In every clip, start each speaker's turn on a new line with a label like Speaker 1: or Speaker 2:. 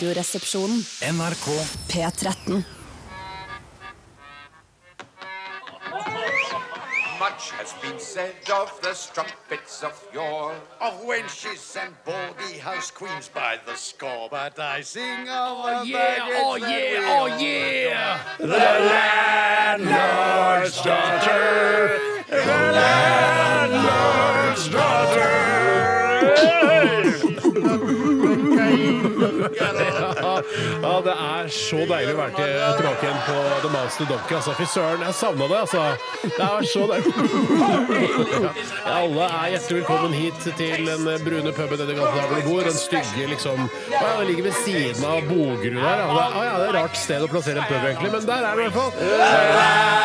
Speaker 1: Radioresepsjonen.
Speaker 2: NRK
Speaker 1: P13.
Speaker 3: Much has been said of the strumpets of yore, of wenches and baldy house queens by the score. But I sing of oh, yeah, oh, yeah, oh, yeah.
Speaker 4: Ja, det er så deilig å være til- tilbake igjen på The Mouse to Donkey. Altså, Fy søren, jeg savna det, altså. Det er så deilig. Ja, alle er hjertelig velkommen hit til den brune puben nede i gata der hvor du bor. Den stygge, liksom Å ja, den ligger ved siden av Bogerud der. Ja, det, er- å, ja, det er et rart sted å plassere en pub, egentlig, men der er det i hvert fall.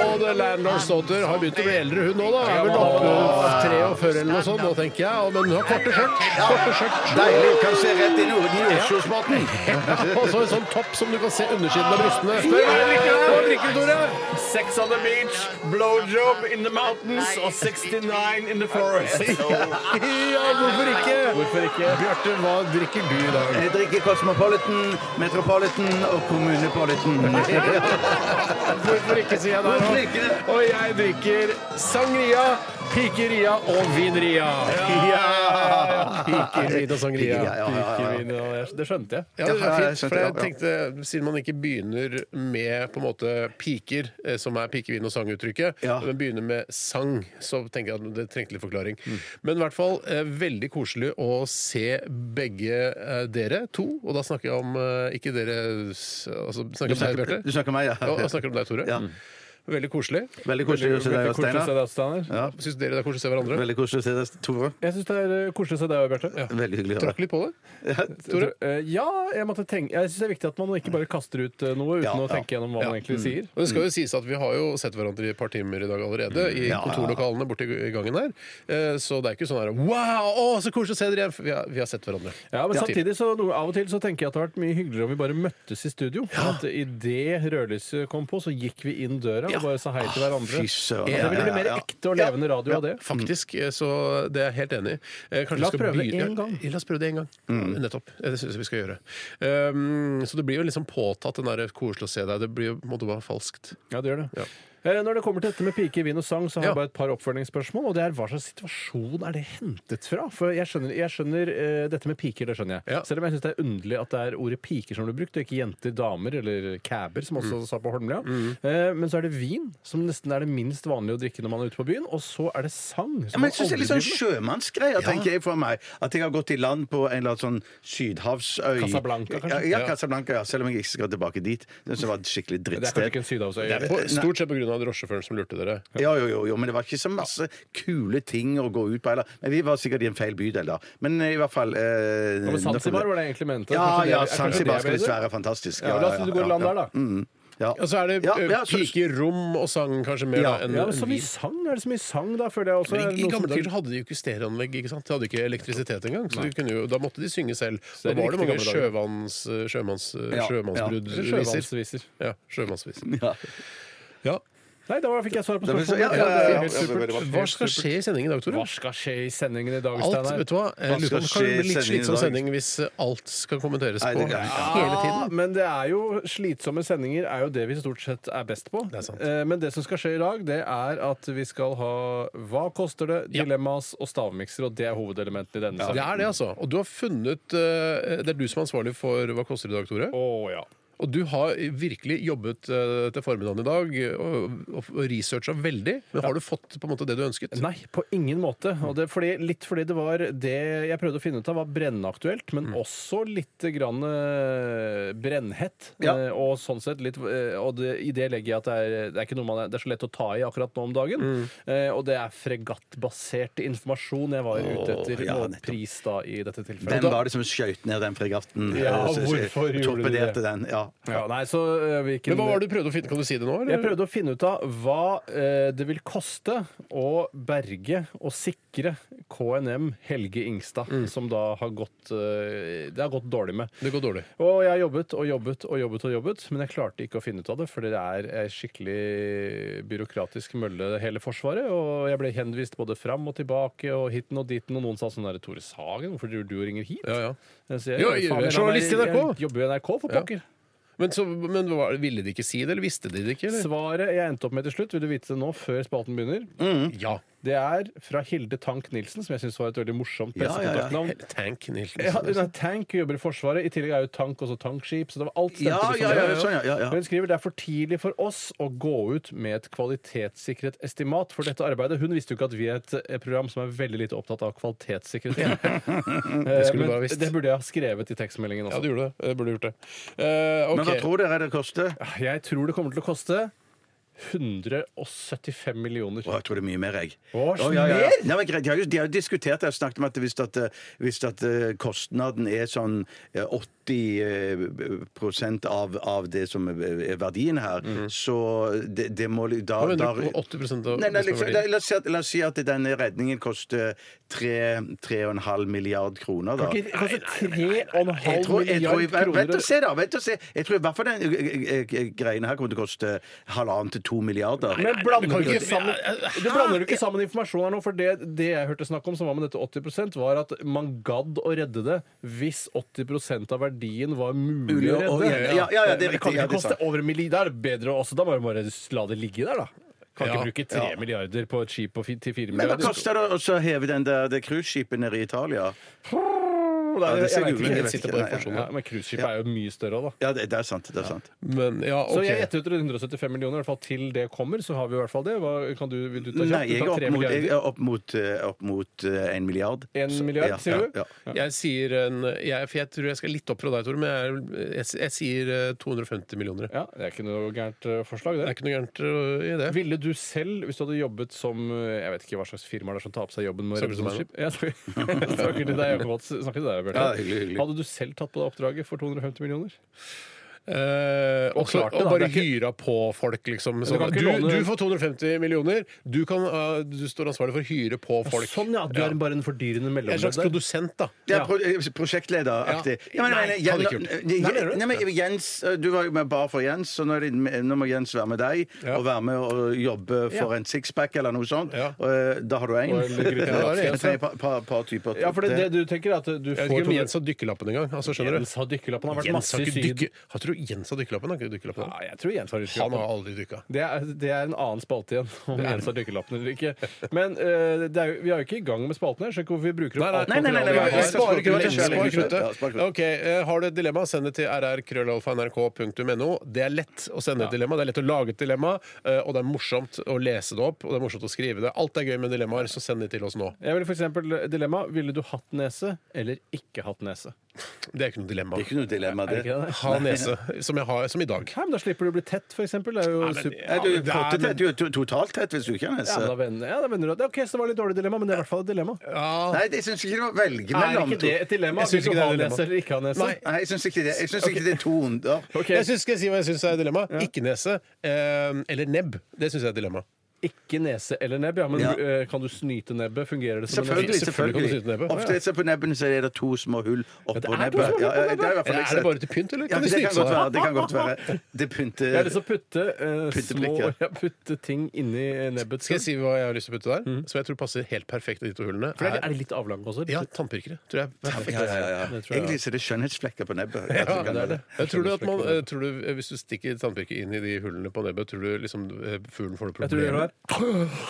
Speaker 4: Og The Landlord's Daughter har begynt å bli eldre, hun nå, da. Er vel oppe 43 eller noe sånt nå, tenker jeg. Og- Men hun har korte skjørt. Korte skjørt.
Speaker 5: Deilig. Kan se rett inn i Nordkjosmaten.
Speaker 4: Og så en sånn topp som du kan se undersiden av brystene. Spør hva du drikker, hva du drikker Tore?
Speaker 5: Sex on the beach, blowjob in the mountains og 69 in the forest.
Speaker 4: Ja, hvorfor ikke? Hvorfor ikke? Bjarte, hva drikker du i dag?
Speaker 5: Jeg drikker Cosmopolitan, Metropolitan og Kommunepolitan.
Speaker 4: Hvorfor ikke, sier jeg der.
Speaker 5: Hvorfor ikke det?
Speaker 4: Og jeg drikker sangria, pikeria og vinria.
Speaker 5: Ja!
Speaker 4: Pikervin og sangria.
Speaker 5: Pikervin, ja, ja, ja.
Speaker 4: Pikervin og- Det skjønte jeg.
Speaker 5: Ja,
Speaker 4: Ja, det
Speaker 5: ja,
Speaker 4: var
Speaker 5: jeg
Speaker 4: fint,
Speaker 5: skjønte
Speaker 4: for jeg
Speaker 5: det,
Speaker 4: tenkte, Siden man ikke begynner med på en måte piker, eh, som er pikevin og sang-uttrykket,
Speaker 5: Ja.
Speaker 4: men begynner med sang, så tenker jeg at det trengte litt forklaring.
Speaker 5: Mm.
Speaker 4: Men i hvert fall eh, veldig koselig å se begge eh, dere to, og da snakker jeg om eh, ikke dere s- altså, Snakker om deg, Bjarte?
Speaker 5: Du snakker meg, ja.
Speaker 4: Og, og snakker om deg, Tore.
Speaker 5: Ja.
Speaker 4: Veldig koselig.
Speaker 5: Veldig koselig å se deg, Steinar.
Speaker 4: Ja. Syns dere det er koselig å se hverandre?
Speaker 5: Veldig koselig å se deg, Tore.
Speaker 6: Jeg syns det er eh, koselig å se deg, Bjarte.
Speaker 4: Ja.
Speaker 5: Veldig hyggelig å høre.
Speaker 4: Trakk litt på det. Tore?
Speaker 6: Eh, Ja, jeg, måtte tenke- jeg syns det er viktig at man ikke bare kaster ut eh, noe uten
Speaker 5: Ja, ja.
Speaker 6: å
Speaker 5: Mm.
Speaker 6: tenke gjennom hva man egentlig sier.
Speaker 4: Og det skal jo sies at Vi har jo sett hverandre i et par timer i dag allerede, i
Speaker 5: Mm. Ja, ja, ja.
Speaker 4: kontorlokalene borti i gangen her. Eh, Så det er ikke sånn her Wow, å, så koselig å se dere igjen! For Vi har, vi har sett hverandre.
Speaker 6: Ja, men
Speaker 4: Ja.
Speaker 6: samtidig så noe- Av og til så tenker jeg at det hadde vært mye hyggeligere om vi bare møttes i studio. At Idet rødlyset kom på, så gikk vi inn døra og bare sa hei til hverandre.
Speaker 5: Fy søren.
Speaker 6: Det ville bli mer ekte og levende radio av det. Mm.
Speaker 4: Faktisk. eh, Så det er jeg helt enig i. Eh, kanskje
Speaker 6: La oss
Speaker 4: vi skal
Speaker 6: prøve det
Speaker 4: begynne-
Speaker 6: en gang.
Speaker 4: Ja, La oss prøve det en gang.
Speaker 5: Mm.
Speaker 4: Nettopp. Eh, Det syns jeg vi skal gjøre. Um, så det blir jo liksom påtatt, den der 'koselig å se deg'. Det blir jo på en måte bare falskt.
Speaker 6: Ja, det gjør det. Eh, Når det kommer til dette med pike, vin og sang, så har
Speaker 4: Ja.
Speaker 6: jeg bare et par oppfølgingsspørsmål. Og det er hva slags situasjon er det hentet fra? For jeg skjønner, jeg skjønner eh, dette med piker, det skjønner jeg.
Speaker 4: Ja.
Speaker 6: Selv om jeg syns det er underlig at det er ordet piker som blir brukt, og ikke jenter, damer eller cabber, som også sa på Holmlia. Eh, Men så er det vin, som nesten er det minst vanlige å drikke når man er ute på byen. Og så er det sang.
Speaker 5: Ja,
Speaker 6: Som
Speaker 5: men jeg synes det er litt sånn
Speaker 6: aldri blir-
Speaker 5: sjømannsgreier, tenker jeg for meg. At jeg har gått i land på en eller annen sånn sydhavsøy.
Speaker 6: Casablanca, kanskje?
Speaker 5: Ja, ja, Casablanca, ja. Selv om jeg ikke skal tilbake dit. Det synes jeg var et skikkelig
Speaker 6: det er kanskje
Speaker 5: drittsted.
Speaker 6: ikke en sydhavsøy.
Speaker 4: Det er
Speaker 5: Eh,
Speaker 4: på, stort sett pga. drosjeføreren som lurte dere.
Speaker 5: Ja, jo, jo, jo, men det var ikke så masse kule ting å gå ut på heller. Men vi var sikkert i en feil bydel da. Men eh, i hvert fall eh,
Speaker 6: Ja, men Zanzibar var det jeg egentlig mente.
Speaker 5: Ja,
Speaker 6: Kanskje det-
Speaker 5: ja,
Speaker 6: er kanskje det
Speaker 5: Zanzibar
Speaker 6: jeg
Speaker 5: skal
Speaker 6: mener?
Speaker 5: visst være fantastisk.
Speaker 6: Ja, la oss si du går i land der, da.
Speaker 5: Mm, ja.
Speaker 4: Og så er det
Speaker 5: Ja,
Speaker 4: eh,
Speaker 5: ja, så-
Speaker 4: piker, rom og sang kanskje mer
Speaker 5: Ja.
Speaker 4: da, enn
Speaker 6: Ja, men
Speaker 4: enn
Speaker 6: Så
Speaker 4: vin.
Speaker 6: mye sang er det så mye sang, da, føler jeg også. Er
Speaker 4: Men I,
Speaker 6: det
Speaker 4: I
Speaker 6: noe som-
Speaker 4: gamle dager så hadde de jo ikke stereoanlegg. ikke sant? De hadde ikke elektrisitet engang. så de kunne jo, Da måtte de synge selv. Da
Speaker 6: det er
Speaker 4: var det
Speaker 6: riktig
Speaker 4: mange
Speaker 6: gamle dager.
Speaker 4: sjømanns, sjømanns,
Speaker 5: Ja,
Speaker 4: sjømannsbruddviser.
Speaker 6: Sjøvannsviser.
Speaker 4: Ja, sjømannsviser.
Speaker 5: Ja.
Speaker 4: Ja.
Speaker 6: Nei, da fikk jeg svar på
Speaker 5: Det var så-
Speaker 6: spørsmålet.
Speaker 5: ja, ja, ja, ja.
Speaker 6: Helt supert.
Speaker 4: Hva skal skje i sendingen i dag, Tore?
Speaker 6: Hva skal skje i sendingen i
Speaker 4: Alt,
Speaker 6: dag, Steinar?
Speaker 4: vet du hva? Jeg lurer på
Speaker 5: skal
Speaker 4: om det kan
Speaker 5: skje i
Speaker 4: bli litt
Speaker 5: sendingen i
Speaker 4: slitsom
Speaker 5: dag?
Speaker 4: sending hvis eh, alt skal kommenteres
Speaker 5: Nei,
Speaker 4: på
Speaker 5: det kan jeg ikke.
Speaker 4: hele
Speaker 6: Ja,
Speaker 4: tiden.
Speaker 6: men det er jo slitsomme sendinger er jo det vi stort sett er best på.
Speaker 4: Det er sant.
Speaker 6: Eh, Men det som skal skje i dag, det er at vi skal ha Hva koster det?,
Speaker 4: Ja.
Speaker 6: dilemmas og stavmikser, og det er hovedelementene i denne
Speaker 4: Det
Speaker 6: saken.
Speaker 4: er det, altså. Og du har funnet eh, Det er du som er ansvarlig for Hva koster det i dag, Tore?
Speaker 6: Å ja.
Speaker 4: Og du har virkelig jobbet eh, til formiddagen i dag og, og, og researcha veldig. Men har du fått på en måte det du ønsket?
Speaker 6: Nei, på ingen måte. Og det er fordi, litt fordi det var det jeg prøvde å finne ut av, var brennaktuelt,
Speaker 5: Mm.
Speaker 6: men også litt grann eh, brennhett.
Speaker 5: Ja.
Speaker 6: Eh, og sånn sett litt eh, Og det, i det legger jeg at det er, det er ikke noe man er, det er så lett å ta i akkurat nå om dagen.
Speaker 5: Mm.
Speaker 6: Eh, og det er fregattbasert informasjon jeg var ute etter,
Speaker 5: Åh, ja,
Speaker 6: og
Speaker 5: nettopp.
Speaker 6: pris da i dette tilfellet.
Speaker 5: Den var det som skjøt ned den fregatten.
Speaker 6: Ja,
Speaker 5: eh, så- så-
Speaker 6: hvorfor gjorde du det?
Speaker 5: torpederte den. Ja,
Speaker 6: Ja, nei, så eh, hvilken...
Speaker 4: Men hva var det du prøvde å finne? Kan du si det nå? eller?
Speaker 6: Jeg prøvde å finne ut av hva eh, det vil koste å berge og sikre KNM Helge Ingstad,
Speaker 4: Mm.
Speaker 6: som da har gått eh, Det har gått dårlig med.
Speaker 4: Det går dårlig.
Speaker 6: Og jeg har jobbet og jobbet og jobbet, og jobbet, men jeg klarte ikke å finne ut av det, for det er ei skikkelig byråkratisk mølle, hele Forsvaret. Og jeg ble henvist både fram og tilbake og hiten og diten, og noen sa sånn der, Tore Sagen, hvorfor driver du og ringer hit?
Speaker 4: Ja, ja.
Speaker 6: Jeg sier,
Speaker 4: Jo, jeg er
Speaker 6: faen, jeg-
Speaker 4: journalist i NRK.
Speaker 6: Jeg jobber i NRK, for
Speaker 4: Ja.
Speaker 6: pokker.
Speaker 4: Men, så, men hva- ville de ikke si det, eller visste de det ikke? Eller?
Speaker 6: Svaret jeg endte opp med til slutt, vil du vite det nå, før spalten begynner?
Speaker 4: Ja.
Speaker 6: Det er fra Hilde Tank-Nilsen, som jeg syns var et veldig morsomt pressekontaktnavn. Ja,
Speaker 4: Tank Nilsen.
Speaker 6: hun er Tank, hun jobber i Forsvaret. I tillegg er hun tank, også tankskip. Så det var alt stemte.
Speaker 5: Ja,
Speaker 6: liksom.
Speaker 5: ja, ja, sånn, ja, ja, ja.
Speaker 6: Hun skriver det er for tidlig for oss å gå ut med et kvalitetssikret estimat for dette arbeidet. Hun visste jo ikke at vi er et eh, program som er veldig lite opptatt av kvalitetssikkerhet. det,
Speaker 4: skulle du bare visst.
Speaker 6: det burde jeg ha skrevet i tekstmeldingen
Speaker 4: Ja,
Speaker 6: også.
Speaker 4: du gjorde det. Jeg burde gjort det. Eh, ok.
Speaker 5: Men hva tror dere det koster?
Speaker 6: jeg tror det kommer til å koste 175 millioner.
Speaker 5: Å, jeg tror det er mye mer, jeg.
Speaker 6: Å,
Speaker 5: Å, ja, ja, ja. Nei, men greit, de, har jo, de har jo diskutert det og snakket om at hvis, at, eh, hvis at eh, kostnaden er sånn eh, 80 eh, prosent av, av det som er er verdien her, så det, det må li- da,
Speaker 4: Hva
Speaker 5: da
Speaker 4: mener du? 80 av
Speaker 5: Nei, nei,
Speaker 4: liksom,
Speaker 5: liksom, nei, la, oss si at, la oss si at denne redningen koster tre- tre og en halv milliard kroner, da.
Speaker 6: Det koster 3,5
Speaker 5: Jeg tror, jeg tror,
Speaker 6: milliard kroner.
Speaker 5: vent og se, da. Vent og se. Jeg tror i hvert fall den eh, eh, greien her kommer til å koste halvannen til to milliarder.
Speaker 6: Men blander
Speaker 4: kan
Speaker 6: du ikke
Speaker 4: ikke-
Speaker 6: sammen, du blander du ikke sammen informasjon her nå? For det, det jeg hørte snakk om, som var med dette 80 var at man gadd å redde det hvis 80 av verdien var mulig,
Speaker 5: Mulig
Speaker 6: å
Speaker 5: å-
Speaker 6: redde.
Speaker 5: ja, ja, ja, det er
Speaker 6: Men det
Speaker 5: riktig,
Speaker 6: kan
Speaker 5: ja, det
Speaker 6: ikke
Speaker 5: er
Speaker 6: koste
Speaker 5: sant.
Speaker 6: over en milliard. Da er det bedre også. Da må du bare la det ligge der, da. Kan
Speaker 4: Ja,
Speaker 6: ikke bruke tre
Speaker 5: ja.
Speaker 6: milliarder på et skip på fi- til fire
Speaker 5: Men hva
Speaker 6: milliarder.
Speaker 5: koster det å så heve den der, det cruiseskipet nede i Italia?
Speaker 6: Nei,
Speaker 5: det ser
Speaker 6: jeg vet
Speaker 5: gult
Speaker 6: ikke.
Speaker 5: ut, jeg
Speaker 6: Jeg
Speaker 5: vet
Speaker 6: sitter
Speaker 5: ikke.
Speaker 6: på den
Speaker 5: Nei,
Speaker 6: informasjonen her. Men cruiseskip er jo mye større òg, da.
Speaker 5: Ja, det, det er sant. det er sant.
Speaker 4: Men, ja,
Speaker 6: Så jeg
Speaker 4: ok.
Speaker 6: gjetter ut 175 millioner, i hvert fall til det kommer. Så har vi i hvert fall det. Hva, kan du, vil du ta kjapt?
Speaker 5: Nei,
Speaker 6: Du
Speaker 5: jeg er
Speaker 6: tar
Speaker 5: opp
Speaker 6: tre
Speaker 5: mot, jeg
Speaker 6: milliarder.
Speaker 5: er opp mot, eh, opp mot eh, en milliard.
Speaker 6: En
Speaker 5: Så-
Speaker 6: milliard,
Speaker 5: ja,
Speaker 6: sier
Speaker 5: ja,
Speaker 6: du?
Speaker 5: Ja,
Speaker 4: Jeg sier en jeg, For jeg tror jeg skal litt opp fra deg, Tore, men jeg, er- jeg, jeg sier eh, 250 millioner.
Speaker 6: Ja, det er ikke noe gærent eh, forslag, det.
Speaker 4: Det er ikke noe gærent eh, i det.
Speaker 6: Ville du selv, hvis du hadde jobbet som eh, Jeg vet ikke hva slags firma det er som tar på seg jobben med
Speaker 4: Snakker du til meg
Speaker 6: reparasjonsskip Ja, Snakker snakker til deg, Jakob Holtz. Snakker til deg, Bjarte.
Speaker 5: Ja, hyggelig, hyggelig.
Speaker 6: Hadde du selv tatt på deg oppdraget for 250 millioner?
Speaker 4: Eh, og,
Speaker 6: klart det,
Speaker 4: og
Speaker 6: da.
Speaker 4: bare
Speaker 6: Det er ikke-
Speaker 4: hyra på folk, liksom.
Speaker 6: du
Speaker 4: Sånn.
Speaker 6: kan
Speaker 4: Du,
Speaker 6: ikke
Speaker 4: du,
Speaker 6: låne-
Speaker 4: får 250 millioner. Du, kan, eh, du står ansvarlig for å hyre på folk.
Speaker 6: sånn,
Speaker 4: Ja.
Speaker 6: bare en fordyrende
Speaker 4: Jeg er en slags produsent, da.
Speaker 5: Det er pro eh, prosjektlederaktig.
Speaker 4: Ja.
Speaker 5: Ja, men,
Speaker 4: Nei,
Speaker 5: men,
Speaker 4: hadde ikke
Speaker 5: Jen-
Speaker 4: gjort.
Speaker 5: Nei,
Speaker 6: Nei, mener du?
Speaker 5: Nei, men Jens, eh, du var jo med bar for Jens, så nå, er det, nå må Jens være med deg
Speaker 4: Ja.
Speaker 5: og være med og jobbe for
Speaker 4: Ja.
Speaker 5: en sixpack eller noe sånt.
Speaker 4: Ja.
Speaker 5: Og, eh, Da har du én.
Speaker 6: Og en liten
Speaker 4: Ja, da er det
Speaker 5: Jeg
Speaker 4: Jens,
Speaker 5: trenger et par, par, par typer.
Speaker 6: Ja, for det, det du tenker, er at du
Speaker 4: Jeg vet
Speaker 6: får
Speaker 4: ikke om Jens har dykkerlappen engang. Altså, skjønner du?
Speaker 6: Jens har dykkerlappen. Han har vært
Speaker 4: Jens
Speaker 6: masse
Speaker 4: har
Speaker 6: i
Speaker 4: ikke
Speaker 6: Syden.
Speaker 4: dykke... Jeg tror Jens har dykkerlappen. Han har ikke dykkerlappen.
Speaker 6: Ja, jeg tror Jens har
Speaker 4: Han
Speaker 6: dykkerlappen.
Speaker 4: har aldri dykka.
Speaker 6: Det er, det er en annen spalte igjen, om Jens har dykkerlappen eller ikke. Men eh, det er, jo- vi er jo ikke i gang med spalten her, så jeg skjønner ikke hvorfor vi bruker opp
Speaker 4: Nei,
Speaker 6: alt
Speaker 5: nei, nei, nei,
Speaker 6: materialet vi
Speaker 5: nei,
Speaker 6: har.
Speaker 5: nei, nei.
Speaker 4: Spar kruttet.
Speaker 5: Spar
Speaker 4: Spar
Speaker 5: kruttet. Ja, spar
Speaker 4: kruttet.
Speaker 5: kruttet.
Speaker 4: Ok, eh, Har du et dilemma, send det til rrkrøllalfa.nrk.no. Det er lett å sende et dilemma, det er lett å lage et dilemma, eh, og det er morsomt å lese det opp, og det er morsomt å skrive det. Alt er gøy med dilemmaer, så send det til oss nå.
Speaker 6: Jeg ville for eksempel eh, dilemma Ville du hatt nese eller ikke hatt nese?
Speaker 4: Det er ikke noe dilemma.
Speaker 5: Det er ikke noe dilemma, det.
Speaker 6: ikke det?
Speaker 4: Ha nese, som jeg har som i dag.
Speaker 6: Nei, men Da slipper du å bli tett, for eksempel. Det er jo super...
Speaker 5: Nei,
Speaker 6: ja,
Speaker 5: du er
Speaker 4: det er-
Speaker 5: pottetett. Du er to- totalt tett hvis du ikke har nese.
Speaker 6: men da vender, ja, da vender du deg. OK, så det var litt dårlig dilemma, men det er i hvert fall et dilemma.
Speaker 5: Nei, jeg syns ikke det var å velge
Speaker 6: Er
Speaker 5: mellom
Speaker 6: ikke det et dilemma?
Speaker 4: Jeg synes
Speaker 6: Vil
Speaker 4: ikke
Speaker 6: du
Speaker 4: det
Speaker 6: ha
Speaker 4: er et dilemma.
Speaker 6: nese eller ikke ha nese?
Speaker 4: Nei.
Speaker 5: Nei, jeg syns ikke det. Jeg syns ikke det er to onder.
Speaker 6: Ok,
Speaker 4: Jeg synes, skal jeg si hva jeg syns er et dilemma? Ikke nese eh, eller nebb. Det syns jeg er et dilemma.
Speaker 6: Ikke nese eller nebb, ja, men
Speaker 5: Ja.
Speaker 6: eh, kan du snyte nebbet? Fungerer det som en
Speaker 5: Selvfølgelig.
Speaker 6: nese?
Speaker 4: selvfølgelig kan du
Speaker 5: selvfølgelig.
Speaker 4: si det på nebbet.
Speaker 5: Ofte så på nebbene så er det to små hull oppå
Speaker 6: det er to
Speaker 5: nebbet.
Speaker 6: små hull
Speaker 5: Ja,
Speaker 6: på
Speaker 5: ja, det er i hvert fall
Speaker 4: Eller
Speaker 5: jeg
Speaker 4: er det
Speaker 5: sett.
Speaker 4: bare til pynt, eller
Speaker 5: Ja,
Speaker 4: kan
Speaker 5: det kan
Speaker 4: det snyte
Speaker 5: godt
Speaker 4: seg?
Speaker 5: være. Det kan godt være. Det pynter
Speaker 6: Jeg har lyst til å putte, eh, små,
Speaker 5: Putteblikker.
Speaker 6: ja, putte ting inni eh, nebbet.
Speaker 4: Skal jeg si hva jeg har lyst til å putte der?
Speaker 5: Mm.
Speaker 4: Som jeg tror passer helt perfekt i de to hullene?
Speaker 6: For er,
Speaker 4: er-
Speaker 6: er de litt avlange også?
Speaker 4: ja, tannpirkere. Tror jeg. er perfekt.
Speaker 5: ja, ja, ja.
Speaker 6: Det tror jeg
Speaker 5: Egentlig så er det skjønnhetsflekker på nebbet. Ja,
Speaker 4: Ja, det er det. Jeg tror du at man,
Speaker 6: Skjønner
Speaker 4: eh, tror du, eh, hvis du stikker tannpirker inn i de hullene på nebbet, tror du liksom eh, fuglen får noe
Speaker 6: Jeg tror det
Speaker 4: problem?
Speaker 6: er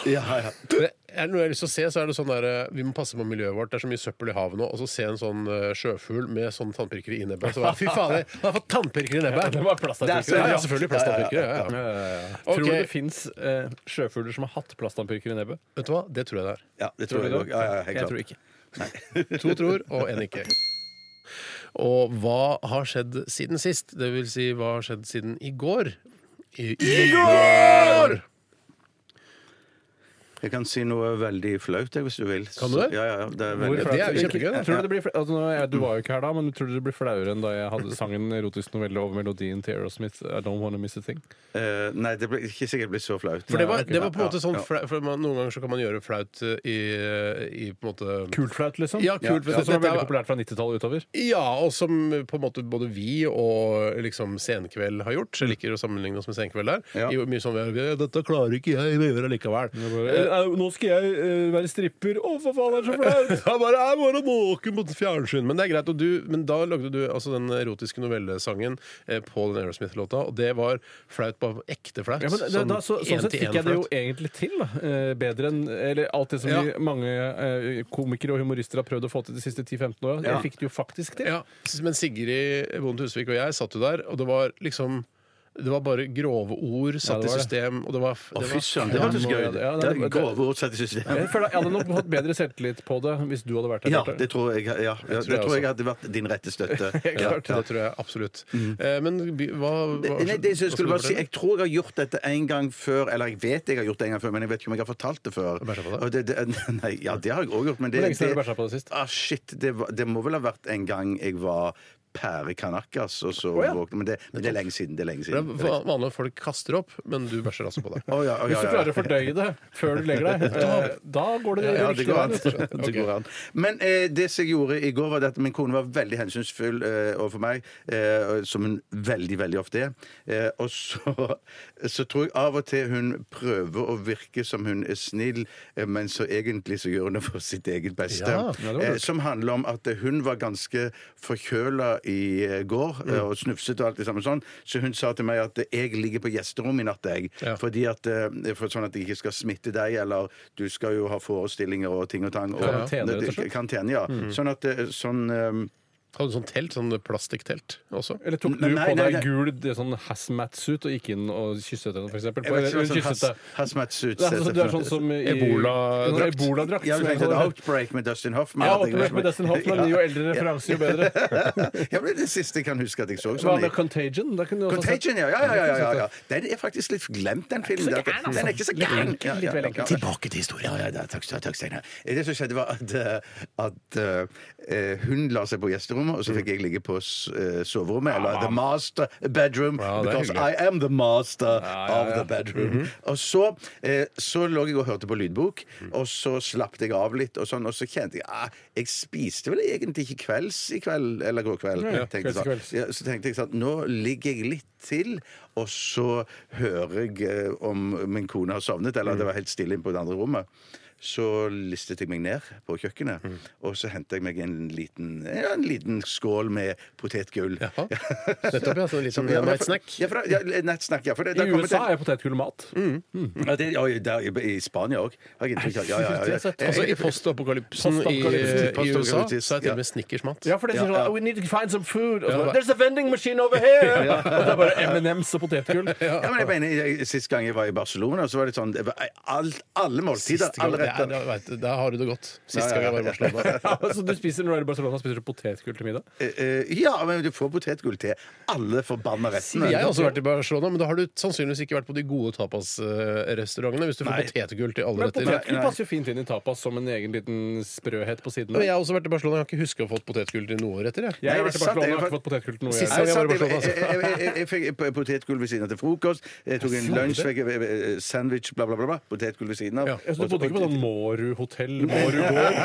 Speaker 5: Ja, ja.
Speaker 4: Men Er det noe jeg har lyst til å se, så er det sånn der eh, Vi må passe på miljøet vårt. Det er så mye søppel i havet nå. Og så se en sånn eh, sjøfugl med sånne tannpirkere i nebbet. Så bare, Fy fader, han har fått tannpirkere i nebbet!
Speaker 6: Det var plass
Speaker 5: Det er
Speaker 4: Ja, ja,
Speaker 5: Ja,
Speaker 4: selvfølgelig plasttannpirkere. Ja, ja.
Speaker 6: Tror
Speaker 4: Ok.
Speaker 6: du det fins eh, sjøfugler som har hatt plasttannpirker i nebbet?
Speaker 4: Vet du hva? Det tror jeg det er.
Speaker 5: ja det tror jeg òg. Ja, ja, helt
Speaker 6: Jeg tror
Speaker 5: klart.
Speaker 6: ikke.
Speaker 4: To tror og én ikke. Og hva har skjedd siden sist? Det vil si, hva har skjedd siden i går? I, I går!
Speaker 5: Jeg kan si noe veldig flaut, jeg, hvis du vil.
Speaker 4: Kan du det?
Speaker 5: Så- Ja, ja, ja, det er
Speaker 6: Hvor
Speaker 5: veldig...
Speaker 6: flaut-
Speaker 4: det er jo kjempegøy, da.
Speaker 6: Tror du, det blir fla- altså, nå, jeg, du var jo ikke her da, men tror du det blir flauere enn da jeg hadde sangen erotisk novelle over melodien til Aerosmith I Don't Wanna Miss a Thing?
Speaker 5: Eh, nei, det blir ikke sikkert blir så flaut.
Speaker 4: For det var, det
Speaker 5: Ja,
Speaker 4: var på en måte
Speaker 5: ja,
Speaker 4: sånn
Speaker 5: ja.
Speaker 4: flau, for man, Noen ganger så kan man gjøre flaut eh, i, i på en måte
Speaker 6: Kult flaut, liksom?
Speaker 4: Ja, kult.
Speaker 6: Sånn som var
Speaker 4: Dette
Speaker 6: veldig
Speaker 4: er-
Speaker 6: populært fra 90-tallet utover?
Speaker 4: Ja, og som på en måte både vi og liksom Senkveld har gjort. Jeg liker å sammenligne oss med Senkveld der.
Speaker 5: Ja.
Speaker 4: I hvor mye sånn vi er, «Ja, Dette klarer ikke jeg, vi gjør det likevel. Eh,
Speaker 6: nå skal jeg eh, være stripper. Å, for faen, det er så
Speaker 4: Jeg bare, jeg var måken på fjernsyn Men det er greit, og du, men da lagde du altså den erotiske novellesangen eh, på den Aerosmith-låta, og det var flaut, bare ekte flaut.
Speaker 6: Ja, men det,
Speaker 4: Sånn
Speaker 6: da, så, sånn sett fikk jeg det jo
Speaker 4: en-til-en-flaut.
Speaker 6: egentlig til. Da. Eh, Bedre enn eller alt det som
Speaker 4: Ja.
Speaker 6: de, mange eh, komikere og humorister har prøvd å få til de siste 10-15 åra. Jeg fikk det jo faktisk til.
Speaker 4: Ja, s- men Sigrid Bonde Tusvik og jeg satt jo der, og det var liksom det var bare grove ord satt i
Speaker 6: det var det.
Speaker 4: system, og det var,
Speaker 5: Å,
Speaker 4: det
Speaker 5: fy
Speaker 4: var
Speaker 5: søren, det hørtes
Speaker 6: Ja,
Speaker 5: gøy
Speaker 6: ja,
Speaker 5: ut.
Speaker 6: ja,
Speaker 5: Det
Speaker 6: det-
Speaker 5: er grove ord satt i system.
Speaker 6: Jeg føler jeg hadde nok fått bedre selvtillit på det hvis du hadde vært der.
Speaker 5: Ja,
Speaker 6: Bjarte.
Speaker 5: det tror jeg, ja, ja, det tror jeg hadde vært din rette støtte.
Speaker 4: Helt klart, Det tror jeg absolutt. Eh, men by- hva, hva
Speaker 5: Nei, Mm. det
Speaker 4: hva
Speaker 5: jeg skulle bare si
Speaker 4: fortelle?
Speaker 5: Jeg tror jeg har gjort dette en gang før, eller jeg vet jeg har gjort det en gang før, men jeg vet ikke om jeg har fortalt det før.
Speaker 4: Bæsja på deg?
Speaker 5: Og det, det, nei, ja, det har jeg også gjort, men det
Speaker 6: Hvor lenge siden har du bæsja på deg sist?
Speaker 5: Ah, shit, det, var, det må vel ha vært en gang jeg var pære kanakas, og så
Speaker 6: ja.
Speaker 5: våkna Men det, men det er lenge siden. Det er lenge
Speaker 4: Det
Speaker 5: siden. Det
Speaker 4: er
Speaker 5: er lenge siden.
Speaker 4: va- vanlig at folk kaster opp, men du bæsjer altså på deg.
Speaker 5: Å, ja, å, ja,
Speaker 6: Hvis du
Speaker 5: ja, ja.
Speaker 6: klarer å fordøye det før du legger deg, eh, da går det den
Speaker 5: Ja, det
Speaker 6: riktige
Speaker 5: går an.
Speaker 6: veien. rett og slett.
Speaker 5: Det går an. Men eh, det som jeg gjorde i går, var det at min kone var veldig hensynsfull eh, overfor meg, eh, som hun veldig, veldig ofte er. Eh, og så, så tror jeg av og til hun prøver å virke som hun er snill, eh, men så egentlig så gjør hun det for sitt eget beste.
Speaker 4: Ja,
Speaker 6: ja, det var lurt.
Speaker 5: eh, som handler om at eh, hun var ganske forkjøla i eh, går,
Speaker 6: Mm.
Speaker 5: eh, og snufset og alt det samme sånn, så hun sa til meg at eh, jeg ligger på gjesterommet i natt, jeg.
Speaker 4: Ja.
Speaker 5: Fordi at, eh, for sånn at jeg ikke skal smitte deg, eller du skal jo ha forestillinger og ting og tang. Og,
Speaker 6: Karantene, rett og slett. Mm.
Speaker 5: Karantene, ja. Sånn at eh, sånn eh,
Speaker 4: Hadde du sånn telt, sånn plastikktelt også?
Speaker 6: Eller tok du
Speaker 5: Nei,
Speaker 6: på
Speaker 5: nei,
Speaker 6: deg
Speaker 5: nei.
Speaker 6: gul det, sånn hazmat-suit og gikk inn og kysset henne, f.eks.?
Speaker 5: jeg vet ikke hva sånn
Speaker 6: Kysset
Speaker 5: has-
Speaker 6: deg.
Speaker 5: hazmat-suit
Speaker 6: Det er sånn- Du er sånn som i
Speaker 4: Ebola-drakt.
Speaker 6: Ja, Ebola-drakt.
Speaker 5: Ja, du
Speaker 6: som er
Speaker 5: tenkte et
Speaker 6: sånn-
Speaker 5: Outbreak med Dustin Hoffman?
Speaker 6: Ja,
Speaker 5: at jeg-
Speaker 6: Outbreak med Dustin Hoffman. Jo eldre referanse, jo
Speaker 5: Sånn
Speaker 6: bedre.
Speaker 5: ja, men det er det siste jeg kan huske at jeg så.
Speaker 6: Hva
Speaker 5: Sånn,
Speaker 6: med Contagion? Da kunne du også sånn sett-
Speaker 5: Contagion, ja. Ja, ja, ja, ja, ja. Den er faktisk litt glemt, den filmen. Der. Den er ikke så gæren.
Speaker 6: enkel, litt vel enkel.
Speaker 5: Tilbake til historien. Ja, ja, da, takk, takk, takk, Steinar. Det som skjedde, var at, eh, at eh, hun la seg på gjesterommet, og så fikk jeg ligge på s- eh, soverommet. Eller the master bedroom.
Speaker 4: Ja, det er
Speaker 5: because I
Speaker 4: hyggelig.
Speaker 5: am the master of the bedroom. Og så, eh, så lå jeg og hørte på lydbok, og så slappet jeg av litt, og, sånn, og så kjente jeg ah, Jeg spiste vel egentlig ikke kvelds i kveld, eller går kveld.
Speaker 6: Ja, ja,
Speaker 5: tenkte jeg
Speaker 6: kvelds i
Speaker 5: sånn.
Speaker 6: kvelds.
Speaker 5: Ja, så tenkte jeg sånn, nå ligger jeg litt til, og så hører jeg eh, om min kone har sovnet, eller
Speaker 4: Mm.
Speaker 5: det var helt stille inne på det andre rommet. Så listet jeg meg ned på kjøkkenet,
Speaker 4: Mm.
Speaker 5: og så hentet jeg meg en liten, ja, en liten skål med potetgull.
Speaker 4: Jaha. Nettopp, ja. Sånn litt som
Speaker 5: Ja,
Speaker 4: en
Speaker 5: men for-
Speaker 4: nightsnack.
Speaker 5: Ja, for, ja, nightsnack, ja. For det, det
Speaker 6: I
Speaker 5: har kommet
Speaker 6: USA
Speaker 5: en-
Speaker 6: er potetgull mat.
Speaker 5: Mm. ja, det, oi, der, I i Spania òg, har jeg inntrykk av. Ja, ja, ja, ja.
Speaker 4: Altså I postapokalypsen i,
Speaker 5: eh, Postapokalypsen.
Speaker 4: i USA så
Speaker 5: Postapokalypsen,
Speaker 4: er det til
Speaker 5: ja.
Speaker 4: og med Snickers mat.
Speaker 6: Ja, for det sier
Speaker 5: Ja, ja.
Speaker 6: sånn We need to find some food. Og
Speaker 4: Ja,
Speaker 6: så
Speaker 4: hva-
Speaker 6: bare, There's a vending machine over here! Og det er bare M&M's og potetgull.
Speaker 5: Ja, men jeg mener, jeg- Sist gang jeg var i Barcelona, så var det sånn det var alt, Alle måltider,
Speaker 4: Siste gang-
Speaker 5: alle
Speaker 4: det er-
Speaker 5: retter.
Speaker 4: det er- vet du, Der har du det godt. Siste
Speaker 5: Ja, ja,
Speaker 4: gang jeg var i
Speaker 5: ja.
Speaker 4: Barcelona.
Speaker 6: Så altså, du spiser når du er i Barcelona, spiser du potetgull til middag?
Speaker 5: Eh, eh, Ja, men du får potetgull til alle forbanna rettene.
Speaker 4: Jeg har også vært i Barcelona, men da har du sannsynligvis ikke vært på de gode tapasrestaurantene. Hvis du får potetgull til alle
Speaker 6: Men
Speaker 4: retter.
Speaker 6: potetgull
Speaker 5: nei.
Speaker 6: passer jo fint inn i tapas som en egen liten sprøhet på siden.
Speaker 4: Men jeg har også vært i Barcelona, jeg kan ikke huske å ha fått potetgull til noen retter. Jeg.
Speaker 5: Nei,
Speaker 6: Jeg har
Speaker 5: det
Speaker 6: vært
Speaker 5: er
Speaker 6: i
Speaker 5: sant,
Speaker 6: Barcelona
Speaker 5: jeg
Speaker 6: og
Speaker 5: har
Speaker 6: ikke fått potetgull til noe.
Speaker 4: Sist
Speaker 5: Nei,
Speaker 6: Jeg-
Speaker 4: gang jeg var i
Speaker 5: sant, jeg,
Speaker 6: altså.
Speaker 5: jeg,
Speaker 4: Barcelona,
Speaker 5: jeg, jeg, jeg, jeg fikk potetgull ved siden av til frokost. Jeg tok en lunsj, fikk eh, eh, sandwich, bla, bla, bla. bla potetgull ved siden av.
Speaker 4: Ja,
Speaker 6: Jeg så du bodde ikke på sånn Måru hotell, Måru gård?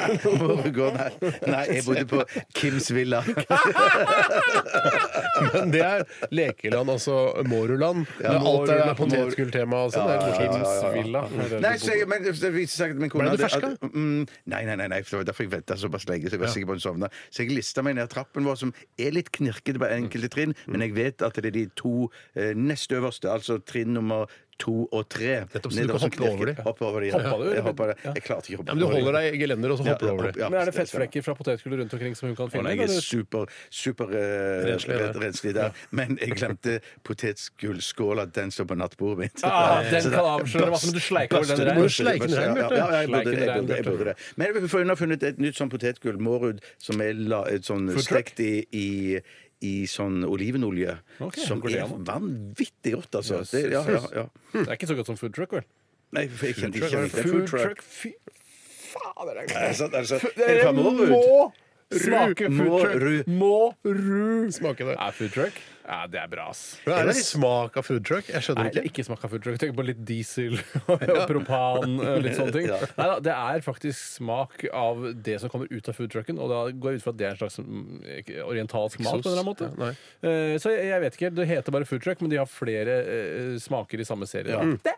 Speaker 5: Borregaard, nei. nei, jeg bodde på Kims Villa.
Speaker 4: Men det er lekeland, altså Moruland.
Speaker 5: Ja,
Speaker 4: med alt det
Speaker 6: Moruland,
Speaker 4: er potetgulltema. Altså, det er
Speaker 6: Ja,
Speaker 4: morsomt.
Speaker 6: ja, ja, ja.
Speaker 5: Nei, så, jeg- men det viste seg at min kone
Speaker 4: Ble du
Speaker 5: hadde-
Speaker 4: ferska?
Speaker 5: at- Mm, nei, nei, nei, nei, for det var derfor jeg venta såpass lenge. Så jeg var sikker på hun sovna. Så jeg lista meg ned trappen vår, som er litt knirkete på enkelte trinn,
Speaker 4: Mm.
Speaker 5: men jeg vet at det er de to eh, nest øverste, altså trinn nummer to og tre.
Speaker 4: Nettopp, så du
Speaker 5: Nedover
Speaker 4: kan
Speaker 5: som
Speaker 4: hoppe over
Speaker 5: knirker.
Speaker 4: de.
Speaker 5: Hoppe over de. ja.
Speaker 6: Hoppa du?
Speaker 5: Jeg hoppa det. Jeg klarte ikke å hoppe
Speaker 4: Ja, men du
Speaker 5: over de.
Speaker 4: holder deg i gelender, og så hopper du over det.
Speaker 5: ja,
Speaker 6: Men er det
Speaker 5: ja, stemmer.
Speaker 6: fettflekker fra potetgullet rundt omkring som hun kan
Speaker 5: Å,
Speaker 6: finne?
Speaker 5: nei, jeg
Speaker 6: eller?
Speaker 5: er super, super eh,
Speaker 4: Renslig der.
Speaker 5: ren- renslig der. Men jeg glemte potetgullskåla. Den står på nattbordet mitt.
Speaker 6: Ah, den
Speaker 5: Så
Speaker 6: kan
Speaker 5: da-
Speaker 6: avsløre masse, men du sleiker over den
Speaker 5: Børste-
Speaker 6: rein.
Speaker 5: børste-
Speaker 4: Du sleiker den
Speaker 5: ja,
Speaker 4: rein, Bjarte.
Speaker 5: ja, ja, jeg burde
Speaker 6: Sleiker
Speaker 5: det.
Speaker 6: den
Speaker 5: Jeg
Speaker 6: rein,
Speaker 5: burde, jeg
Speaker 6: Bjarte.
Speaker 5: burde det. Men vi får- hun har funnet et nytt sånn potetgull, Mårud, som er la, et sånn
Speaker 6: truck?
Speaker 5: stekt i, i i sånn olivenolje.
Speaker 6: Ok,
Speaker 5: som
Speaker 6: går det
Speaker 5: er
Speaker 6: an?
Speaker 5: vanvittig godt, altså.
Speaker 6: Yes,
Speaker 5: Det, ja,
Speaker 6: yes,
Speaker 5: ja,
Speaker 6: yes.
Speaker 5: ja.
Speaker 6: Det er ikke så godt som food truck, vel?
Speaker 5: Nei, for jeg kjente ikke
Speaker 6: Food
Speaker 5: igjen det.
Speaker 6: truck.
Speaker 5: Food truck.
Speaker 6: Fy fader, det er
Speaker 5: Er det sant? Er det sant? Er det
Speaker 6: Dere
Speaker 5: fra Mårud?
Speaker 6: må smake
Speaker 5: må ru.
Speaker 6: food truck. Må ru.
Speaker 4: Smake det.
Speaker 6: Er food truck? Ja, det er bra, ass.
Speaker 4: Hva er det smak av food truck? Jeg
Speaker 6: Nei,
Speaker 4: skjønner ikke.
Speaker 6: ikke smak av food truck. Tenk på litt diesel og propan eh, og litt sånne ting.
Speaker 5: Ja.
Speaker 6: Neida, det er faktisk smak av det som kommer ut av food trucken, og da går jeg ut fra at det er en slags mm, ikke- orientalsk mat på en eller annen måte.
Speaker 4: Ja, nei.
Speaker 6: Eh, så jeg, jeg vet ikke. Det heter bare food truck, men de har flere eh, smaker i samme serie. da.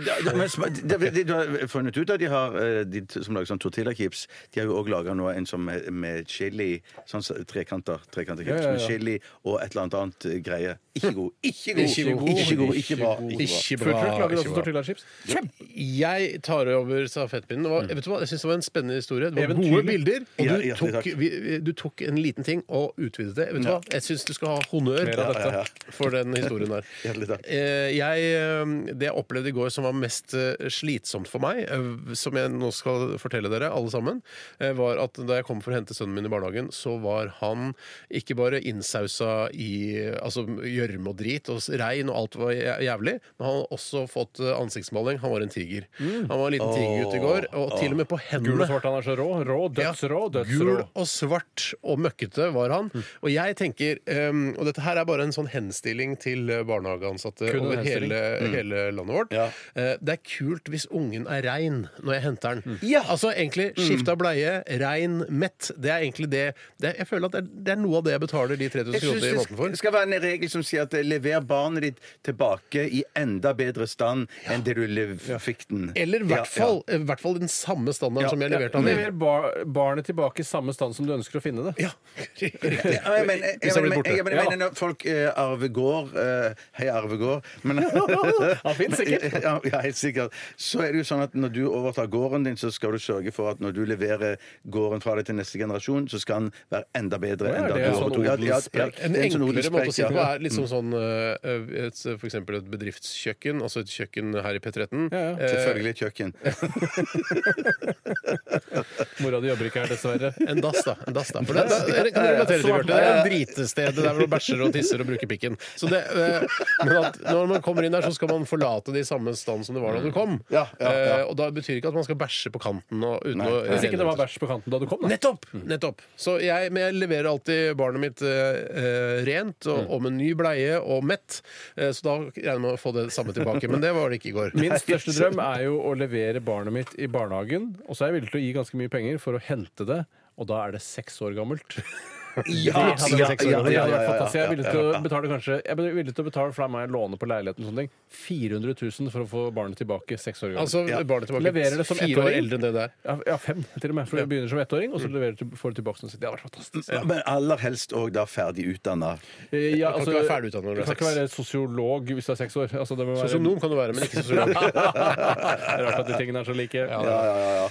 Speaker 5: Ja, ja, men sma- de- de- de- Du har funnet ut at de har eh, De t- som lager sånn tortillachips, de har jo òg laga nå en som med, med chili Sånn s- trekanter. Trekanter
Speaker 6: Ja,
Speaker 5: chips
Speaker 6: ja,
Speaker 5: med
Speaker 6: ja.
Speaker 5: chili og et eller annet annet eh, greie. Ikke god. Ikke god.
Speaker 4: Ikke god.
Speaker 5: Ikke, god. ikke bra. Ikke bra.
Speaker 4: Ikke
Speaker 6: Food truck lager
Speaker 4: ikke
Speaker 6: også tortillachips.
Speaker 4: Jeg tar over stafettpinnen. Det var- Vet du hva? Jeg synes det var en spennende historie. Det var gode
Speaker 6: Eventyrlig.
Speaker 4: bilder. Og
Speaker 5: Ja,
Speaker 4: du,
Speaker 5: hjertelig
Speaker 4: tok,
Speaker 5: takk.
Speaker 4: vi- vi- du tok en liten ting og utvidet det. Vet du hva? Jeg syns du skal ha honnør
Speaker 6: Mer av dette.
Speaker 4: for den historien der.
Speaker 5: Hjertelig takk.
Speaker 4: Eh, Jeg, eh, det jeg opplevde i går som var mest eh, slitsomt for meg, eh, som jeg nå skal fortelle dere, alle sammen, eh, var at da jeg kom for å hente sønnen min i barnehagen, så var han ikke bare innsausa i eh, altså, gjørme og drit og s- regn og alt var jæ- jævlig, men han hadde også fått eh, ansiktsmaling. Han var en tiger. Han var en liten tigergutt i går, og til og med på hendene.
Speaker 6: Mm. Gul og svart, han er så rå. Rå,
Speaker 4: Ja,
Speaker 6: dødsrå, dødsrå.
Speaker 4: Gul og svart og møkkete var han. Og jeg tenker, ehm, og dette her er bare en sånn henstilling til eh, barnehageansatte
Speaker 6: Kun en
Speaker 4: over
Speaker 6: henstilling.
Speaker 4: hele, hele landet vårt.
Speaker 5: Ja.
Speaker 4: Eh, Det er kult hvis ungen er rein når jeg henter den.
Speaker 5: Ja.
Speaker 4: Altså egentlig skift av bleie, rein, mett. Det er egentlig det, det er, Jeg føler at det er, det er noe av det jeg betaler de 3000
Speaker 5: Jeg synes
Speaker 4: kronene i måneden
Speaker 5: det
Speaker 4: for.
Speaker 5: skal være en regel som sier at eh, lever barnet ditt tilbake i enda bedre stand enn det du lev- fikk den.
Speaker 4: Eller
Speaker 5: Ja,
Speaker 4: i
Speaker 5: ja.
Speaker 4: hvert fall, eh, i hvert fall den samme standarden som jeg leverte han i.
Speaker 6: Lever bar barnet tilbake i samme stand som du ønsker å finne det.
Speaker 4: Ja.
Speaker 5: Ja, jeg mener, jeg,
Speaker 4: Hvis han blir
Speaker 5: mener-
Speaker 4: borte.
Speaker 5: jeg mener- jeg
Speaker 6: Ja.
Speaker 5: mener når folk eh, arvegård eh, Hei, arvegård. Men,
Speaker 6: Han finnes sikkert.
Speaker 5: Ja, ja, helt sikkert. Så er det jo sånn at når du overtar gården din, så skal du sørge for at når du leverer gården fra deg til neste generasjon, så skal den være enda bedre
Speaker 6: Å, ja,
Speaker 5: enn da
Speaker 6: det er
Speaker 5: du
Speaker 6: sånn
Speaker 5: overtok. Ja, ja, ja,
Speaker 6: odelsprek.
Speaker 4: En
Speaker 5: det er sånn
Speaker 4: enklere måte å si det
Speaker 5: odelsprek,
Speaker 4: på
Speaker 5: ja. Mm.
Speaker 4: er liksom sånn eh, et, for eksempel et bedriftskjøkken, altså et kjøkken her i P13.
Speaker 6: Ja, ja.
Speaker 4: Eh,
Speaker 5: Selvfølgelig et kjøkken.
Speaker 6: Mora di jobber ikke her, dessverre.
Speaker 4: en dass, da. En dass, da. For det, det, det kan du relatere til, Bjarte. Det er dritestedet der hvor du bæsjer og tisser og bruker pikken. Så det, eh, men at når man kommer inn der, så skal man forlate det i samme stand som det var da du kom.
Speaker 5: Ja, ja, ja.
Speaker 4: Eh, og da betyr ikke at man skal bæsje på kanten og uten å
Speaker 6: Hvis ikke det var bæsj på kanten da du kom, da.
Speaker 4: Nettopp! nettopp. Så jeg, men jeg leverer alltid barnet mitt eh, eh, rent og, og med ny bleie og mett, eh, så da regner jeg med å få det samme tilbake. Men det var det ikke i går.
Speaker 6: Min største drøm er jo å levere barnet mitt i barnehagen, og så er jeg villig til å gi ganske mye penger for å hente det, og da er det seks år gammelt.
Speaker 5: Ja,
Speaker 6: Det hadde
Speaker 5: ja,
Speaker 6: vært
Speaker 5: ja, ja, ja, ja,
Speaker 6: fantastisk. Jeg er
Speaker 5: ja,
Speaker 6: villig til å betale kanskje Jeg er villig til å betale for da må jeg låne på leiligheten og sånne ting. 400 000 for å få barnet tilbake seks år gammelt.
Speaker 4: Altså,
Speaker 5: Ja.
Speaker 4: barnet tilbake
Speaker 6: Leverer det som
Speaker 4: fire år
Speaker 6: ettåring?
Speaker 4: eldre enn det der.
Speaker 6: ja, ja, fem til og med. For det begynner som ettåring, og så leverer du, får du tilbake som sitt. Det hadde vært fantastisk.
Speaker 5: Ja, Men aller helst òg da ferdig utdanna.
Speaker 6: Eh, Ja,
Speaker 4: Du kan ikke være ferdig utdannet når du er
Speaker 6: kan ikke
Speaker 4: seks.
Speaker 6: være sosiolog hvis du er seks år. Altså, det må være-
Speaker 4: Sosionom kan du være, men ikke sosiolog.
Speaker 6: Rart at de tingene er så like.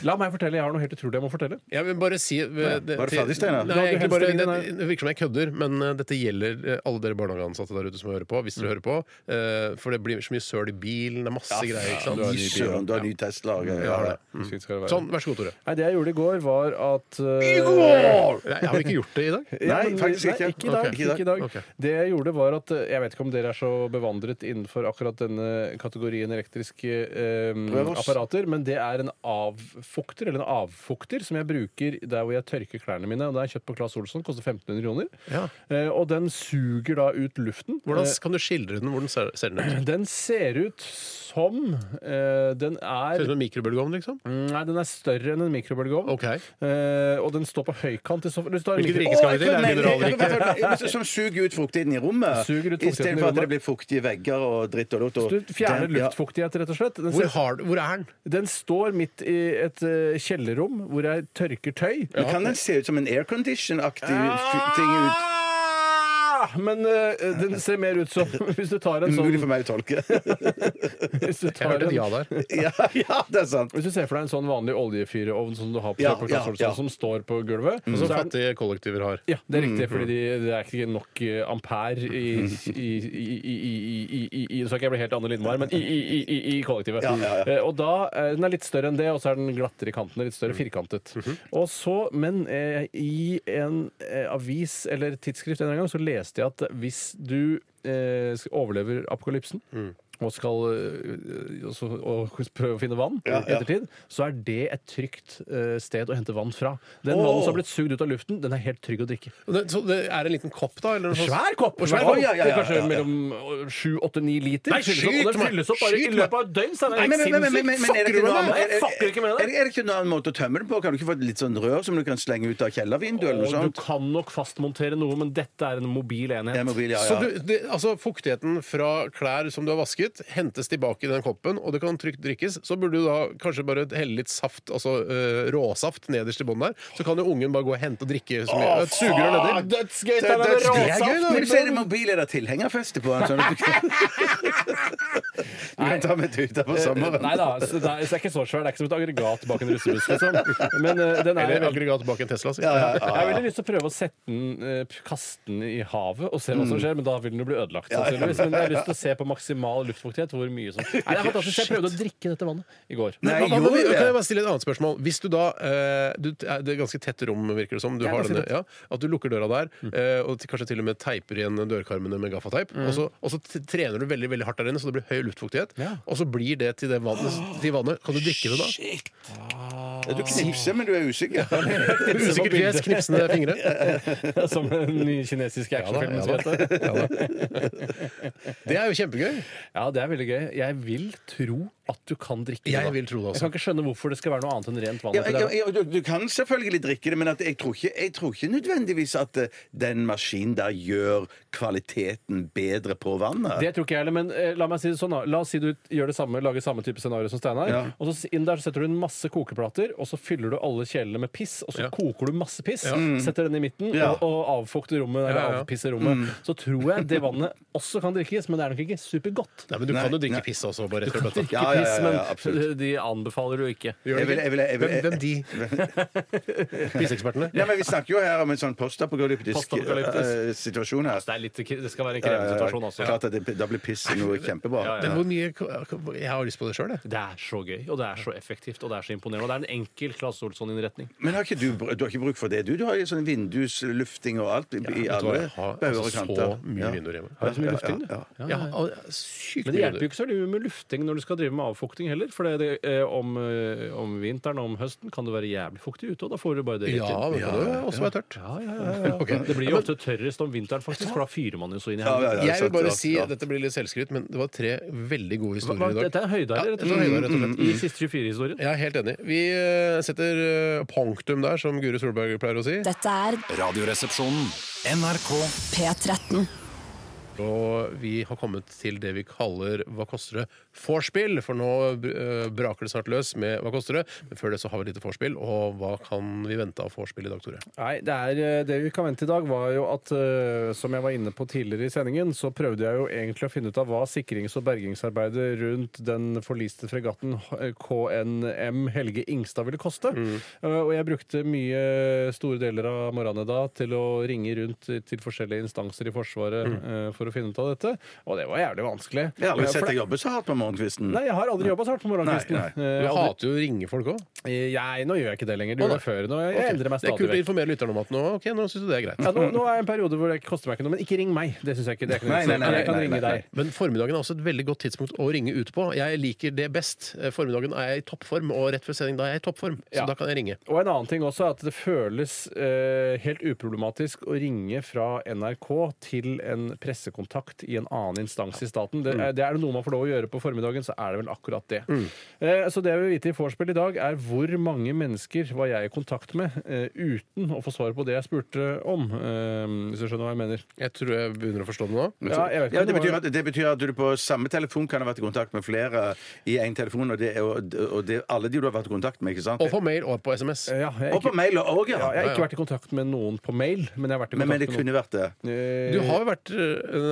Speaker 6: La meg fortelle, jeg har noe helt utrolig jeg må fortelle.
Speaker 4: Jeg vil bare si Var
Speaker 5: Var du ferdig, Steinar?
Speaker 4: Nei,
Speaker 6: Du hadde
Speaker 4: egentlig bare, det,
Speaker 6: henstilling,
Speaker 4: det virker som jeg kødder, men eh, dette gjelder eh, alle dere barnehageansatte der ute som hører på. Hvis dere hører på. eh, for det blir så mye søl i bilen, det er masse greier. ikke sant?
Speaker 6: har
Speaker 5: Gi
Speaker 6: ny bil,
Speaker 5: søren, du har ny Tesla. Ja, ja, ja.
Speaker 6: Slik skal det være.
Speaker 4: Sånn, vær så god, Tore.
Speaker 6: Nei, det jeg gjorde i går, var at eh,
Speaker 4: Nei, har vi ikke gjort det i dag?
Speaker 6: ja,
Speaker 5: Nei,
Speaker 6: men-
Speaker 5: faktisk ikke.
Speaker 6: Nei, ikke i dag.
Speaker 5: Ok.
Speaker 6: Ikke i dag.
Speaker 4: Ok.
Speaker 6: Det jeg gjorde, var at eh, Jeg vet ikke om dere er så bevandret innenfor akkurat denne kategorien elektriske eh,
Speaker 5: Prøv oss.
Speaker 6: apparater, men det er en avfukter, eller en avfukter, som jeg bruker der hvor jeg tørker klærne mine. Og Det er kjøpt på Claes Olsson, koster 1500 kroner.
Speaker 4: Ja.
Speaker 6: Eh, og den suger da ut luften.
Speaker 4: Hvordan kan du skildre den? Hvordan ser, ser den ut?
Speaker 6: Eh, den ser ut som eh, Den
Speaker 4: Ser
Speaker 6: er
Speaker 4: ut som en mikrobølgeovn, liksom?
Speaker 6: Nei, den er større enn en mikrobølgeovn.
Speaker 4: Ok.
Speaker 6: Eh, og den står på høykant. i så fall. Hvis du har en
Speaker 4: Hvilket
Speaker 6: mikro-
Speaker 4: rike skal vi til? Er det
Speaker 5: Men-
Speaker 4: mineralriket?
Speaker 5: Ja, men Som suger ut fuktigheten i rommet.
Speaker 6: Suger ut fuktigheten i
Speaker 5: Istedenfor at
Speaker 6: rommet.
Speaker 5: det blir fuktige vegger og dritt og lort. og-
Speaker 6: Du fjerner
Speaker 5: Den- ja.
Speaker 6: luftfuktighet, rett og slett. Den,
Speaker 4: Hvor,
Speaker 6: ser,
Speaker 4: har, hvor er den?
Speaker 6: den står midt i et eh, kjellerrom hvor jeg tørker tøy.
Speaker 5: Men Kan den se ut som en aircondition-aktig f- ting ut?
Speaker 6: Ah! Men eh, den ser mer ut som Hvis du tar en sånn
Speaker 5: Umulig for meg å tolke.
Speaker 6: hvis du,
Speaker 4: Jeg
Speaker 6: tar
Speaker 4: hørte et ja
Speaker 6: en,
Speaker 4: der.
Speaker 5: ja, ja, det er sant.
Speaker 6: hvis du ser for deg en sånn vanlig oljefyrovn som du har på
Speaker 5: Ja,
Speaker 6: Kjøpers
Speaker 5: ja,
Speaker 6: Claes Olsson,
Speaker 5: ja.
Speaker 6: sånn som står på gulvet
Speaker 4: Som
Speaker 6: så er den-
Speaker 4: fattige kollektiver har.
Speaker 6: ja, det er riktig,
Speaker 5: Mm-hmm.
Speaker 6: fordi de, det er ikke nok eh, ampere i, i, i, i, i, i, i, i Så skal jeg bli helt Anne Lindmar, men i, i, i, i, i kollektivet.
Speaker 5: Ja, ja, ja.
Speaker 6: Eh, Og da, eh, Den er litt større enn det, og så er den glattere i kantene. Litt
Speaker 5: Mm.
Speaker 6: større firkantet.
Speaker 5: Mm-hmm.
Speaker 6: Og så, Men eh, i en eh, avis
Speaker 5: Mm.
Speaker 6: eller tidsskrift en eller annen gang så leste jeg at hvis du eh, sk- overlever apokalypsen og skal øh, og så- og prøve å finne vann i
Speaker 5: ja.
Speaker 6: ettertid, så er det et trygt øh, sted å hente vann fra. Den
Speaker 4: Åh.
Speaker 6: vannet som har blitt sugd ut av luften, den er helt trygg å drikke.
Speaker 4: Det, så det er en liten kopp, da? Eller noe sånt?
Speaker 6: Svær kopp!
Speaker 4: svær
Speaker 5: kopp.
Speaker 6: Det
Speaker 5: Ja, ja,
Speaker 6: er
Speaker 5: ja,
Speaker 6: Kanskje
Speaker 5: ja, ja.
Speaker 6: mellom øh, sju, åtte, ni liter.
Speaker 4: Nei,
Speaker 6: Fylles opp,
Speaker 4: skyt
Speaker 6: og den
Speaker 4: meg!
Speaker 6: fylles opp bare i
Speaker 4: Skyt meg!
Speaker 6: løpet av et døgn! Steinar.
Speaker 4: Nei,
Speaker 6: Er
Speaker 5: Men,
Speaker 6: det
Speaker 5: men, men, men, men, men, er det ikke noe
Speaker 6: sinnssykt? Fucker du med
Speaker 5: annet-
Speaker 6: meg? Jeg fucker ikke med
Speaker 5: er
Speaker 6: det!
Speaker 5: det- er det ikke noen annen måte å tømme den på? Kan du ikke få et litt sånn rør som du kan slenge ut av kjellervinduet? eller noe
Speaker 6: Og
Speaker 5: sånt?
Speaker 6: du kan nok fastmontere noe, men dette er en mobil
Speaker 5: Det
Speaker 6: enhet.
Speaker 5: er mobil, ja,
Speaker 4: Så
Speaker 5: ja.
Speaker 4: du, det, altså Fuktigheten fra klær som du har vasket, hentes tilbake i den koppen, og det kan trygt drikkes. Så burde du da kanskje bare helle litt saft, altså eh, råsaft, nederst i bånn der. Så kan jo ungen bare gå og hente og drikke så mye. Et sugerør nedi. Det
Speaker 6: Dødsgøy!
Speaker 4: er
Speaker 6: Steinar,
Speaker 4: dødsgøy.
Speaker 6: råsaft.
Speaker 4: Det er gøy, da.
Speaker 5: Men så er det mobil, er det tilhengerfeste på den? Sånn at du kan, du kan ta med tuta på sommeren.
Speaker 6: Nei da, så det er, så det er ikke så svært. Det er ikke som et aggregat bak en russebuss. Liksom. Men eh, den er
Speaker 4: Eller
Speaker 6: veldig
Speaker 4: aggregat bak en Tesla, si.
Speaker 6: jeg har veldig lyst til å prøve å sette den, eh, p- kaste den i havet og se hva som skjer, men da vil den jo bli ødelagt. sannsynligvis. Men jeg har lyst til å se på maksimal luftfuktighet. hvor mye som... Nei, det er fantastisk. Jeg prøvde å drikke dette vannet i går.
Speaker 5: Nei,
Speaker 4: Hva- hva-
Speaker 5: jo,
Speaker 4: hva-
Speaker 5: ja.
Speaker 4: kan jeg bare stille et annet spørsmål? Hvis du da eh, du, Det er ganske tett rom, virker det som. Du
Speaker 6: Det er
Speaker 4: har
Speaker 6: ganske
Speaker 4: denne,
Speaker 6: tett.
Speaker 4: ja, at du lukker døra der,
Speaker 5: Mm.
Speaker 4: eh, og til- kanskje til og med teiper igjen dørkarmene med gaffateip. Og så, og så t- trener du veldig veldig hardt der inne, så det blir høy luftfuktighet.
Speaker 6: Ja.
Speaker 4: Og så blir det til det vannet. Til vannet. Kan du drikke det da?
Speaker 5: Shit! Ja, Du knipser, men du er usikker.
Speaker 4: Usikker fjes, knipsende fingre.
Speaker 6: Som den nye kinesiske
Speaker 4: Ja da,
Speaker 6: actionfilmen.
Speaker 4: ja
Speaker 6: som heter.
Speaker 4: da. Ja da. Det er jo kjempegøy.
Speaker 6: Ja, det er veldig gøy. Jeg vil tro at du kan drikke det.
Speaker 4: Jeg
Speaker 6: da.
Speaker 4: vil tro det også.
Speaker 6: Jeg kan ikke skjønne hvorfor det skal være noe annet enn rent vann.
Speaker 5: Ja,
Speaker 6: oppi
Speaker 5: ja,
Speaker 6: der.
Speaker 5: ja, du, du kan selvfølgelig drikke det, men at jeg, tror ikke, jeg tror ikke nødvendigvis at eh, den maskinen der gjør kvaliteten bedre på vannet.
Speaker 6: Det tror ikke jeg heller, men eh, la meg si det sånn da. La oss si du gjør det samme, lager samme type scenario som Steinar.
Speaker 5: Ja.
Speaker 6: Og så s- inn der så setter du inn masse kokeplater, og så fyller du alle kjelene med piss, og så
Speaker 4: Ja.
Speaker 6: koker du masse piss,
Speaker 5: Mm.
Speaker 6: setter den i midten
Speaker 5: Ja.
Speaker 6: og, og avfukter rommet, eller
Speaker 4: Ja, ja.
Speaker 6: avpisser rommet. Så tror jeg det vannet også kan drikkes, men det er nok ikke supergodt.
Speaker 4: Nei, men du
Speaker 5: Nei,
Speaker 4: kan jo drikke
Speaker 5: nei.
Speaker 4: piss også. Bare rett
Speaker 6: Du
Speaker 4: og
Speaker 6: kan
Speaker 4: slett.
Speaker 6: drikke
Speaker 5: Ja, ja, ja,
Speaker 6: piss,
Speaker 5: ja,
Speaker 6: men
Speaker 5: absolutt.
Speaker 6: eh, de anbefaler du ikke.
Speaker 4: Gjør det
Speaker 5: Jeg vil-
Speaker 4: ikke?
Speaker 5: jeg vil- jeg vil-
Speaker 4: hvem, hvem de? Pisseekspertene?
Speaker 5: Nei, men Vi snakker jo her om en sånn postapokalyptisk
Speaker 6: Postapokalyptisk.
Speaker 5: eh, situasjon her. Eh,
Speaker 6: Det, er litt, det skal være en krevende situasjon altså. også.
Speaker 5: Klart at det, da blir piss noe kjempebra.
Speaker 6: Ja, ja,
Speaker 4: Men Hvor mye Jeg har lyst på det sjøl, jeg.
Speaker 6: Det er så gøy, og det er så effektivt, og det er så imponerende. Og det er en enkel Claes Olsson-innretning.
Speaker 5: Men har ikke du, br- du har ikke bruk for det, du? Du har jo sånn vinduslufting og alt i, i
Speaker 4: Vet du hva,
Speaker 5: alle
Speaker 4: jeg har
Speaker 5: bauger og
Speaker 4: altså
Speaker 5: kanter.
Speaker 4: så mye
Speaker 5: Ja.
Speaker 4: vinduer hjemme.
Speaker 6: Har du så mye lufting, du?
Speaker 5: Ja, ja, ja.
Speaker 4: Jeg har al- sykt
Speaker 6: Men det
Speaker 4: mye
Speaker 6: hjelper jo
Speaker 4: vinduer.
Speaker 6: ikke så mye med lufting når du skal drive med avfukting heller. For det, er det, eh, om, eh, om vinteren og om høsten kan det være jævlig fuktig ute, og da får du bare det rett
Speaker 4: Ja,
Speaker 6: inn.
Speaker 4: men det kan jo også være tørt.
Speaker 6: Ja, ja, ja, ja. Det blir jo ofte tørrest om vinteren, faktisk, for da fyrer man jo så inn i
Speaker 5: Ja, ja, ja,
Speaker 6: helvete.
Speaker 4: Jeg vil
Speaker 5: sant,
Speaker 4: bare
Speaker 5: ja,
Speaker 4: si,
Speaker 5: ja.
Speaker 4: dette blir litt selvskryt, men det var tre veldig gode
Speaker 6: Hva- hva-
Speaker 4: historier i
Speaker 6: Dette
Speaker 4: dag.
Speaker 6: er høydeilig, rett
Speaker 4: Ja,
Speaker 6: og slett.
Speaker 4: rett
Speaker 5: Mm,
Speaker 4: og slett.
Speaker 6: I siste 24-historien.
Speaker 4: Jeg er helt enig. Vi eh, setter eh, punktum der, som Guri Solberg pleier å si.
Speaker 1: Dette er
Speaker 2: Radioresepsjonen. NRK
Speaker 1: P13.
Speaker 4: Og vi har kommet til det vi kaller Hva koster det? vorspiel. For nå eh, braker det snart løs med Hva koster det? Men før det så har vi et lite vorspiel. Og hva kan vi vente av vorspiel i dag, Tore?
Speaker 6: Nei, det, er, eh, det vi kan vente i dag var jo at eh, som jeg var inne på tidligere i sendingen, så prøvde jeg jo egentlig å finne ut av hva sikrings- og bergingsarbeidet rundt den forliste fregatten eh, KNM Helge Ingstad ville koste. Eh, Og jeg brukte mye store deler av morgenen da til å ringe rundt til forskjellige instanser i Forsvaret eh, for å finne ut av dette, og det var jævlig vanskelig.
Speaker 5: Jeg har
Speaker 6: Eh,
Speaker 5: aldri
Speaker 6: for
Speaker 5: sett
Speaker 6: det-
Speaker 5: deg jobbe så hardt på morgenkvisten.
Speaker 6: Nei, jeg har aldri jobba så hardt på morgenkvisten.
Speaker 5: Nei,
Speaker 6: Eh,
Speaker 4: Du
Speaker 6: jeg har aldri-
Speaker 4: hater jo å ringe folk òg.
Speaker 6: Jeg, nå gjør jeg ikke det lenger. Det gjorde jeg før. Nå, jeg, jeg endrer meg
Speaker 4: Det er
Speaker 6: stadig
Speaker 4: kult å
Speaker 6: vekk.
Speaker 4: informere lytterne om at nå, ok, nå syns du det er greit.
Speaker 6: Ja, nå, nå er jeg i en periode hvor det ikke koster meg ikke noe, men ikke ring meg. Det synes jeg ikke. Det er ikke noe
Speaker 5: Nei, nei, nei,
Speaker 6: interessant. jeg kan
Speaker 5: nei, nei,
Speaker 6: ringe deg.
Speaker 4: Men formiddagen er også et veldig godt tidspunkt å ringe ut på. Jeg liker det best. Eh, Formiddagen er jeg i toppform, og rett før sending da er jeg i toppform. Så
Speaker 6: Ja.
Speaker 4: da kan jeg ringe.
Speaker 6: Og en annen ting også er at det føles eh, helt uproblematisk å ringe fra NRK til en pressekontakt i en annen instans i
Speaker 5: Mm.
Speaker 6: staten. Det, er- det er det noe man får lov å gjøre på formiddagen, så er det vel akkurat det. Eh, så det jeg vil vite i vorspiel i dag, er hvor mange mennesker var jeg i kontakt med eh, uten å få svar på det jeg spurte om, eh, hvis du skjønner hva jeg mener.
Speaker 4: Jeg tror jeg begynner å forstå det nå.
Speaker 6: Ja, jeg vet ikke
Speaker 5: Ja,
Speaker 6: om
Speaker 5: det,
Speaker 6: det
Speaker 5: betyr
Speaker 6: var-
Speaker 5: at, det betyr at du på samme telefon kan ha vært i kontakt med flere i én telefon, og det er jo- og det er alle de du har vært i kontakt med, ikke sant?
Speaker 4: Og på mail og på SMS.
Speaker 6: Ja, jeg, er
Speaker 5: Og på
Speaker 6: ikke,
Speaker 5: mail òg, ja.
Speaker 6: ja, jeg har
Speaker 4: ja.
Speaker 6: ikke vært i kontakt med noen på mail, men jeg har vært i
Speaker 5: Men, men det
Speaker 6: kontakt med noen
Speaker 5: kunne vært det.
Speaker 6: Eh,
Speaker 4: Du har jo vært,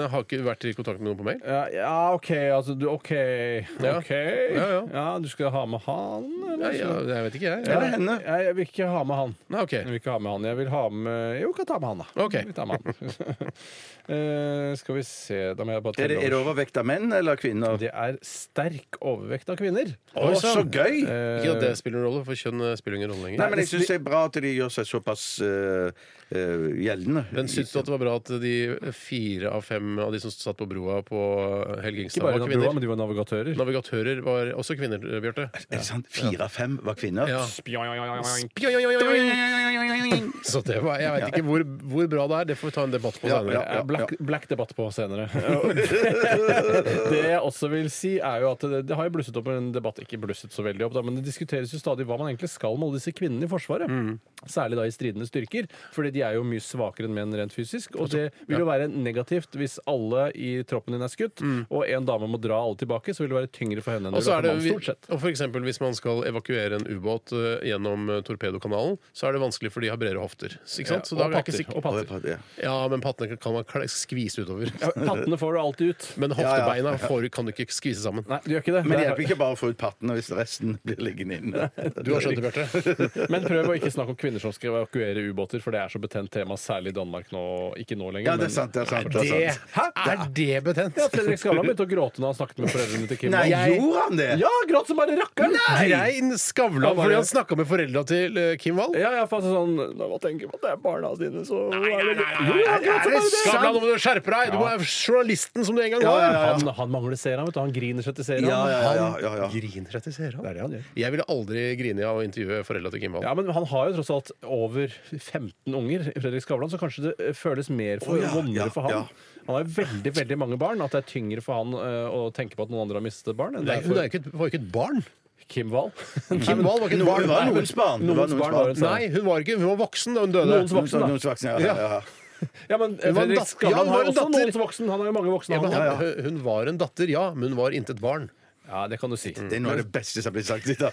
Speaker 4: eh, har ikke vært i kontakt med noen på mail?
Speaker 6: Ja, ja, OK, altså du, OK.
Speaker 4: Ja.
Speaker 6: OK.
Speaker 4: Ja, ja.
Speaker 6: du skal ha med han,
Speaker 4: Nei,
Speaker 6: eller?
Speaker 4: ja, jeg vet ikke, jeg.
Speaker 5: Ja. Eller henne.
Speaker 6: Jeg, jeg vil ikke ha med han.
Speaker 4: Nei, ok.
Speaker 6: Jeg vil ikke ha med han. Jeg vil ha med Jo, kan ta med han, da.
Speaker 4: Ok.
Speaker 6: Vi tar med han. Eh, skal vi se Da må jeg bare
Speaker 5: Er
Speaker 6: telle
Speaker 5: det, er det overvekt av menn eller kvinner?
Speaker 6: Det er sterk overvekt av kvinner.
Speaker 5: Å, så gøy!
Speaker 6: eh,
Speaker 4: Ikke at det spiller noen rolle, for kjønn eh, spiller ingen rolle lenger.
Speaker 5: Nei, men jeg syns det er bra at de gjør seg såpass eh, eh, gjeldende.
Speaker 4: men syns du at det var bra at de fire av fem fem av de som satt på broa på eh, Helge
Speaker 6: Ikke
Speaker 4: Ingstad,
Speaker 6: bare
Speaker 4: var
Speaker 6: broa, men
Speaker 4: kvinner.
Speaker 6: de var navigatører.
Speaker 4: Navigatører var også kvinner, Bjarte.
Speaker 5: Er det sant? Fire av fem var kvinner?
Speaker 4: Ja.
Speaker 6: Spjoing.
Speaker 4: Så det var Jeg veit ikke hvor, hvor bra det er. Det får vi ta en debatt på
Speaker 5: Ja,
Speaker 4: senere.
Speaker 5: ja, ja.
Speaker 6: Eh, Black, black debatt på senere. det jeg også vil si, er jo at det, det har jo blusset opp en debatt Ikke blusset så veldig opp, da, men det diskuteres jo stadig hva man egentlig skal med alle disse kvinnene i Forsvaret. Særlig da i stridende styrker, fordi de er jo mye svakere enn menn rent fysisk. Og det vil jo være negativt hvis alle i troppen din er skutt, og en dame må dra alle tilbake, så vil det være tyngre for henne enn
Speaker 4: Og
Speaker 6: det
Speaker 4: så
Speaker 6: vil
Speaker 4: er
Speaker 6: være
Speaker 4: det,
Speaker 6: for mannen, stort sett.
Speaker 4: og for eksempel, Hvis man skal evakuere en ubåt eh, gjennom eh, torpedokanalen, så er det vanskelig for de har bredere hofter. Ikke sant? Så da
Speaker 6: og
Speaker 4: er jeg ikke
Speaker 6: patter.
Speaker 4: sikker.
Speaker 6: Og patter.
Speaker 5: Ja.
Speaker 4: Ja, men pattene kan man kle- skvise utover.
Speaker 6: Ja, Pattene får du alltid ut.
Speaker 4: Men hoftebeina får, kan du ikke skvise sammen.
Speaker 6: Nei, du gjør ikke det.
Speaker 5: Men det
Speaker 6: Der-
Speaker 5: hjelper ikke bare å få ut pattene hvis resten blir liggende inne.
Speaker 4: Du har skjønt det, Bjarte.
Speaker 6: Men prøv å ikke snakke om kvinner som skal evakuere ubåter, for det er så betent tema, særlig i Danmark nå. Ikke nå lenger.
Speaker 5: Ja, det
Speaker 6: men-
Speaker 5: er sant. det er sant, det er
Speaker 4: Det-
Speaker 5: sant.
Speaker 6: Hæ?
Speaker 4: Er det betent?
Speaker 6: Ja, Fredrik Skavlan begynte å gråte når han snakket med foreldrene til Kim.
Speaker 5: Nei,
Speaker 6: Jeg-
Speaker 5: gjorde han det?
Speaker 6: Ja, gråt som bare rakkeren!
Speaker 4: Grein Skavlan
Speaker 6: Ja, bare-
Speaker 4: fordi han snakka med foreldra til eh, Kim Wall?
Speaker 6: Ja, jeg fant sånn Når man tenker på at det er barna dine, så er det- Jo, han gråt
Speaker 4: Er det
Speaker 6: som bare det.
Speaker 4: Skavlan, nå må du skjerpe deg! Du må være journalisten som du en gang var!
Speaker 6: Han, han mangler seram, vet du. Han griner seg til seram.
Speaker 5: Ja, ja, ja, ja, ja.
Speaker 4: Griner etter seere.
Speaker 6: Det er det han gjør.
Speaker 4: Jeg ville aldri grine av å intervjue foreldra til Kim Wall.
Speaker 6: Ja, men han har jo tross alt over 15 unger, i Fredrik Skavlan, så kanskje det eh, føles mer for,
Speaker 5: Å, ja,
Speaker 6: vondere
Speaker 5: ja,
Speaker 6: for han.
Speaker 5: ja.
Speaker 6: Han har jo veldig veldig mange barn. At det er tyngre for han eh, å tenke på at noen andre har mistet barn, enn
Speaker 4: Det
Speaker 6: det
Speaker 4: er,
Speaker 6: er
Speaker 4: hun er
Speaker 6: for
Speaker 4: jo ikke, et- var jo ikke et barn.
Speaker 6: Kim Wahl.
Speaker 4: Kim Wall var ikke et
Speaker 5: Noen-
Speaker 4: barn.
Speaker 5: det var noens barn. Det var
Speaker 6: Noens barn var
Speaker 5: noens
Speaker 6: hun sa.
Speaker 4: Nei, hun var ikke, hun var voksen da hun døde.
Speaker 6: Noens
Speaker 5: barn.
Speaker 6: voksen, da.
Speaker 5: Noens voksne, ja, ja, ja.
Speaker 6: Ja, men eh,
Speaker 4: Hun var en
Speaker 6: Fredrik
Speaker 4: datter. Ja,
Speaker 6: Skavlan
Speaker 4: hun var
Speaker 6: har
Speaker 4: en
Speaker 6: også
Speaker 4: datter.
Speaker 6: noens voksen. Han har jo mange voksne,
Speaker 4: Ja, men
Speaker 6: han.
Speaker 4: han, hun- hun var en datter, ja, men hun var intet barn.
Speaker 6: Ja, det kan du si.
Speaker 4: Mm.
Speaker 5: Det er noe av det beste som blir sagt i dag.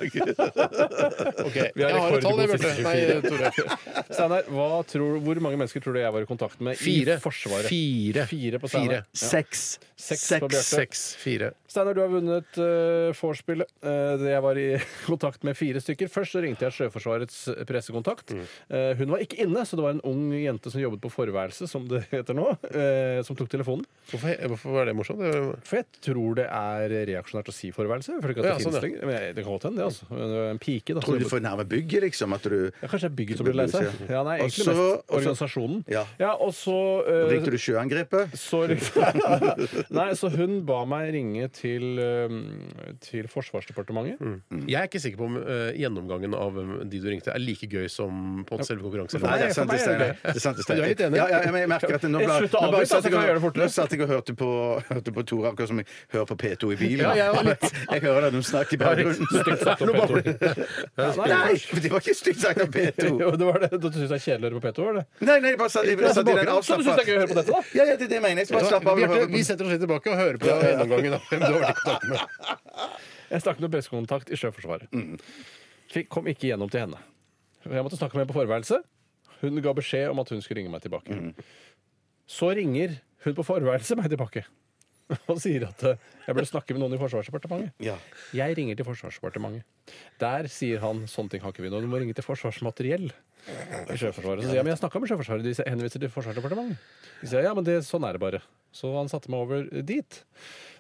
Speaker 4: Ok,
Speaker 6: Vi har
Speaker 4: Jeg har et tall,
Speaker 6: rekordgod
Speaker 4: jeg, Bjarte. Nei, Tore.
Speaker 6: Steinar, hva tror- hvor mange mennesker tror du jeg var i kontakt med
Speaker 4: Fire.
Speaker 6: i Forsvaret?
Speaker 4: Fire.
Speaker 6: Fire på
Speaker 4: Fire.
Speaker 6: Steinar. Ja.
Speaker 5: Seks.
Speaker 6: Seks på Bjarte.
Speaker 4: Seks. Fire.
Speaker 6: Steinar, du har vunnet uh, vorspielet. Eh, det jeg var i kontakt med fire stykker. Først så ringte jeg Sjøforsvarets pressekontakt.
Speaker 5: Mm.
Speaker 6: Eh, hun var ikke inne, så det var en ung jente som jobbet på forværelset, som det heter nå, eh, som tok telefonen.
Speaker 4: Hvorfor, hvorfor var det morsomt? Det var-
Speaker 6: For jeg tror det er reaksjonært å si forværelse. For det,
Speaker 4: Ja,
Speaker 6: ja,
Speaker 4: sånn, ja.
Speaker 6: sånn, det. Men det kan godt hende, det. altså. Det var En pike, da. som
Speaker 5: Tror du du
Speaker 6: jobbet-
Speaker 5: får nærme bygget, liksom? At du
Speaker 6: ja, kanskje det er bygget som blir lei seg. Ja, nei,
Speaker 5: Og
Speaker 6: egentlig
Speaker 5: så-
Speaker 6: mest organisasjonen.
Speaker 5: Ja.
Speaker 6: og så eh,
Speaker 5: Likte du sjøangrepet?
Speaker 6: så, nei, så hun ba meg ringe til, eh, til Forsvarsdepartementet.
Speaker 5: Mm.
Speaker 4: Mm. Jeg er ikke sikker på om eh, gjennomgangen av eh, de du ringte, er like gøy som på en måte selve konkurransen.
Speaker 5: Nei, det er
Speaker 6: for
Speaker 5: sant,
Speaker 6: meg
Speaker 5: det
Speaker 6: er det
Speaker 5: Steinar. Det er sant, det Steinar.
Speaker 4: Du er litt enig?
Speaker 5: Ja, ja, men jeg merker at nå
Speaker 6: Jeg
Speaker 5: ble-
Speaker 6: slutter å
Speaker 5: nå ble-
Speaker 6: avbryte, så
Speaker 5: satt
Speaker 6: kan jeg
Speaker 5: og-
Speaker 6: gjøre det fortere.
Speaker 5: Nå satt jeg og hørte på, hørte på Tore akkurat som jeg hører på P2 i bilen.
Speaker 4: Ja, jeg var litt-
Speaker 5: Jeg hører dem snakke i bakgrunnen.
Speaker 6: Nei,
Speaker 5: Nei, det var ikke stygt sagt av P2!
Speaker 6: Jo, det var det. Du syns det er kjedelig å høre på P2? var det?
Speaker 5: Nei, nei, bare satt, jeg bare satt i den
Speaker 6: Så du syns det er gøy
Speaker 5: avslappa
Speaker 6: å høre på dette, da?
Speaker 5: Ja, ja, det er det jeg mener. Jeg skal bare slappe av og høre
Speaker 4: Bjarte, vi setter oss litt tilbake og hører på gjennomgangen. av hvem du har vært i kontakt med.
Speaker 6: Jeg snakket med pressekontakt i Sjøforsvaret. Fikk, kom ikke gjennom til henne. Jeg måtte snakke med henne på forværelset. Hun ga beskjed om at hun skulle ringe meg tilbake. Så ringer hun på forværelset meg tilbake og sier at eh, jeg burde snakke med noen i Forsvarsdepartementet.
Speaker 5: Ja.
Speaker 6: Jeg ringer til Forsvarsdepartementet. Der sier han sånne ting har ikke vi nå. Du må ringe til Forsvarsmateriell. I Sjøforsvaret. Så sier jeg men jeg snakka med Sjøforsvaret. De henviser til Forsvarsdepartementet. De sier ja, men det, sånn er det bare. Så han satte meg over dit.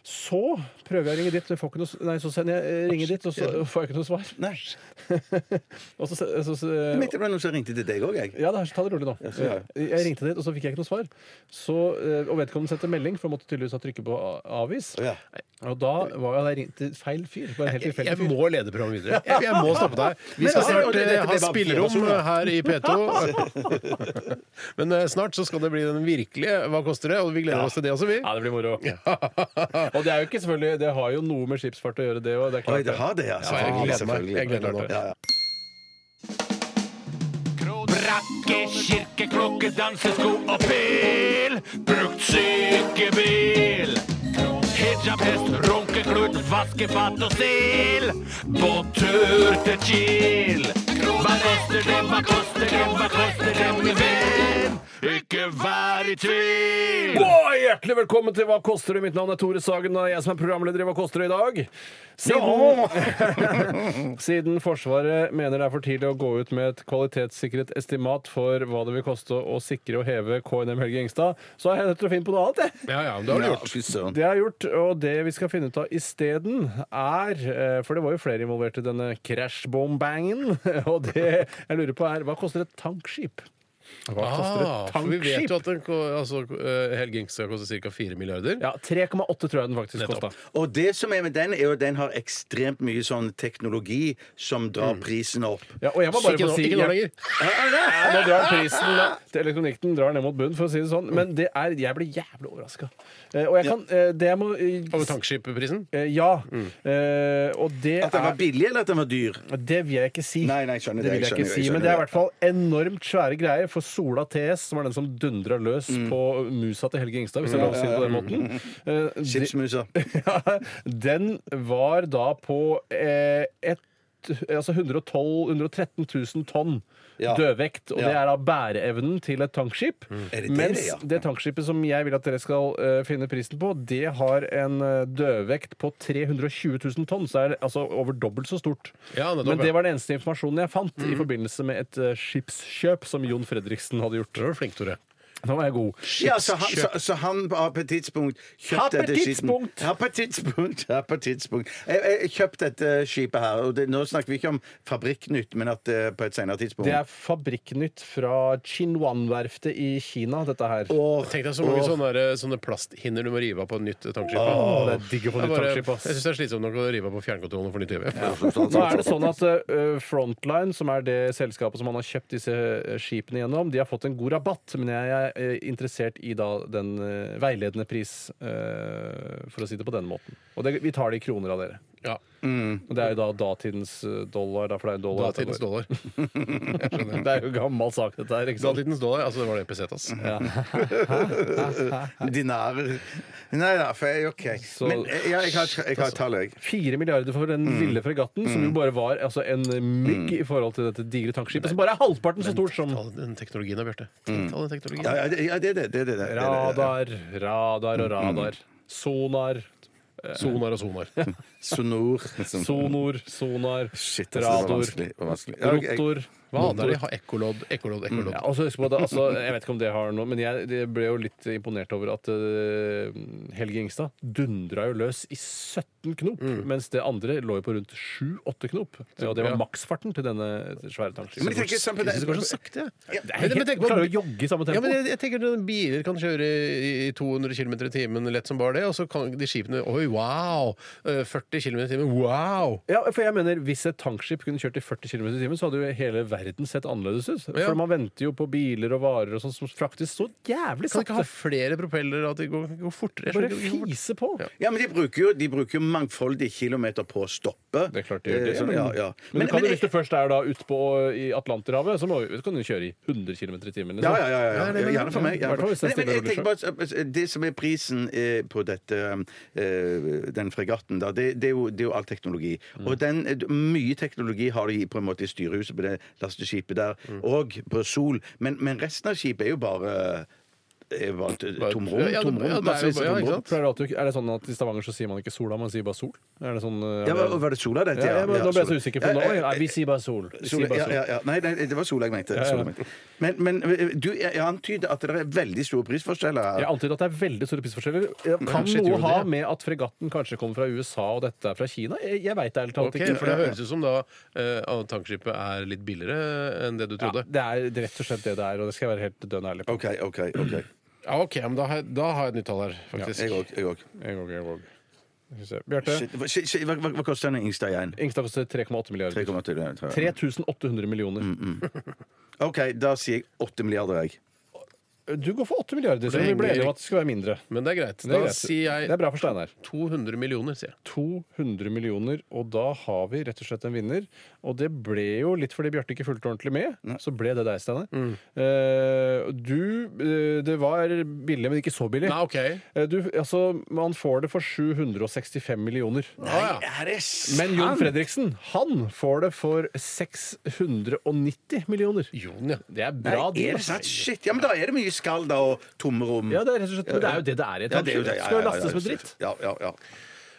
Speaker 6: Så prøver jeg å ringe dit, men får ikke noe, s- nei, så sender jeg eh, ringer dit, og så får jeg ikke noe svar.
Speaker 5: Nei.
Speaker 6: Og så, se- så, så,
Speaker 5: Jeg mente det var noen som ringte til deg òg, jeg.
Speaker 6: ja, det er, ta det rolig nå.
Speaker 5: så ja.
Speaker 6: Jeg ringte dit, og så fikk jeg ikke noe svar. Så, eh, og vedkommende sendte melding, for jeg måtte tydeligvis ha trykket på a- avis.
Speaker 5: Ja.
Speaker 6: Og da var jeg ringt til feil fyr. Bare en helt
Speaker 4: Jeg,
Speaker 6: tilfeldig
Speaker 4: jeg
Speaker 6: fyr.
Speaker 4: må lede programmet videre. Jeg, jeg må stoppe deg. Vi
Speaker 5: Men
Speaker 4: skal
Speaker 5: altså,
Speaker 4: snart
Speaker 5: dette
Speaker 4: eh,
Speaker 5: ble
Speaker 4: ha
Speaker 5: bare
Speaker 4: spillerom
Speaker 5: fire
Speaker 4: her i P2. Men eh, snart så skal det bli den virkelige Hva koster det? Og vi gleder oss til det også, vi.
Speaker 6: Ja, det blir moro. og det er jo ikke selvfølgelig Det har jo noe med skipsfart å gjøre, det òg. Det er
Speaker 5: Oi,
Speaker 6: klart
Speaker 5: det har det, ja.
Speaker 4: jeg gleder
Speaker 5: Selvfølgelig.
Speaker 4: meg.
Speaker 5: selvfølgelig.
Speaker 4: Jeg gleder meg nå.
Speaker 5: Ja, ja.
Speaker 2: Brakke, kirke, klokke, dansesko og pil. Brukt sykebil. Hijab, hest, runkeklut, vaskefat og stil. På tur til Kiel. Hva koster det, hva koster det, hva koster det, min venn? Ikke vær i tvil.
Speaker 6: Boy, hjertelig velkommen til Hva koster det? Mitt navn er Tore Sagen, og jeg som er programleder i Hva koster det i dag. Siden, Siden Forsvaret mener det er for tidlig å gå ut med et kvalitetssikret estimat for hva det vil koste å sikre og heve KNM Helge Ingstad, så er jeg nødt til å finne på noe annet, jeg.
Speaker 4: Ja, ja, men det har du
Speaker 5: Ja,
Speaker 4: gjort.
Speaker 5: fy søren.
Speaker 6: Det jeg har gjort, og det vi skal finne ut av isteden, er eh, For det var jo flere involvert i denne crashbombangen. Og det jeg lurer på, er hva koster et tankskip? Hva koster
Speaker 4: Ah,
Speaker 6: et
Speaker 4: for vi vet
Speaker 6: tankskip?
Speaker 4: jo at en, ko- altså, eh, Helge Ingstad skal koste ca. 4 milliarder.
Speaker 6: Ja, 3,8 tror jeg den faktisk
Speaker 4: Nettopp.
Speaker 6: kosta.
Speaker 5: Og det som er med den, er jo at den har ekstremt mye sånn teknologi som drar prisen opp.
Speaker 6: Mm. Ja, og jeg må bare
Speaker 4: Ikke
Speaker 6: få
Speaker 4: nå,
Speaker 6: si
Speaker 4: ikke nå lenger.
Speaker 6: Ja, Nå drar prisen eh, til elektronikken drar ned mot bunnen, for å si det sånn. Men det er, jeg blir jævlig overraska. Og jeg kan eh, Det jeg må
Speaker 4: Over
Speaker 6: eh,
Speaker 4: tankskipprisen.
Speaker 6: eh, Ja.
Speaker 4: Mm.
Speaker 6: Eh, Og det
Speaker 5: At den var
Speaker 6: er
Speaker 5: billig, eller at den var dyr?
Speaker 6: det vil jeg ikke si.
Speaker 5: Nei, nei, skjønner
Speaker 6: det
Speaker 5: det,
Speaker 6: vil jeg
Speaker 5: jeg
Speaker 6: ikke
Speaker 5: skjønner,
Speaker 6: si,
Speaker 5: jeg
Speaker 6: Men det er i
Speaker 5: skjønner
Speaker 6: hvert fall enormt svære greier for Sola TS, som er den som dundra løs
Speaker 5: Mm.
Speaker 6: på musa til Helge Ingstad, hvis det er lov å si det på den måten. Eh, de-
Speaker 5: Skipsmusa.
Speaker 6: ja, den var da på eh, et, altså 112 113 000 tonn
Speaker 5: Ja.
Speaker 6: dødvekt. Og
Speaker 5: Ja.
Speaker 6: det er da bæreevnen til et tankskip.
Speaker 4: Mm.
Speaker 5: Er det det,
Speaker 6: Mens
Speaker 5: ja?
Speaker 6: det tankskipet som jeg vil at dere skal eh, finne prisen på, det har en eh, dødvekt på 320 000 tonn. Så er det altså over dobbelt så stort.
Speaker 4: Ja, nettopp,
Speaker 6: Men
Speaker 4: ja. Mm.
Speaker 6: det var den eneste informasjonen jeg fant i forbindelse med et eh, skipskjøp som Jon Fredriksen hadde gjort.
Speaker 4: Du er flink, Tore.
Speaker 6: Nå var jeg god.
Speaker 5: Ja, så han, så, så han har på et tidspunkt
Speaker 6: Har
Speaker 5: kjøpt
Speaker 6: på et
Speaker 5: dette skipet.
Speaker 6: tidspunkt.
Speaker 5: Har på et tidspunkt! Har på et tidspunkt. Jeg, jeg kjøpt dette skipet her. Og det, nå snakker vi ikke om Fabrikknytt, men at eh, på et senere tidspunkt.
Speaker 6: Det er Fabrikknytt fra Chinwan-verftet i Kina, dette her.
Speaker 5: Åh,
Speaker 4: Tenk deg så mange
Speaker 5: åh.
Speaker 4: sånne, der, eh, sånne plasthinner du må rive av på et nytt eh, tankskip.
Speaker 6: Åh, det er digg å få
Speaker 4: Det er
Speaker 6: nytt
Speaker 4: bare-
Speaker 6: tankskip, ass.
Speaker 4: Jeg syns det er slitsomt nok å rive av på fjernkontrollen for nytt TV.
Speaker 6: Nå er det sånn at eh, Frontline, som er det selskapet som han har kjøpt disse eh, skipene gjennom, de har fått en god rabatt, men jeg er eh, interessert i da den eh, veiledende pris, eh, for å si det på den måten. Og det, vi tar det i kroner av dere.
Speaker 4: Ja,
Speaker 6: Og det er jo da datidens eh, dollar. Da, for det er jo dollar dette
Speaker 4: Datidens
Speaker 6: går.
Speaker 4: dollar.
Speaker 6: Det er jo gammel sak, dette her. ikke sant?
Speaker 4: Datidens dollar, altså Det var det pesetas.
Speaker 5: Dinarer. Nei da, for jeg OK. Men eh, ja, jeg har, jeg har et tall, jeg.
Speaker 6: Fire milliarder for den
Speaker 5: Mm.
Speaker 6: lille fregatten, som jo bare var altså, en mygg i forhold til dette digre tankskipet, som bare er halvparten så stort som
Speaker 4: Ta den teknologien da, Bjarte. Ta den teknologien.
Speaker 5: Ja, ja, det, ja, det er det. det, er det, det, er det, det.
Speaker 6: radar, radar
Speaker 5: Mm.
Speaker 6: og radar. Sonar,
Speaker 4: Sonar og sonar.
Speaker 5: Sonor. liksom.
Speaker 6: sonor, sonar,
Speaker 5: Shit, altså, det var
Speaker 6: radar,
Speaker 5: vanskelig. Det var vanskelig. Ja, ok, jeg-
Speaker 6: rotor
Speaker 4: Hva
Speaker 6: motor.
Speaker 4: hadde de? Ha ekkolodd, ekkolodd, ekkolodd.
Speaker 6: Ja, og så husk på at det, altså, jeg vet ikke om det har noe, men jeg, jeg ble jo litt imponert over at eh, Helge Ingstad dundra jo løs i 17 knop,
Speaker 5: Mm.
Speaker 6: mens det andre lå jo på rundt 7-8 knop. Ja, og det var
Speaker 4: Ja.
Speaker 6: maksfarten til denne
Speaker 5: Men jeg
Speaker 6: svære tankskipen.
Speaker 5: tenker sånn på
Speaker 4: Jeg synes det går
Speaker 5: det
Speaker 4: så sakte. jeg.
Speaker 6: Det er helt-
Speaker 4: Men tenk på-
Speaker 6: Klarer å jogge i samme
Speaker 4: Ja,
Speaker 6: tempo.
Speaker 4: men jeg, jeg tenker at Biler kan kjøre i i 200 km i timen lett som bare det, og så kan de skipene Oi, wow! Eh, 40 km i timen, wow!
Speaker 6: Ja, for jeg mener, Hvis et tankskip kunne kjørt i 40 km i timen, så hadde jo hele verden sett annerledes ut.
Speaker 4: Ja.
Speaker 6: For man venter jo på biler og varer og sånn som fraktes så jævlig
Speaker 4: Kan de ikke
Speaker 6: sakte.
Speaker 4: ha flere propeller, at det går, går fortere? Jeg
Speaker 6: Bare
Speaker 4: skjønner ikke hvorfor-
Speaker 6: fise på.
Speaker 4: Ja.
Speaker 5: ja, men de bruker, jo, de bruker jo mangfoldige kilometer på å stoppe.
Speaker 6: Det er klart de gjør det.
Speaker 5: Eh, Ja, ja.
Speaker 6: Men,
Speaker 5: Men-
Speaker 6: du kan
Speaker 5: men-
Speaker 6: jo, hvis du først er da utpå i Atlanterhavet, så må, vi- kan du kjøre i 100 km i timen.
Speaker 5: Ja, ja,
Speaker 6: liksom.
Speaker 5: ja, ja,
Speaker 4: Ja, det
Speaker 5: ja.
Speaker 4: er-
Speaker 5: Gjerne for meg.
Speaker 6: I
Speaker 5: Gjerne
Speaker 6: hvert
Speaker 5: for.
Speaker 6: fall hvis det er
Speaker 5: Men, men
Speaker 6: stille
Speaker 5: jeg tenker bare, eh, det som er prisen eh, på dette, eh, den fregatten, da, det, det, er jo, det er jo all teknologi.
Speaker 6: Mm.
Speaker 5: Og den, eh, mye teknologi har de på en måte i styrehuset på det lasteskipet der,
Speaker 6: Mm.
Speaker 5: og på Sol. Men, men resten av skipet er jo bare er jo bare et tomrom.
Speaker 4: Ja, ja, det-
Speaker 5: tomrom,
Speaker 4: ja, det er jo
Speaker 5: massevis av
Speaker 4: bare- ja, ikke
Speaker 5: tomrom.
Speaker 4: sant?
Speaker 6: Pleier du alltid- Er det sånn at I Stavanger så sier man ikke sola, man sier bare sol? Er det sånn, eh,
Speaker 5: Ja, var, var det Sola dette?
Speaker 6: ja, ja, men, nå ble jeg så
Speaker 5: Sola.
Speaker 6: usikker. for nå,
Speaker 5: Ja, ja,
Speaker 6: Nei, Vi sier bare sol. Vi
Speaker 5: Sol,
Speaker 6: sier bare
Speaker 5: ja,
Speaker 6: sol.
Speaker 5: ja, ja. Nei, nei, det var Sola jeg mente. Sola jeg mente. Men, men du jeg antyder at det er veldig store prisforskjeller her.
Speaker 6: Jeg antyder at det er veldig store prisforskjeller. Kan
Speaker 4: Kanskje
Speaker 6: noe
Speaker 4: gjorde det,
Speaker 6: ha
Speaker 4: ja.
Speaker 6: med at fregatten kanskje kommer fra USA og dette er fra Kina? Jeg, jeg veit ærlig talt
Speaker 4: Ok,
Speaker 6: ikke.
Speaker 4: For det høres ut som da eh, at tankskipet er litt billigere enn det du
Speaker 6: Ja,
Speaker 4: trodde.
Speaker 6: det er rett og slett det det er, og det skal jeg være helt dønn ærlig på.
Speaker 5: OK, OK. ok
Speaker 4: Ja, OK, men da har, jeg- da har jeg et nytt tall her, faktisk.
Speaker 5: Jeg òg. Jeg òg.
Speaker 6: Jeg går, jeg går. Skal vi se. Bjarte,
Speaker 5: Shit, hva- shit, shit, Hva, hva, hva koster den Ingstad igjen?
Speaker 6: Ingstad koster 3,8 milliarder.
Speaker 5: 3,8 milliarder, tror jeg.
Speaker 6: 3800 millioner.
Speaker 5: OK, da sier jeg 8 milliarder, jeg.
Speaker 6: Du går for 8 milliarder,
Speaker 4: Det
Speaker 6: så vi
Speaker 4: henger
Speaker 6: ble enige om
Speaker 4: ikke-
Speaker 6: at det skal være mindre.
Speaker 4: Men det er greit.
Speaker 6: Det er,
Speaker 4: Da
Speaker 6: greit.
Speaker 4: sier
Speaker 6: det er
Speaker 4: jeg
Speaker 6: bra for Steinar.
Speaker 4: 200 millioner, sier jeg.
Speaker 6: 200 millioner, og da har vi rett og slett en vinner. Og det ble jo litt fordi Bjarte ikke fulgte ordentlig med, så ble det deg, Steinar. Eh, du eh, Det var billig, men ikke så billig.
Speaker 4: Nei, OK.
Speaker 6: Eh, Du, altså, man får det for 765 millioner.
Speaker 4: Ah, ja.
Speaker 5: Er det s-
Speaker 6: Men Jon Fredriksen, han får det for 690 millioner.
Speaker 4: Jon, ja.
Speaker 6: Det er
Speaker 5: Nei,
Speaker 6: bra
Speaker 5: er det sant? Shit. Ja, men da er det mye skall da, og tomrom.
Speaker 6: Ja, det er rett og slett men det er jo det det er i et
Speaker 5: Ja, det er jo
Speaker 6: tankskip.
Speaker 5: det. Ja,
Speaker 6: Det skal
Speaker 5: ja,
Speaker 6: jo
Speaker 5: ja,
Speaker 6: lastes
Speaker 5: ja,
Speaker 6: med dritt.
Speaker 5: Ja, ja, ja.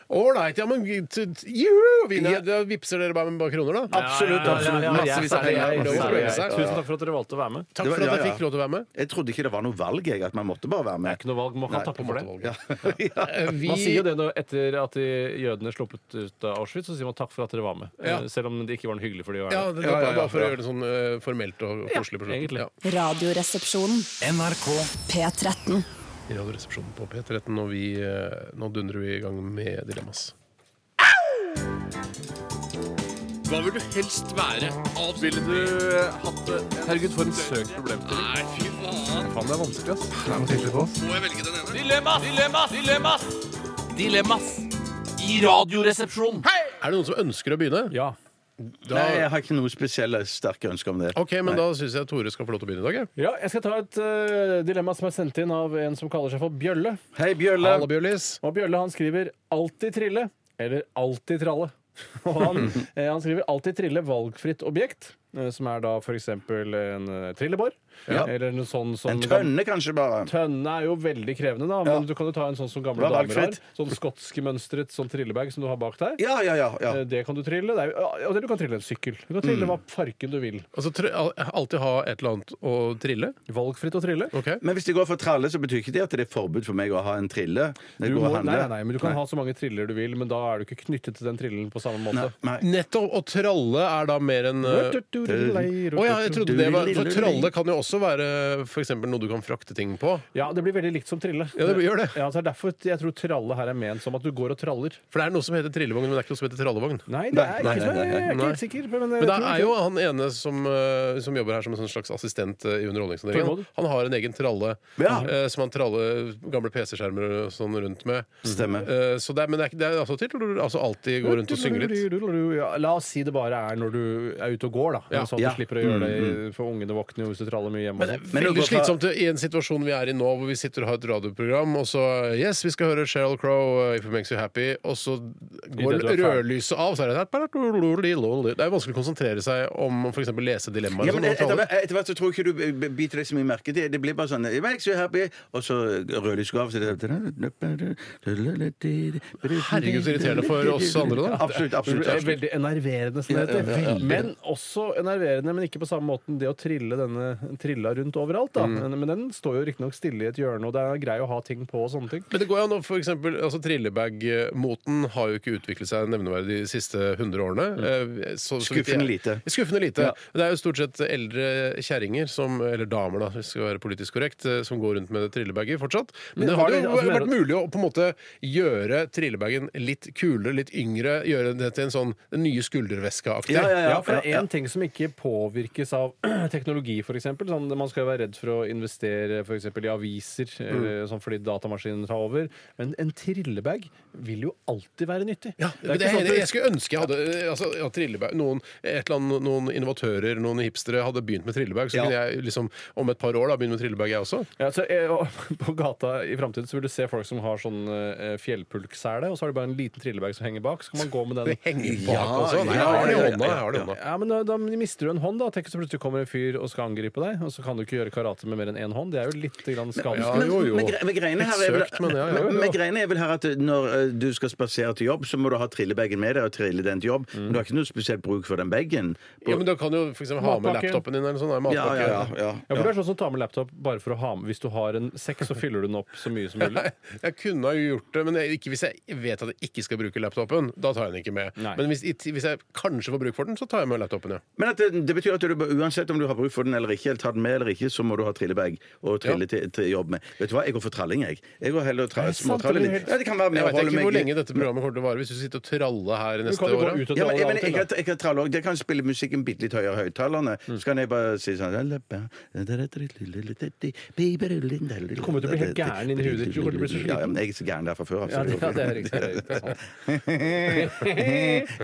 Speaker 4: Ålreit, ja, men t- t- juhu, vinner jeg. Da vipser dere bare med bare kroner, da?
Speaker 5: Absolutt. absolutt.
Speaker 4: Massevis av penger.
Speaker 5: jeg-
Speaker 4: Lov å prøve seg.
Speaker 6: Tusen takk for at dere valgte å være med.
Speaker 4: Takk
Speaker 5: Det var-
Speaker 4: for at
Speaker 5: ja,
Speaker 4: jeg
Speaker 5: ja.
Speaker 4: fikk lov til å være med.
Speaker 5: Jeg trodde ikke det var noe valg, jeg. At man måtte bare være
Speaker 6: Det er
Speaker 5: med.
Speaker 6: ikke noe valg. Man kan tappe for det.
Speaker 5: Ja.
Speaker 4: Eh, Vi,
Speaker 6: Man sier jo det nå, etter at de jødene sluppet ut av Auschwitz, så sier man takk for at dere var med.
Speaker 4: Ja.
Speaker 6: Eh, Selv om det ikke var noe hyggelig for de å være
Speaker 4: Ja,
Speaker 6: med.
Speaker 5: Ja,
Speaker 4: det,
Speaker 5: ja, ja,
Speaker 4: bare for å
Speaker 5: ja.
Speaker 4: gjøre det sånn eh, formelt og og koselig. på slutten.
Speaker 6: egentlig.
Speaker 4: Ja.
Speaker 1: Radioresepsjonen. NRK. P13.
Speaker 4: I Radioresepsjonen på P13, og vi, eh, nå dundrer vi i gang med Dilemmas.
Speaker 7: Hva vil du helst være? Ville du hatt det? Herregud, for en søk problemstilling. Nei, fy faen. Faen, det er vanskelig, ass. Må jeg velge den ene? Dilemmas! Dilemmas! Dilemmas! Dilemmas! I radioresepsjonen.
Speaker 4: Er det noen som ønsker å begynne?
Speaker 6: Ja.
Speaker 4: Da,
Speaker 5: Nei, jeg har ikke noe spesielle sterke ønsker om det.
Speaker 4: OK, men da syns jeg Tore skal få lov til å begynne i dag. jeg.
Speaker 6: ja, jeg skal ta et eh, dilemma som er sendt inn av en som kaller seg for Bjølle.
Speaker 5: Hei, Bjølle.
Speaker 4: Halla, Bjørlis.
Speaker 6: Og Bjølle han skriver 'alltid trille' eller 'alltid tralle'. Og han, eh, han skriver 'alltid trille valgfritt objekt', eh, som er da f.eks. en eh, trillebår. Eller noe sånn som
Speaker 5: En tønne, kanskje, bare.
Speaker 6: Tønne er jo veldig krevende, da. Men
Speaker 5: Ja.
Speaker 6: du kan jo ta en sånn som gamle
Speaker 5: Det var
Speaker 6: damer har.
Speaker 5: valgfritt.
Speaker 6: Sånn skotskmønstret sånn trillebag som du har bak der.
Speaker 5: Ja, ja, ja. ja.
Speaker 6: Eh, Det kan du trille. Det er, jo- ja, eller du kan trille en sykkel. Du kan trille hva farken du vil.
Speaker 4: Altså, tr al- alltid ha et eller annet å trille.
Speaker 6: Valgfritt å trille.
Speaker 4: OK?
Speaker 5: Men hvis det går for tralle, så betyr ikke det at det er forbud for meg å ha en trille. Når
Speaker 6: Du
Speaker 5: jeg går
Speaker 6: må,
Speaker 5: og
Speaker 6: nei, nei,
Speaker 5: handler.
Speaker 6: nei, men du kan ha så mange triller du vil, men da er du ikke knyttet til den trillen på samme måte.
Speaker 5: Nei.
Speaker 4: Nettopp å tralle er da mer enn eh, Å ja, jeg trodde det var For tralle kan jo også være f.eks. noe du kan frakte ting på.
Speaker 6: Ja, det blir veldig likt som trille.
Speaker 4: Ja, det gjør det.
Speaker 6: Ja, så er derfor jeg tror tralle her er ment som at du går og traller.
Speaker 4: For det er noe som heter trillevogn, men det er ikke noe som heter trallevogn.
Speaker 6: Nei, det
Speaker 5: Nei,
Speaker 6: er
Speaker 5: nei,
Speaker 6: ikke sånn.
Speaker 5: nei, nei,
Speaker 6: Jeg er ikke
Speaker 4: nei.
Speaker 6: helt sikker. Men, eh, jeg
Speaker 4: Men det
Speaker 6: tror
Speaker 4: er
Speaker 6: ikke.
Speaker 4: jo han ene som, eh, som jobber her som en sånn slags assistent eh, i
Speaker 6: På en
Speaker 4: Underholdningsavdelingen.
Speaker 6: måte.
Speaker 4: Han har en egen tralle
Speaker 5: Ja.
Speaker 4: eh, som han traller gamle PC-skjermer og sånn rundt med.
Speaker 5: Stemmer.
Speaker 4: Eh, Så det er, men det er, ikke- det er altså, til, altså alltid gå rundt og synge litt.
Speaker 6: Ja, la oss si det bare er når du er ute og går, da.
Speaker 4: Ja. Mm,
Speaker 6: Sånn at
Speaker 5: Ja.
Speaker 6: du slipper å gjøre det i- for ungene våkner jo hvis du traller mye hjemme. og sånn. sånt.
Speaker 5: Men det
Speaker 4: Veldig
Speaker 5: går fra-
Speaker 4: slitsomt i en situasjon vi er i nå, hvor vi sitter og har et radioprogram, og så Yes, vi skal høre Sheryl Crow, uh, If It Makes You Happy, og så går
Speaker 6: det du er
Speaker 4: rødlyset av, så er det Det er vanskelig å konsentrere seg om f.eks. lese dilemmaer.
Speaker 5: Ja,
Speaker 4: og
Speaker 5: men
Speaker 4: sånn, når man
Speaker 5: etter,
Speaker 4: traller.
Speaker 5: hvert- etter hvert så tror jeg ikke du b- b- biter deg så mye merke til det. blir bare sånn «It makes you happy, Og så rødlys går av. så det-
Speaker 4: Herregud, så irriterende for oss andre, da.
Speaker 5: Absolutt. absolutt,
Speaker 6: Det er
Speaker 5: absolutt.
Speaker 6: Veldig enerverende, som det heter.
Speaker 5: ja, ja.
Speaker 6: Men også enerverende, men ikke på samme måten det å trille denne trilla rundt overalt. Da.
Speaker 4: Mm.
Speaker 6: Men, men den står jo riktignok stille i et hjørne, og det er grei å ha ting på og sånne ting.
Speaker 4: Men det går jo an å for eksempel, altså Trillebag-moten har jo ikke utviklet seg nevneverdig de siste 100 årene. Eh, så- så vidt
Speaker 5: Mm.
Speaker 4: jeg-
Speaker 5: Skuffende lite.
Speaker 4: Skuffende lite. Det er jo stort sett eldre kjerringer, som- eller damer, da, hvis det skal være politisk korrekt, eh, som går rundt med trillebager fortsatt. Men
Speaker 6: Men
Speaker 4: det har
Speaker 6: har
Speaker 4: jo
Speaker 6: de- altså, mener
Speaker 4: vært mulig å på en måte gjøre trillebagen litt kulere, litt yngre, gjøre det til en sånn den nye skulderveska-aktig.
Speaker 5: Ja, ja,
Speaker 6: Ja, for det er
Speaker 5: ja.
Speaker 6: én ting som ikke påvirkes av teknologi, f.eks. Sånn, man skal jo være redd for å investere for eksempel, i aviser
Speaker 4: Mm.
Speaker 6: eller sånn fordi datamaskinen tar over. Men en trillebag vil jo alltid være nyttig.
Speaker 4: Ja,
Speaker 6: Det er
Speaker 4: det
Speaker 6: ikke sånn at
Speaker 4: jeg,
Speaker 6: du-
Speaker 4: jeg skulle ønske jeg hadde eh, altså, ja, trillebag noen, et eller annet, noen innovatører, noen hipstere, hadde begynt med trillebag. Så
Speaker 5: Ja.
Speaker 4: kunne jeg liksom om et par år da, begynne med trillebag, jeg også.
Speaker 6: Ja, så, eh, og på gata i framtiden vil du se folk som har sånn eh, fjellpulksele, og så har de bare en liten trillebag som henger bak. Så kan man gå med
Speaker 4: Det
Speaker 6: den.
Speaker 4: henger bak
Speaker 5: Ja,
Speaker 4: også.
Speaker 5: ja,
Speaker 4: Nei, jeg har
Speaker 5: ja,
Speaker 4: det i
Speaker 5: ja,
Speaker 4: hånda.
Speaker 5: ja,
Speaker 4: Jeg har det i hånda.
Speaker 6: Ja, men da, da mister du en hånd, da. Tenk så plutselig kommer en fyr og skal angripe deg, og så kan du ikke gjøre karate med mer enn én hånd. Det er jo litt grann skadelig.
Speaker 4: Ja, jo, jo.
Speaker 5: Men, gre- men greiene her er vel,
Speaker 4: Litt søkt, men ja, ja,
Speaker 5: men-
Speaker 4: ja.
Speaker 5: men greiene er vel her at når eh, du skal spasere til jobb, så må du ha trillebagen med deg og trille den til
Speaker 4: Mm.
Speaker 5: jobb. Men du har ikke noe spesielt bruk for den bagen.
Speaker 4: Ja, men Da kan du jo for eksempel ha med
Speaker 6: Matpakke.
Speaker 4: laptopen din eller sånn. der,
Speaker 5: Ja, ja,
Speaker 4: Matpakke.
Speaker 5: ja, ja.
Speaker 6: Ja, for Du er sånn som tar med laptop bare for å ha med Hvis du har en sekk, så fyller du den opp så mye som mulig.
Speaker 4: Nei, Jeg kunne ha gjort det, men jeg, ikke hvis jeg vet at jeg ikke skal bruke laptopen. Da tar jeg den ikke med.
Speaker 6: Nei.
Speaker 4: Men hvis, i ti- hvis jeg kanskje får bruk for den, så tar jeg med laptopen, ja.
Speaker 5: Men at det, det betyr at du, bare- uansett om du har bruk for den eller ikke, eller tar den med eller ikke, så må du ha trillebag og trille
Speaker 4: Ja.
Speaker 5: til, til jobb med. Vet du hva, jeg går for tralling, jeg. Jeg går heller og tra-
Speaker 6: det sant?
Speaker 5: småtraller
Speaker 6: Det
Speaker 5: litt.
Speaker 6: blir helt-
Speaker 5: Ja, det kan være med
Speaker 4: Jeg
Speaker 5: å
Speaker 4: vet
Speaker 5: holde
Speaker 4: ikke
Speaker 5: meg
Speaker 4: hvor
Speaker 5: litt-
Speaker 4: lenge dette programmet kommer til å vare hvis du sitter og traller her
Speaker 6: Du
Speaker 4: neste
Speaker 6: kan jo gå
Speaker 4: året.
Speaker 6: ut og
Speaker 5: Ja, men, jeg,
Speaker 6: dra
Speaker 5: men, jeg,
Speaker 6: til,
Speaker 5: kan,
Speaker 6: da. Mm.
Speaker 5: jeg kan tralle også. Jeg kan spille musikken bitte litt høyere høyttalerne. Så kan jeg bare si sånn Du
Speaker 6: kommer til å bli helt gæren inni hodet ditt. Du kommer til å bli så sliten.
Speaker 5: Ja, ja, men jeg er så gæren der fra før.
Speaker 6: Ja, det, ja, det er riktig. Det er riktig sant.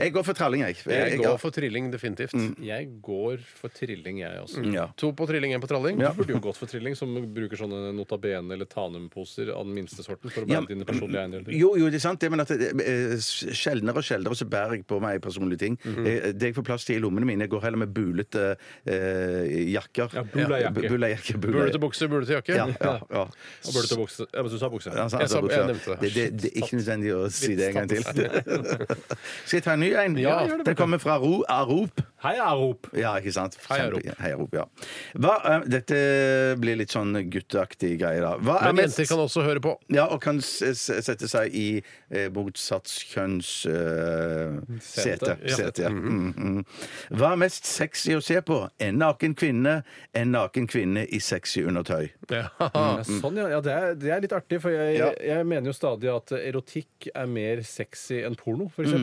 Speaker 5: jeg går for tralling, jeg.
Speaker 4: Jeg
Speaker 5: jeg
Speaker 4: går for trilling, definitivt.
Speaker 6: jeg går for trilling, jeg også.
Speaker 5: Ja.
Speaker 4: To på trilling, én på tralling.
Speaker 5: Ja.
Speaker 6: Du burde jo gått for trilling, som bruker sånne Notabene eller Tanum-poser av den minste sorten for å bære dine personlige eiendeler.
Speaker 5: Jo, jo, det er sant, det, men at det, eh, sjeldnere og sjeldnere så bærer jeg på meg personlige ting.
Speaker 6: Mhm.
Speaker 5: Eh, Det jeg får plass til i lommene mine, jeg går heller med bulete eh, jakker.
Speaker 6: Ja, bulajakke.
Speaker 5: Bu- Bulajakke.
Speaker 4: Bulete bukse, bulete jakke.
Speaker 5: Ja, ja, ja.
Speaker 6: Og burde til bukse. Ja, men du sa bukse.
Speaker 5: Ja, sant,
Speaker 4: Jeg
Speaker 5: altså,
Speaker 4: sa- jeg
Speaker 5: buksa.
Speaker 4: nevnte det.
Speaker 5: det, det, det er ikke nødvendig å si det en gang til. Skal jeg ta en ny en?
Speaker 6: Ja, gjør det,
Speaker 5: Den kommer fra Ro Arop.
Speaker 6: Hei, Arop!
Speaker 5: Ja, ikke sant?
Speaker 4: Hei, Arop.
Speaker 5: Kjempe- Hei, Arop, ja. Hva, eh, dette blir litt sånn gutteaktig greie, da. Hva er
Speaker 4: Men
Speaker 5: mest
Speaker 4: jenter kan også høre på.
Speaker 5: ja, og kan s s sette seg i eh, motsatskjønns eh, sete.
Speaker 6: Ja.
Speaker 5: sete ja.
Speaker 4: Mhm.
Speaker 5: mm, mm. Hva er mest sexy å se på? En naken kvinne, en naken kvinne i sexy undertøy.
Speaker 4: Ja. mm.
Speaker 6: Ja, Sånn, ja. ja det, er, det er litt artig, for jeg,
Speaker 5: Ja.
Speaker 6: jeg mener jo stadig at erotikk er mer sexy enn porno,
Speaker 4: Mm.
Speaker 6: f.eks.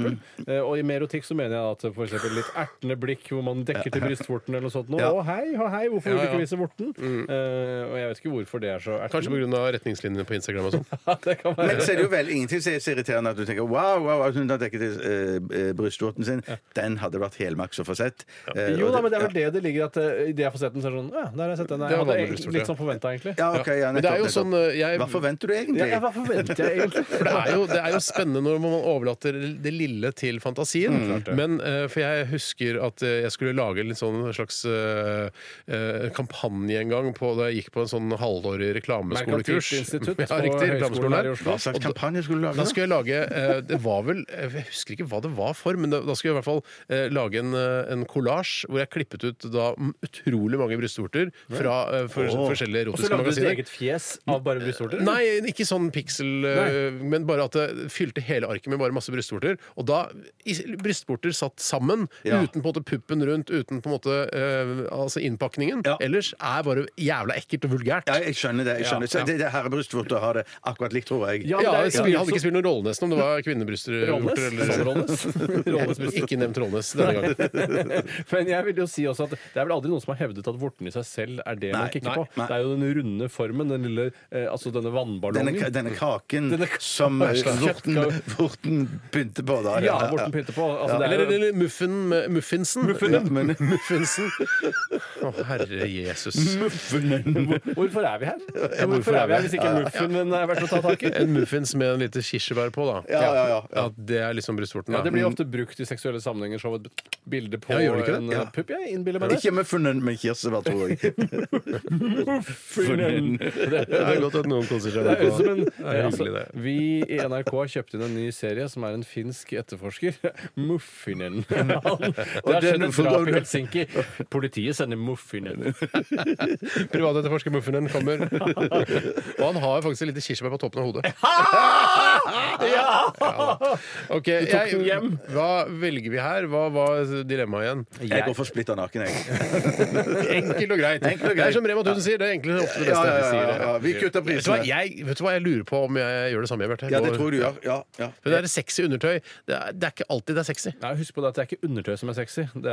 Speaker 6: Eh, og i med erotikk så mener jeg at f.eks. litt ertende blikk hvor man dekker til brystvorten eller noe sånt. Nå,
Speaker 5: Ja.
Speaker 6: Å hei, å hei, hvorfor vil
Speaker 4: Ja,
Speaker 6: du ikke
Speaker 4: ja.
Speaker 6: vise vorten? Eh, og jeg vet ikke hvorfor det er så
Speaker 4: Kanskje
Speaker 6: ertende.
Speaker 4: pga. retningslinjene på Instagram og sånn.
Speaker 6: det kan være.
Speaker 5: Men så er det jo vel ingenting som er så irriterende at du tenker wow, wow, wow hun har dekket eh, eh, brystvorten sin. Den hadde vært helmaks å få sett. Eh,
Speaker 6: Jo
Speaker 5: og
Speaker 6: da, men det er vel det det ligger at eh, idet jeg får sett den, så er det sånn Ja, der har jeg sett den.
Speaker 4: Det
Speaker 6: Jeg
Speaker 4: var
Speaker 6: hadde
Speaker 4: vanlig
Speaker 6: egentlig
Speaker 4: brystvort,
Speaker 6: litt sånn forventa, egentlig.
Speaker 5: Ja, ok, ja, nettopp,
Speaker 4: Men det er jo
Speaker 5: nettopp.
Speaker 4: sånn eh, jeg,
Speaker 5: Hva forventer du
Speaker 6: Ja, ja,
Speaker 5: egentlig?
Speaker 6: hva forventer jeg egentlig?
Speaker 4: For det er, jo, det er jo spennende når man overlater det lille til fantasien.
Speaker 6: Mm,
Speaker 4: Men eh, For jeg husker at eh, jeg skulle lage en litt sånn slags eh, eh, kampanje en gang på, da jeg gikk på en sånn halvårig reklameskolekurs.
Speaker 6: Merkantilt institutt
Speaker 4: Ja,
Speaker 6: på
Speaker 4: riktig,
Speaker 6: Høgskolen
Speaker 4: reklameskolen
Speaker 6: her i
Speaker 4: her.
Speaker 6: Oslo.
Speaker 5: Hva slags kampanje skulle du lage?
Speaker 4: Da skulle jeg lage eh, Det var vel Jeg husker ikke hva det var for, men da, da skulle jeg i hvert fall eh, lage en, eh, en kollasj hvor jeg klippet ut da m- utrolig mange brystvorter fra eh, for,
Speaker 5: Åh.
Speaker 4: forskjellige
Speaker 6: Og så
Speaker 4: erotiske
Speaker 6: lagde du ditt
Speaker 4: magasiner.
Speaker 6: eget fjes av bare brystvorter? eller?
Speaker 4: Nei, ikke sånn piksel, eh, men bare at det fylte hele arket med bare masse brystvorter. Og da i- Brystvorter satt sammen,
Speaker 5: Ja.
Speaker 4: uten på en måte puppen rundt, uten på en måte eh, altså innpakningen.
Speaker 5: Ja.
Speaker 4: Ellers er bare jævla ekkelt og vulgært.
Speaker 5: Ja, jeg skjønner det. jeg skjønner det. Så
Speaker 4: Ja.
Speaker 5: det, det her er brystvorter har det akkurat likt, tror jeg.
Speaker 6: Ja,
Speaker 4: Ja,
Speaker 6: men
Speaker 4: det,
Speaker 6: det er-
Speaker 4: hadde ikke spilt noen rolle nesten om det var kvinnebrystvorter
Speaker 6: Rånes?
Speaker 4: eller
Speaker 6: Rånes? Rånes brystvorter.
Speaker 4: Ikke nevnt Rånes denne gangen.
Speaker 6: Men jeg vil jo si også at det er vel aldri noen som har hevdet at vorten i seg selv er det man
Speaker 5: Nei,
Speaker 6: kikker
Speaker 5: nei,
Speaker 6: på.
Speaker 5: nei.
Speaker 6: Det er jo den runde formen, den lille, eh, altså denne
Speaker 5: Denne,
Speaker 6: vannballongen.
Speaker 5: denne kaken
Speaker 6: Denne ka-
Speaker 5: som eh, vorten,
Speaker 6: Kjøttkake.
Speaker 5: vorten pynter på, da.
Speaker 6: ja, vorten pynter på. Altså,
Speaker 4: Eller,
Speaker 6: det er jo,
Speaker 4: eller Muffin, Muffinsen.
Speaker 5: Ja, men-
Speaker 4: Muffinsen. Å, herre Jesus.
Speaker 6: hvorfor er vi her? hvorfor er vi her hvis ikke muffinen er verdt å ta tak i?
Speaker 4: En muffins med en lite kirsebær på, da.
Speaker 5: Ja, ja, ja, ja.
Speaker 4: det er liksom brystvorten.
Speaker 6: Ja,
Speaker 4: da.
Speaker 6: det blir jo ofte brukt i seksuelle sammenhenger som et bilde på
Speaker 4: Ja, gjør det ikke det?
Speaker 6: en
Speaker 5: Ja.
Speaker 6: eh, pupp. Jeg innbiller meg det.
Speaker 5: Ikke med funnen, men kirsebær, tror jeg.
Speaker 6: Muffinen. Det
Speaker 4: Det er godt at noen konsentrerer
Speaker 6: Det
Speaker 4: seg
Speaker 6: er jo
Speaker 4: på
Speaker 6: som en,
Speaker 4: det er
Speaker 6: altså,
Speaker 4: hyggelig, det.
Speaker 6: vi i NRK har kjøpt inn en ny serie som er en finsk etterforsker. Muffinen. Det har skjedd
Speaker 5: den-
Speaker 6: et drap i Helsinki. Politiet sender Muffinen.
Speaker 4: Privatetterforsker Muffinen kommer. Og han har faktisk et lite kirsebær på toppen av hodet. Ok,
Speaker 6: tok den
Speaker 4: jeg-
Speaker 6: hjem.
Speaker 4: Hva velger vi her? Hva var dilemmaet igjen?
Speaker 5: Jeg går for splitter naken, jeg.
Speaker 4: Enkelt og greit.
Speaker 5: Enkelt og
Speaker 4: Det er
Speaker 5: greit.
Speaker 4: som Rema 1000 sier, det er enklere ofte det
Speaker 5: Ja, ja,
Speaker 4: beste.
Speaker 5: ja,
Speaker 4: de sier
Speaker 5: ja,
Speaker 4: det.
Speaker 5: ja. Vi kutter
Speaker 4: Vet du, hva,
Speaker 5: prisene.
Speaker 4: jeg, vet du hva jeg lurer på om jeg gjør det samme, Bjarte?
Speaker 5: Ja, det tror du gjør. Ja, ja.
Speaker 4: Det der sexy undertøy, det er, det er ikke alltid det er sexy.
Speaker 6: Nei, husk på det at det er ikke undertøy som er sexy. Det, er,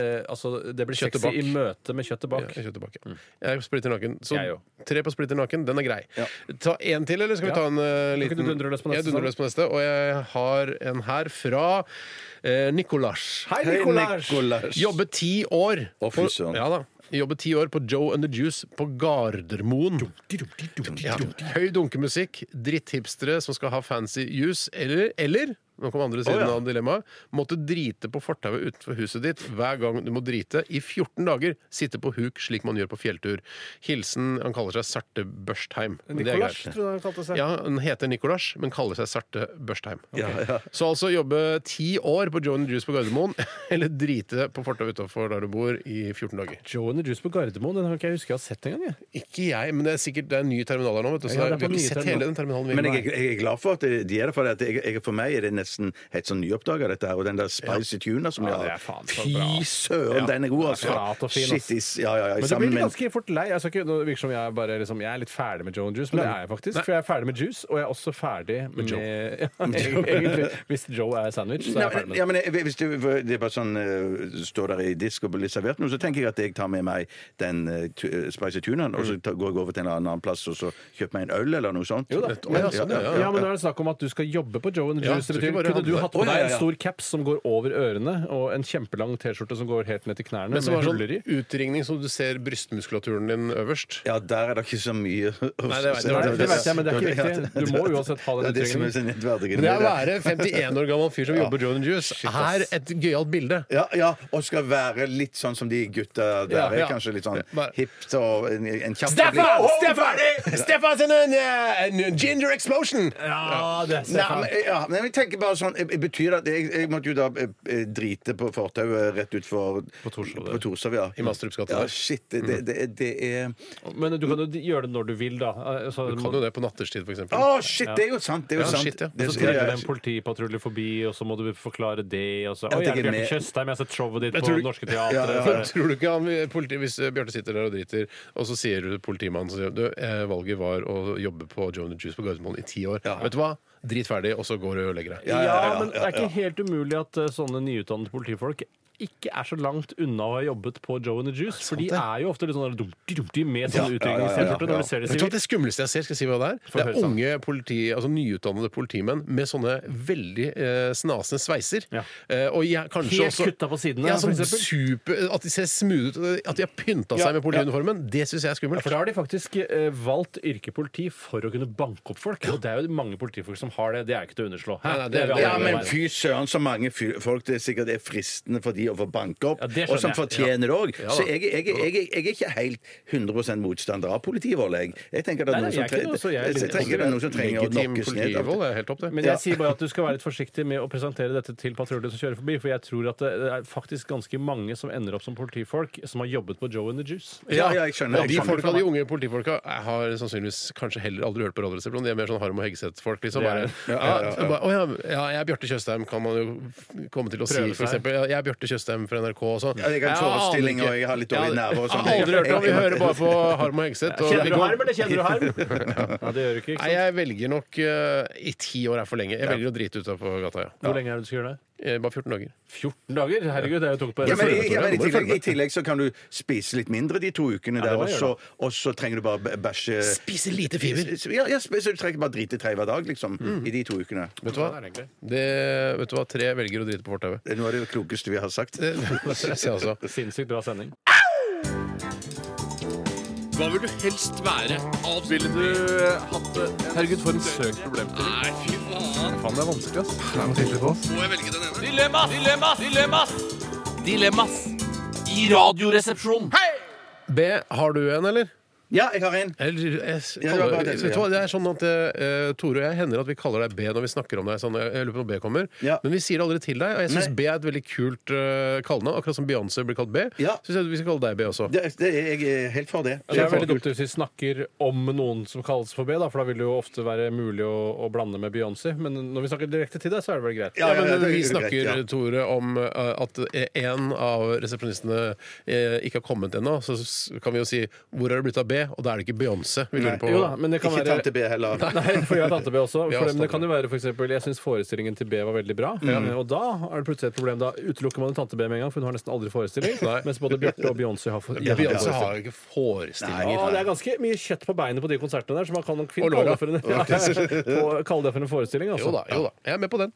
Speaker 6: eh, altså, det blir
Speaker 4: Kjøttet
Speaker 6: sexy
Speaker 4: bak.
Speaker 6: i møte med kjøttet
Speaker 4: Ja,
Speaker 6: bak.
Speaker 4: Jeg kjører tilbake.
Speaker 5: Mm.
Speaker 4: Jeg er splitter naken. Så
Speaker 6: Jeg òg.
Speaker 4: tre på splitter naken, den er grei. Ta en til, eller skal vi
Speaker 6: Ja.
Speaker 4: ta en eh,
Speaker 6: ikke
Speaker 4: liten
Speaker 6: du dundre løs på neste,
Speaker 4: Jeg dundrer
Speaker 6: sånn?
Speaker 4: løs på neste. Og jeg har en her fra eh, Nicolas.
Speaker 6: Hei,
Speaker 5: Hei,
Speaker 6: Nicolás!
Speaker 5: Nicolas.
Speaker 4: Jobbet ti år
Speaker 5: Å, fy
Speaker 4: på,
Speaker 5: søren.
Speaker 4: ja, da. Jobbet ti år på Joe and the Juice på Gardermoen. Ja. Høy dunkemusikk, dritthipstere som skal ha fancy juice, eller, eller nå kom andre siden av dilemmaet. Måtte drite på fortauet utenfor huset ditt hver gang du må drite. I 14 dager sitte på huk slik man gjør på fjelltur. Hilsen Han kaller seg Sarte Børstheim. Men det er
Speaker 6: Nicolás,
Speaker 4: greit.
Speaker 6: tror jeg han kalte seg.
Speaker 4: Ja, Han heter Nicolas, men kaller seg Sarte Børstheim.
Speaker 5: Ja, ja.
Speaker 4: Så altså jobbe ti år på Joe and the Juice på Gardermoen, eller drite på fortauet utenfor der du bor i 14 dager.
Speaker 6: Joe and the Juice på Gardermoen, den har ikke jeg husker jeg har sett engang. jeg.
Speaker 4: Ikke jeg, men det er sikkert det er en ny terminal her nå. Vet du, så
Speaker 6: Ja, det er
Speaker 4: vi har
Speaker 6: på nye
Speaker 4: ikke sett
Speaker 6: terminal.
Speaker 4: hele den terminalen. vi
Speaker 5: Men
Speaker 4: er
Speaker 5: jeg,
Speaker 4: på.
Speaker 5: jeg er glad for at de er det, for at jeg, jeg, for meg er det nesten helt sånn nyoppdaga, dette her. Og den der spicy tuna som de
Speaker 6: det er
Speaker 5: har.
Speaker 6: faen så bra.
Speaker 5: Fy søren, den er god,
Speaker 6: flat
Speaker 5: altså!
Speaker 6: og fin, ass.
Speaker 5: Shit is Ja, ja, ja.
Speaker 6: Men så
Speaker 5: Sammen
Speaker 6: blir jeg
Speaker 5: med
Speaker 6: ganske fort lei. Jeg, skal ikke, nå virker det som jeg, er bare, liksom, jeg er litt ferdig med Joe and Juice, men det er jeg faktisk. For jeg er ferdig med Juice, og jeg er også ferdig med,
Speaker 4: Joe.
Speaker 6: Ja, egentlig. Hvis Joe er sandwich, så
Speaker 5: Nei,
Speaker 6: er jeg ferdig med
Speaker 5: ja, men jeg- hvis det, det er bare sånn eh, Står der i disk og blir servert noe, så tenker jeg at jeg tar med meg den eh, tu- eh, spicy tunaen, og så ta, går jeg over til en annen plass og så kjøper meg en øl eller noe sånt.
Speaker 6: Mm. Jo da.
Speaker 4: Å, ja, sånn, ja, ja,
Speaker 6: Ja, men nå er det snakk om at du skal jobbe på Joe and the
Speaker 4: Ja,
Speaker 6: Juice.
Speaker 4: du
Speaker 6: det betyr
Speaker 4: skal bare
Speaker 6: kunne du
Speaker 4: handler.
Speaker 6: hatt på
Speaker 5: Å, ja,
Speaker 6: deg en
Speaker 5: ja.
Speaker 6: stor caps som går over ørene, og en kjempelang T-skjorte som går helt ned til knærne,
Speaker 4: Men
Speaker 6: med
Speaker 4: som var sånn
Speaker 6: huller i?
Speaker 4: utringning som du ser brystmuskulaturen din øverst.
Speaker 5: Ja, der er det ikke så mye å
Speaker 4: Nei, det vet jeg.
Speaker 6: Nei, det
Speaker 4: det-
Speaker 6: vet jeg, men det er ikke viktig. Du må uansett ha
Speaker 5: Det
Speaker 6: den
Speaker 5: er det som er
Speaker 6: utregningen.
Speaker 5: sin
Speaker 4: Men det å
Speaker 5: hverdagen.
Speaker 4: være 51 år gammel fyr som jobber Joan Juice, er et gøyalt bilde.
Speaker 5: Ja, ja, og skal være litt sånn som de gutta der.
Speaker 4: Ja, ja.
Speaker 5: er. Kanskje litt sånn
Speaker 4: Bare-
Speaker 5: hipt og en, en kjapp
Speaker 4: Stefan! Stefan! Stefan sin eh, ginger explosion!
Speaker 6: Eh, Ja, det er
Speaker 5: Nei, men, ja, men jeg tenker bare sånn eh, Betyr det at jeg, jeg måtte jo da eh, eh, drite på fortauet rett utfor På
Speaker 6: Torshov, det.
Speaker 5: På Torshov, ja.
Speaker 4: I Mastrups gate,
Speaker 5: Ja,
Speaker 4: der. Mhm.
Speaker 5: shit. Det, det, det, det er
Speaker 6: Men du kan jo gjøre det når du vil, da. Altså,
Speaker 4: Du kan jo det på nattestid, for eksempel.
Speaker 5: Å, shit! Det er jo sant! Det er jo
Speaker 4: Ja,
Speaker 5: sant.
Speaker 4: shit, ja.
Speaker 5: Det,
Speaker 6: Og så
Speaker 5: ja,
Speaker 6: triller
Speaker 5: ja,
Speaker 6: det en politipatrulje forbi, og så må du forklare det. Og så,
Speaker 5: Jeg
Speaker 6: Oi, er
Speaker 5: tenker
Speaker 6: det Bjarte
Speaker 5: med-
Speaker 6: Tjøstheim? Jeg har sett showet ditt
Speaker 4: Jeg
Speaker 6: på
Speaker 4: tror-
Speaker 6: Norske
Speaker 5: Ja, ja,
Speaker 4: Men
Speaker 6: Teatret.
Speaker 4: Tror du ikke han, politi, Hvis eh, Bjarte sitter der og driter, og så sier du til politimannen så sier du, eh, valget var å jobbe på Joan the Juice på Gardermoen i ti år. Vet du hva? Drit ferdig, og så går du og legger deg.
Speaker 5: ja, ja, ja,
Speaker 6: men det
Speaker 5: ja,
Speaker 6: er ikke helt umulig at eh, sånne nyutdannede politifolk ikke er så langt unna å ha jobbet på Joe and the Juice. For de
Speaker 4: det.
Speaker 6: er jo ofte litt sånn der dumti-dumti med sånn
Speaker 5: Ja, ja, ja, ja,
Speaker 6: utringningsskjorte
Speaker 5: ja.
Speaker 6: når du ser
Speaker 4: Vet
Speaker 6: det
Speaker 4: du hva
Speaker 6: sivilt.
Speaker 4: det skumleste jeg ser? skal jeg si hva Det
Speaker 6: Få
Speaker 4: er Det
Speaker 6: høre,
Speaker 4: er
Speaker 6: Sanne.
Speaker 4: unge politi, altså nyutdannede politimenn med sånne veldig eh, snasende sveiser.
Speaker 6: Ja.
Speaker 4: Eh, og jeg, kanskje
Speaker 6: Helt
Speaker 4: også,
Speaker 6: kutta på sidene,
Speaker 4: Ja,
Speaker 6: for
Speaker 4: sånn
Speaker 6: eksempel.
Speaker 4: super, at de ser smooth ut. At de har pynta
Speaker 6: Ja,
Speaker 4: seg med politiuniformen. Det syns jeg er skummelt.
Speaker 6: For da har de faktisk eh, valgt yrket politi for å kunne banke opp folk. Og det er jo mange politifolk som har det. Det er ikke til å underslå. Hæ?
Speaker 4: Nei, nei, det-
Speaker 6: Det er vi alle
Speaker 5: ja,
Speaker 6: enige om
Speaker 5: men
Speaker 6: her.
Speaker 5: fy søren, så mange fy- folk det er sikkert er fristende for de å få banke opp,
Speaker 6: Ja, det skjønner
Speaker 5: og som
Speaker 6: jeg.
Speaker 5: fortjener det òg.
Speaker 4: da.
Speaker 5: Så jeg, jeg, jeg, jeg, jeg er ikke helt 100 motstander av politivold, jeg. Jeg tenker det
Speaker 6: Nei,
Speaker 5: er
Speaker 6: nei,
Speaker 5: noen som
Speaker 6: jeg er ikke det, så jeg er
Speaker 5: trenger,
Speaker 6: litt-
Speaker 5: jeg tenker det er noen som trenger å
Speaker 4: Legitim
Speaker 5: knokkes ned.
Speaker 4: politivold er helt topp, det.
Speaker 6: Men jeg sier bare at du skal være litt forsiktig med å presentere dette til patruljen som kjører forbi, for jeg tror at det er faktisk ganske mange som ender opp som politifolk som har jobbet på Joe and the Juice.
Speaker 5: Ja, ja, jeg skjønner.
Speaker 4: Og de,
Speaker 5: Jeg skjønner.
Speaker 4: folka, de unge politifolka eh, har sannsynligvis kanskje heller aldri hørt på Radioresepsjonen. De er mer sånn Harm og Hegseth-folk. Liksom.
Speaker 6: Det
Speaker 4: Bare,
Speaker 6: er det.
Speaker 4: ja, bare, «Å ja, ja, jeg er Bjarte Tjøstheim, kan man jo f- komme til å si,
Speaker 6: Prøve seg.
Speaker 4: for eksempel. Ja, Jeg er Bjarte Tjøstheim fra NRK og sånn.
Speaker 5: Ja, jeg har en
Speaker 4: aner
Speaker 5: forestilling,
Speaker 4: ikke.
Speaker 5: og jeg har litt dårlige
Speaker 4: Ja,
Speaker 5: nerver og sånn.
Speaker 4: Jeg har aldri hørt om Vi
Speaker 5: Jeg-
Speaker 4: hører bare på Harm og Hegseth. og vi
Speaker 6: Kjenner du
Speaker 4: går-
Speaker 6: harm, eller kjenner du harm? Ja, det gjør du ikke. ikke
Speaker 4: Nei,
Speaker 6: sant?
Speaker 4: jeg velger nok eh, I ti år er for lenge. Jeg velger å drite ut av på gata, ja.
Speaker 6: Hvor lenge er det du skal gjøre det?
Speaker 4: Eh, Bare 14 dager.
Speaker 6: 14 dager? Herregud, det er jo tungt på
Speaker 5: Ja, men,
Speaker 6: resten.
Speaker 5: ja, men i,
Speaker 4: Må du
Speaker 5: tillegg,
Speaker 4: følge
Speaker 5: I tillegg så kan du spise litt mindre de to ukene
Speaker 6: det
Speaker 5: der,
Speaker 6: må
Speaker 5: og
Speaker 6: jeg
Speaker 5: så, og så trenger du bare bæ- bæsje
Speaker 4: Spise lite fiber.
Speaker 5: Ja, ja, så du trenger bare drite i tre hver dag, liksom,
Speaker 6: Mm.
Speaker 5: i de to ukene.
Speaker 4: Vet du hva? Det, vet du hva? Tre velger å drite på fortauet.
Speaker 5: Det er noe av det klokeste vi har sagt.
Speaker 4: Det, det synes jeg også.
Speaker 6: Sinnssykt bra sending.
Speaker 7: Hva vil du helst være? Avsnitt
Speaker 2: Ville du hatt det? Herregud, for en søk problemstilling.
Speaker 7: Nei, fy faen.
Speaker 2: Faen, det er vanskelig, ass.
Speaker 7: Må jeg velge den ene? Dilemmas! Dilemmas! Dilemmas! Dilemmas i Radioresepsjonen. Hei!
Speaker 4: B. Har du en, eller?
Speaker 5: Ja, jeg har en.
Speaker 4: Eller, jeg,
Speaker 5: Ja, det var bare det jeg
Speaker 4: vet du
Speaker 5: skulle
Speaker 4: hva, det er sånn at eh, Tore og jeg hender at vi kaller deg B når vi snakker om deg. Sånn, jeg lurer på når B kommer
Speaker 5: Ja.
Speaker 4: Men vi sier det aldri til deg, og jeg syns
Speaker 5: Nei.
Speaker 4: B er et veldig kult eh, kallenavn. Akkurat som Beyoncé blir kalt B.
Speaker 5: Ja.
Speaker 4: Synes jeg vi skal kalle deg B også.
Speaker 5: Det, det, jeg er helt for det.
Speaker 6: Det er veldig dumt hvis vi snakker om noen som kalles for B, da, for da vil det jo ofte være mulig å, å blande med Beyoncé. Men når vi snakker direkte til deg, så er det vel greit.
Speaker 5: Ja, ja,
Speaker 4: men
Speaker 5: ja, det er
Speaker 4: vi
Speaker 5: greit,
Speaker 4: snakker,
Speaker 5: ja.
Speaker 4: Tore, om eh, at en av resepsjonistene eh, ikke har kommet ennå. Så s- kan vi jo si 'Hvor er det blitt av B?' Og da er det ikke Beyoncé. Vi lurer på
Speaker 6: Jo da, men det kan
Speaker 5: Ikke
Speaker 6: være
Speaker 5: tante B heller.
Speaker 6: Nei, for jeg har tante B også.
Speaker 4: Vi har
Speaker 6: For det, men
Speaker 4: tante
Speaker 6: det kan jo være for eksempel, Jeg syns forestillingen til B var veldig bra,
Speaker 5: Mm.
Speaker 6: og da er det plutselig et problem. Da utelukker man tante B med en gang, for hun har nesten aldri forestilling.
Speaker 4: Nei.
Speaker 6: Mens både Bjarte og Beyoncé har for,
Speaker 4: Ja, Beyoncé
Speaker 6: forestilling.
Speaker 4: har jo ikke forestilling.
Speaker 5: Nei,
Speaker 6: Å, det er ganske mye kjøtt på beinet på de konsertene der, så man kan nok fint
Speaker 4: Og låra.
Speaker 6: kalle det for en, ja, på- kalle det for en forestilling. Altså.
Speaker 4: Jo da, jo da. Jeg er med på den.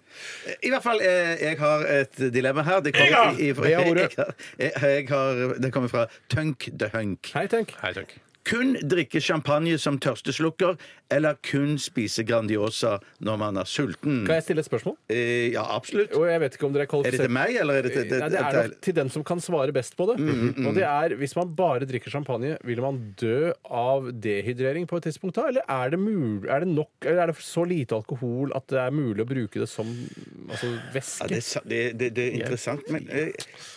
Speaker 5: I hvert fall, eh, jeg har et dilemma her. Det kommer, i, i,
Speaker 4: Det er ordet.
Speaker 5: jeg, jeg, jeg har, det kommer fra Tunk the Hunk.
Speaker 6: Hei, tenk.
Speaker 4: Hei, takk.
Speaker 5: Kun drikke champagne som tørsteslukker, eller kun spise Grandiosa når man er sulten?
Speaker 6: Kan jeg stille et spørsmål?
Speaker 5: Eh, ja, absolutt.
Speaker 6: Og jeg vet ikke om dere
Speaker 5: Er
Speaker 6: er
Speaker 5: det
Speaker 6: kvalifisert
Speaker 5: til meg, eller er Mm, det til, til,
Speaker 6: Nei, det er nok til den som kan svare best på det. Og det er, Hvis man bare drikker champagne, vil man dø av dehydrering på et tidspunkt da? Eller er det, mul er det nok Eller er det så lite alkohol at det er mulig å bruke det som altså,
Speaker 5: ja, det,
Speaker 6: væske?
Speaker 5: er sa- det, det, det er interessant, men eh,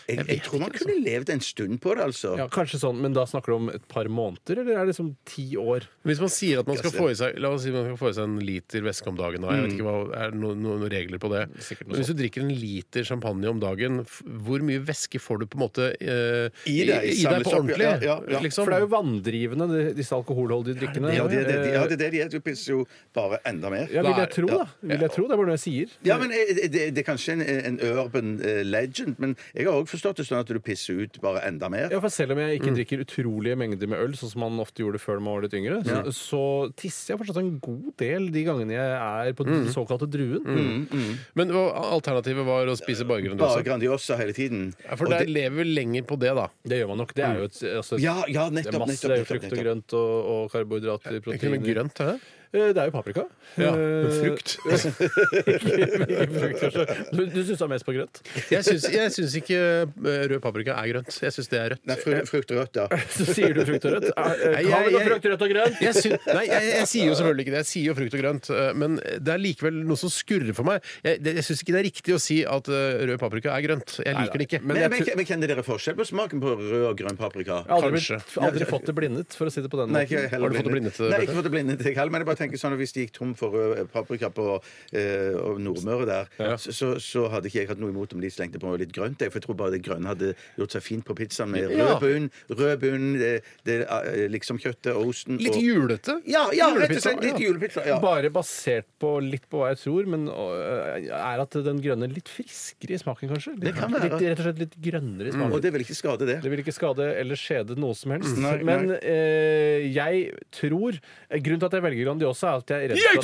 Speaker 5: jeg, jeg, jeg tror man kunne levd en stund på det, altså.
Speaker 6: altså. Ja, kanskje sånn, Men da snakker du om et par måneder, eller er det liksom ti år?
Speaker 4: Hvis man sier at man skal få i seg La oss si man skal få i seg en liter væske om dagen. Da. Jeg vet ikke hva, Er det noen, noen regler på det?
Speaker 6: Sikkert noe
Speaker 4: Men hvis du drikker en liter champagne om dagen, f- hvor mye væske får du på en måte eh,
Speaker 5: I deg,
Speaker 4: i, i deg
Speaker 5: samles
Speaker 4: på
Speaker 5: opp,
Speaker 4: ordentlig?
Speaker 5: ja, ja, ja.
Speaker 4: Liksom?
Speaker 6: For det er jo vanndrivende, de- disse alkoholholdige drikkene.
Speaker 5: Ja, det er det, ja,
Speaker 6: eh,
Speaker 5: det er det de er. Du pisser jo bare enda mer.
Speaker 6: Ja, vil jeg tro,
Speaker 5: Ja.
Speaker 6: da. Vil jeg tro, Det er bare noe jeg sier.
Speaker 5: Ja, men eh, det, det er kanskje en, en urban eh, legend, men jeg har òg forstått det sånn at du pisser ut bare enda mer.
Speaker 6: Ja, for Selv om jeg ikke drikker utrolige mengder med øl, sånn som man ofte gjorde før man var litt yngre, så, så tisser jeg fortsatt en god del de gangene jeg er på den såkalte druen.
Speaker 5: Mm.
Speaker 4: Men hva- alternativet var å spise bare
Speaker 5: Bare
Speaker 4: Grandiosa?
Speaker 5: Grandiosa hele tiden.
Speaker 4: Ja, For
Speaker 5: Og
Speaker 4: dere
Speaker 5: det-
Speaker 4: lever vel lenger på det, da.
Speaker 6: Det gjør man nok. Det er jo et, altså, et-
Speaker 5: ja, ja,
Speaker 6: det er
Speaker 5: nettopp,
Speaker 6: masse
Speaker 5: nettopp.
Speaker 6: det er jo
Speaker 5: nettopp,
Speaker 6: frukt og
Speaker 5: nettopp.
Speaker 6: grønt og, og karbohydrater,
Speaker 4: Er Ikke noe
Speaker 6: proteiner.
Speaker 4: med grønt, er det?
Speaker 6: Eh, Det er jo paprika.
Speaker 4: Ja,
Speaker 6: Eh,
Speaker 4: men frukt.
Speaker 6: ikke frukt, kanskje. Du, du syns det er mest på grønt?
Speaker 4: Jeg syns, jeg syns ikke eh, rød paprika er grønt. Jeg syns det er rødt.
Speaker 5: Nei, fru- frukt og rødt, ja.
Speaker 6: Så sier du frukt og rødt. Er- eh, er-
Speaker 4: Nei,
Speaker 6: Kan vi
Speaker 4: jeg-
Speaker 6: gå frukt, rødt og grønt?
Speaker 4: Jeg syn- nei, jeg, jeg sier jo selvfølgelig ikke det. Jeg sier jo frukt og grønt. eh, Men det er likevel noe som skurrer for meg. Jeg, det- jeg syns ikke det er riktig å si at eh, rød paprika er grønt. Jeg liker det ikke.
Speaker 5: Men,
Speaker 4: jeg
Speaker 5: men, men Kjenner dere forskjell på smaken på rød og grønn paprika?
Speaker 6: Jeg har aldri, blitt,
Speaker 4: Kanskje.
Speaker 6: aldri fått det blindet, for å si det på den
Speaker 5: Nei, ikke
Speaker 6: måten.
Speaker 5: heller
Speaker 4: Har du fått det blindet, eh,
Speaker 5: Nei,
Speaker 4: Bjarte?
Speaker 5: ikke fått det blindet jeg heller, men jeg bare tenker sånn at hvis de gikk tom for rød paprika på eh, og Nordmøre der, så, så, så hadde ikke jeg hatt noe imot om de slengte på litt grønt. jeg, For jeg tror bare det grønne hadde gjort seg fint på pizzaen med rød
Speaker 4: Ja.
Speaker 5: bunn, rød bunn, det, det, eh, liksom kjøttet og osten.
Speaker 4: Litt
Speaker 5: og,
Speaker 4: julete.
Speaker 5: ja, ja, rett og
Speaker 4: Julepizza,
Speaker 5: slett litt
Speaker 4: ja.
Speaker 5: julepizza. Ja.
Speaker 6: Bare basert på litt på hva jeg tror, men øh, er at den grønne litt friskere i smaken, kanskje? Litt,
Speaker 5: Det kan være. Mm.
Speaker 6: litt, rett og slett litt grønnere i
Speaker 5: Og
Speaker 6: smaken.
Speaker 5: det vil ikke skade det.
Speaker 6: Det vil ikke skade eller skjede noe som helst.
Speaker 5: Nei, nei.
Speaker 6: Men eh, jeg tror Grunnen til at jeg velger Grandiosa, er at jeg er redd
Speaker 4: Jeg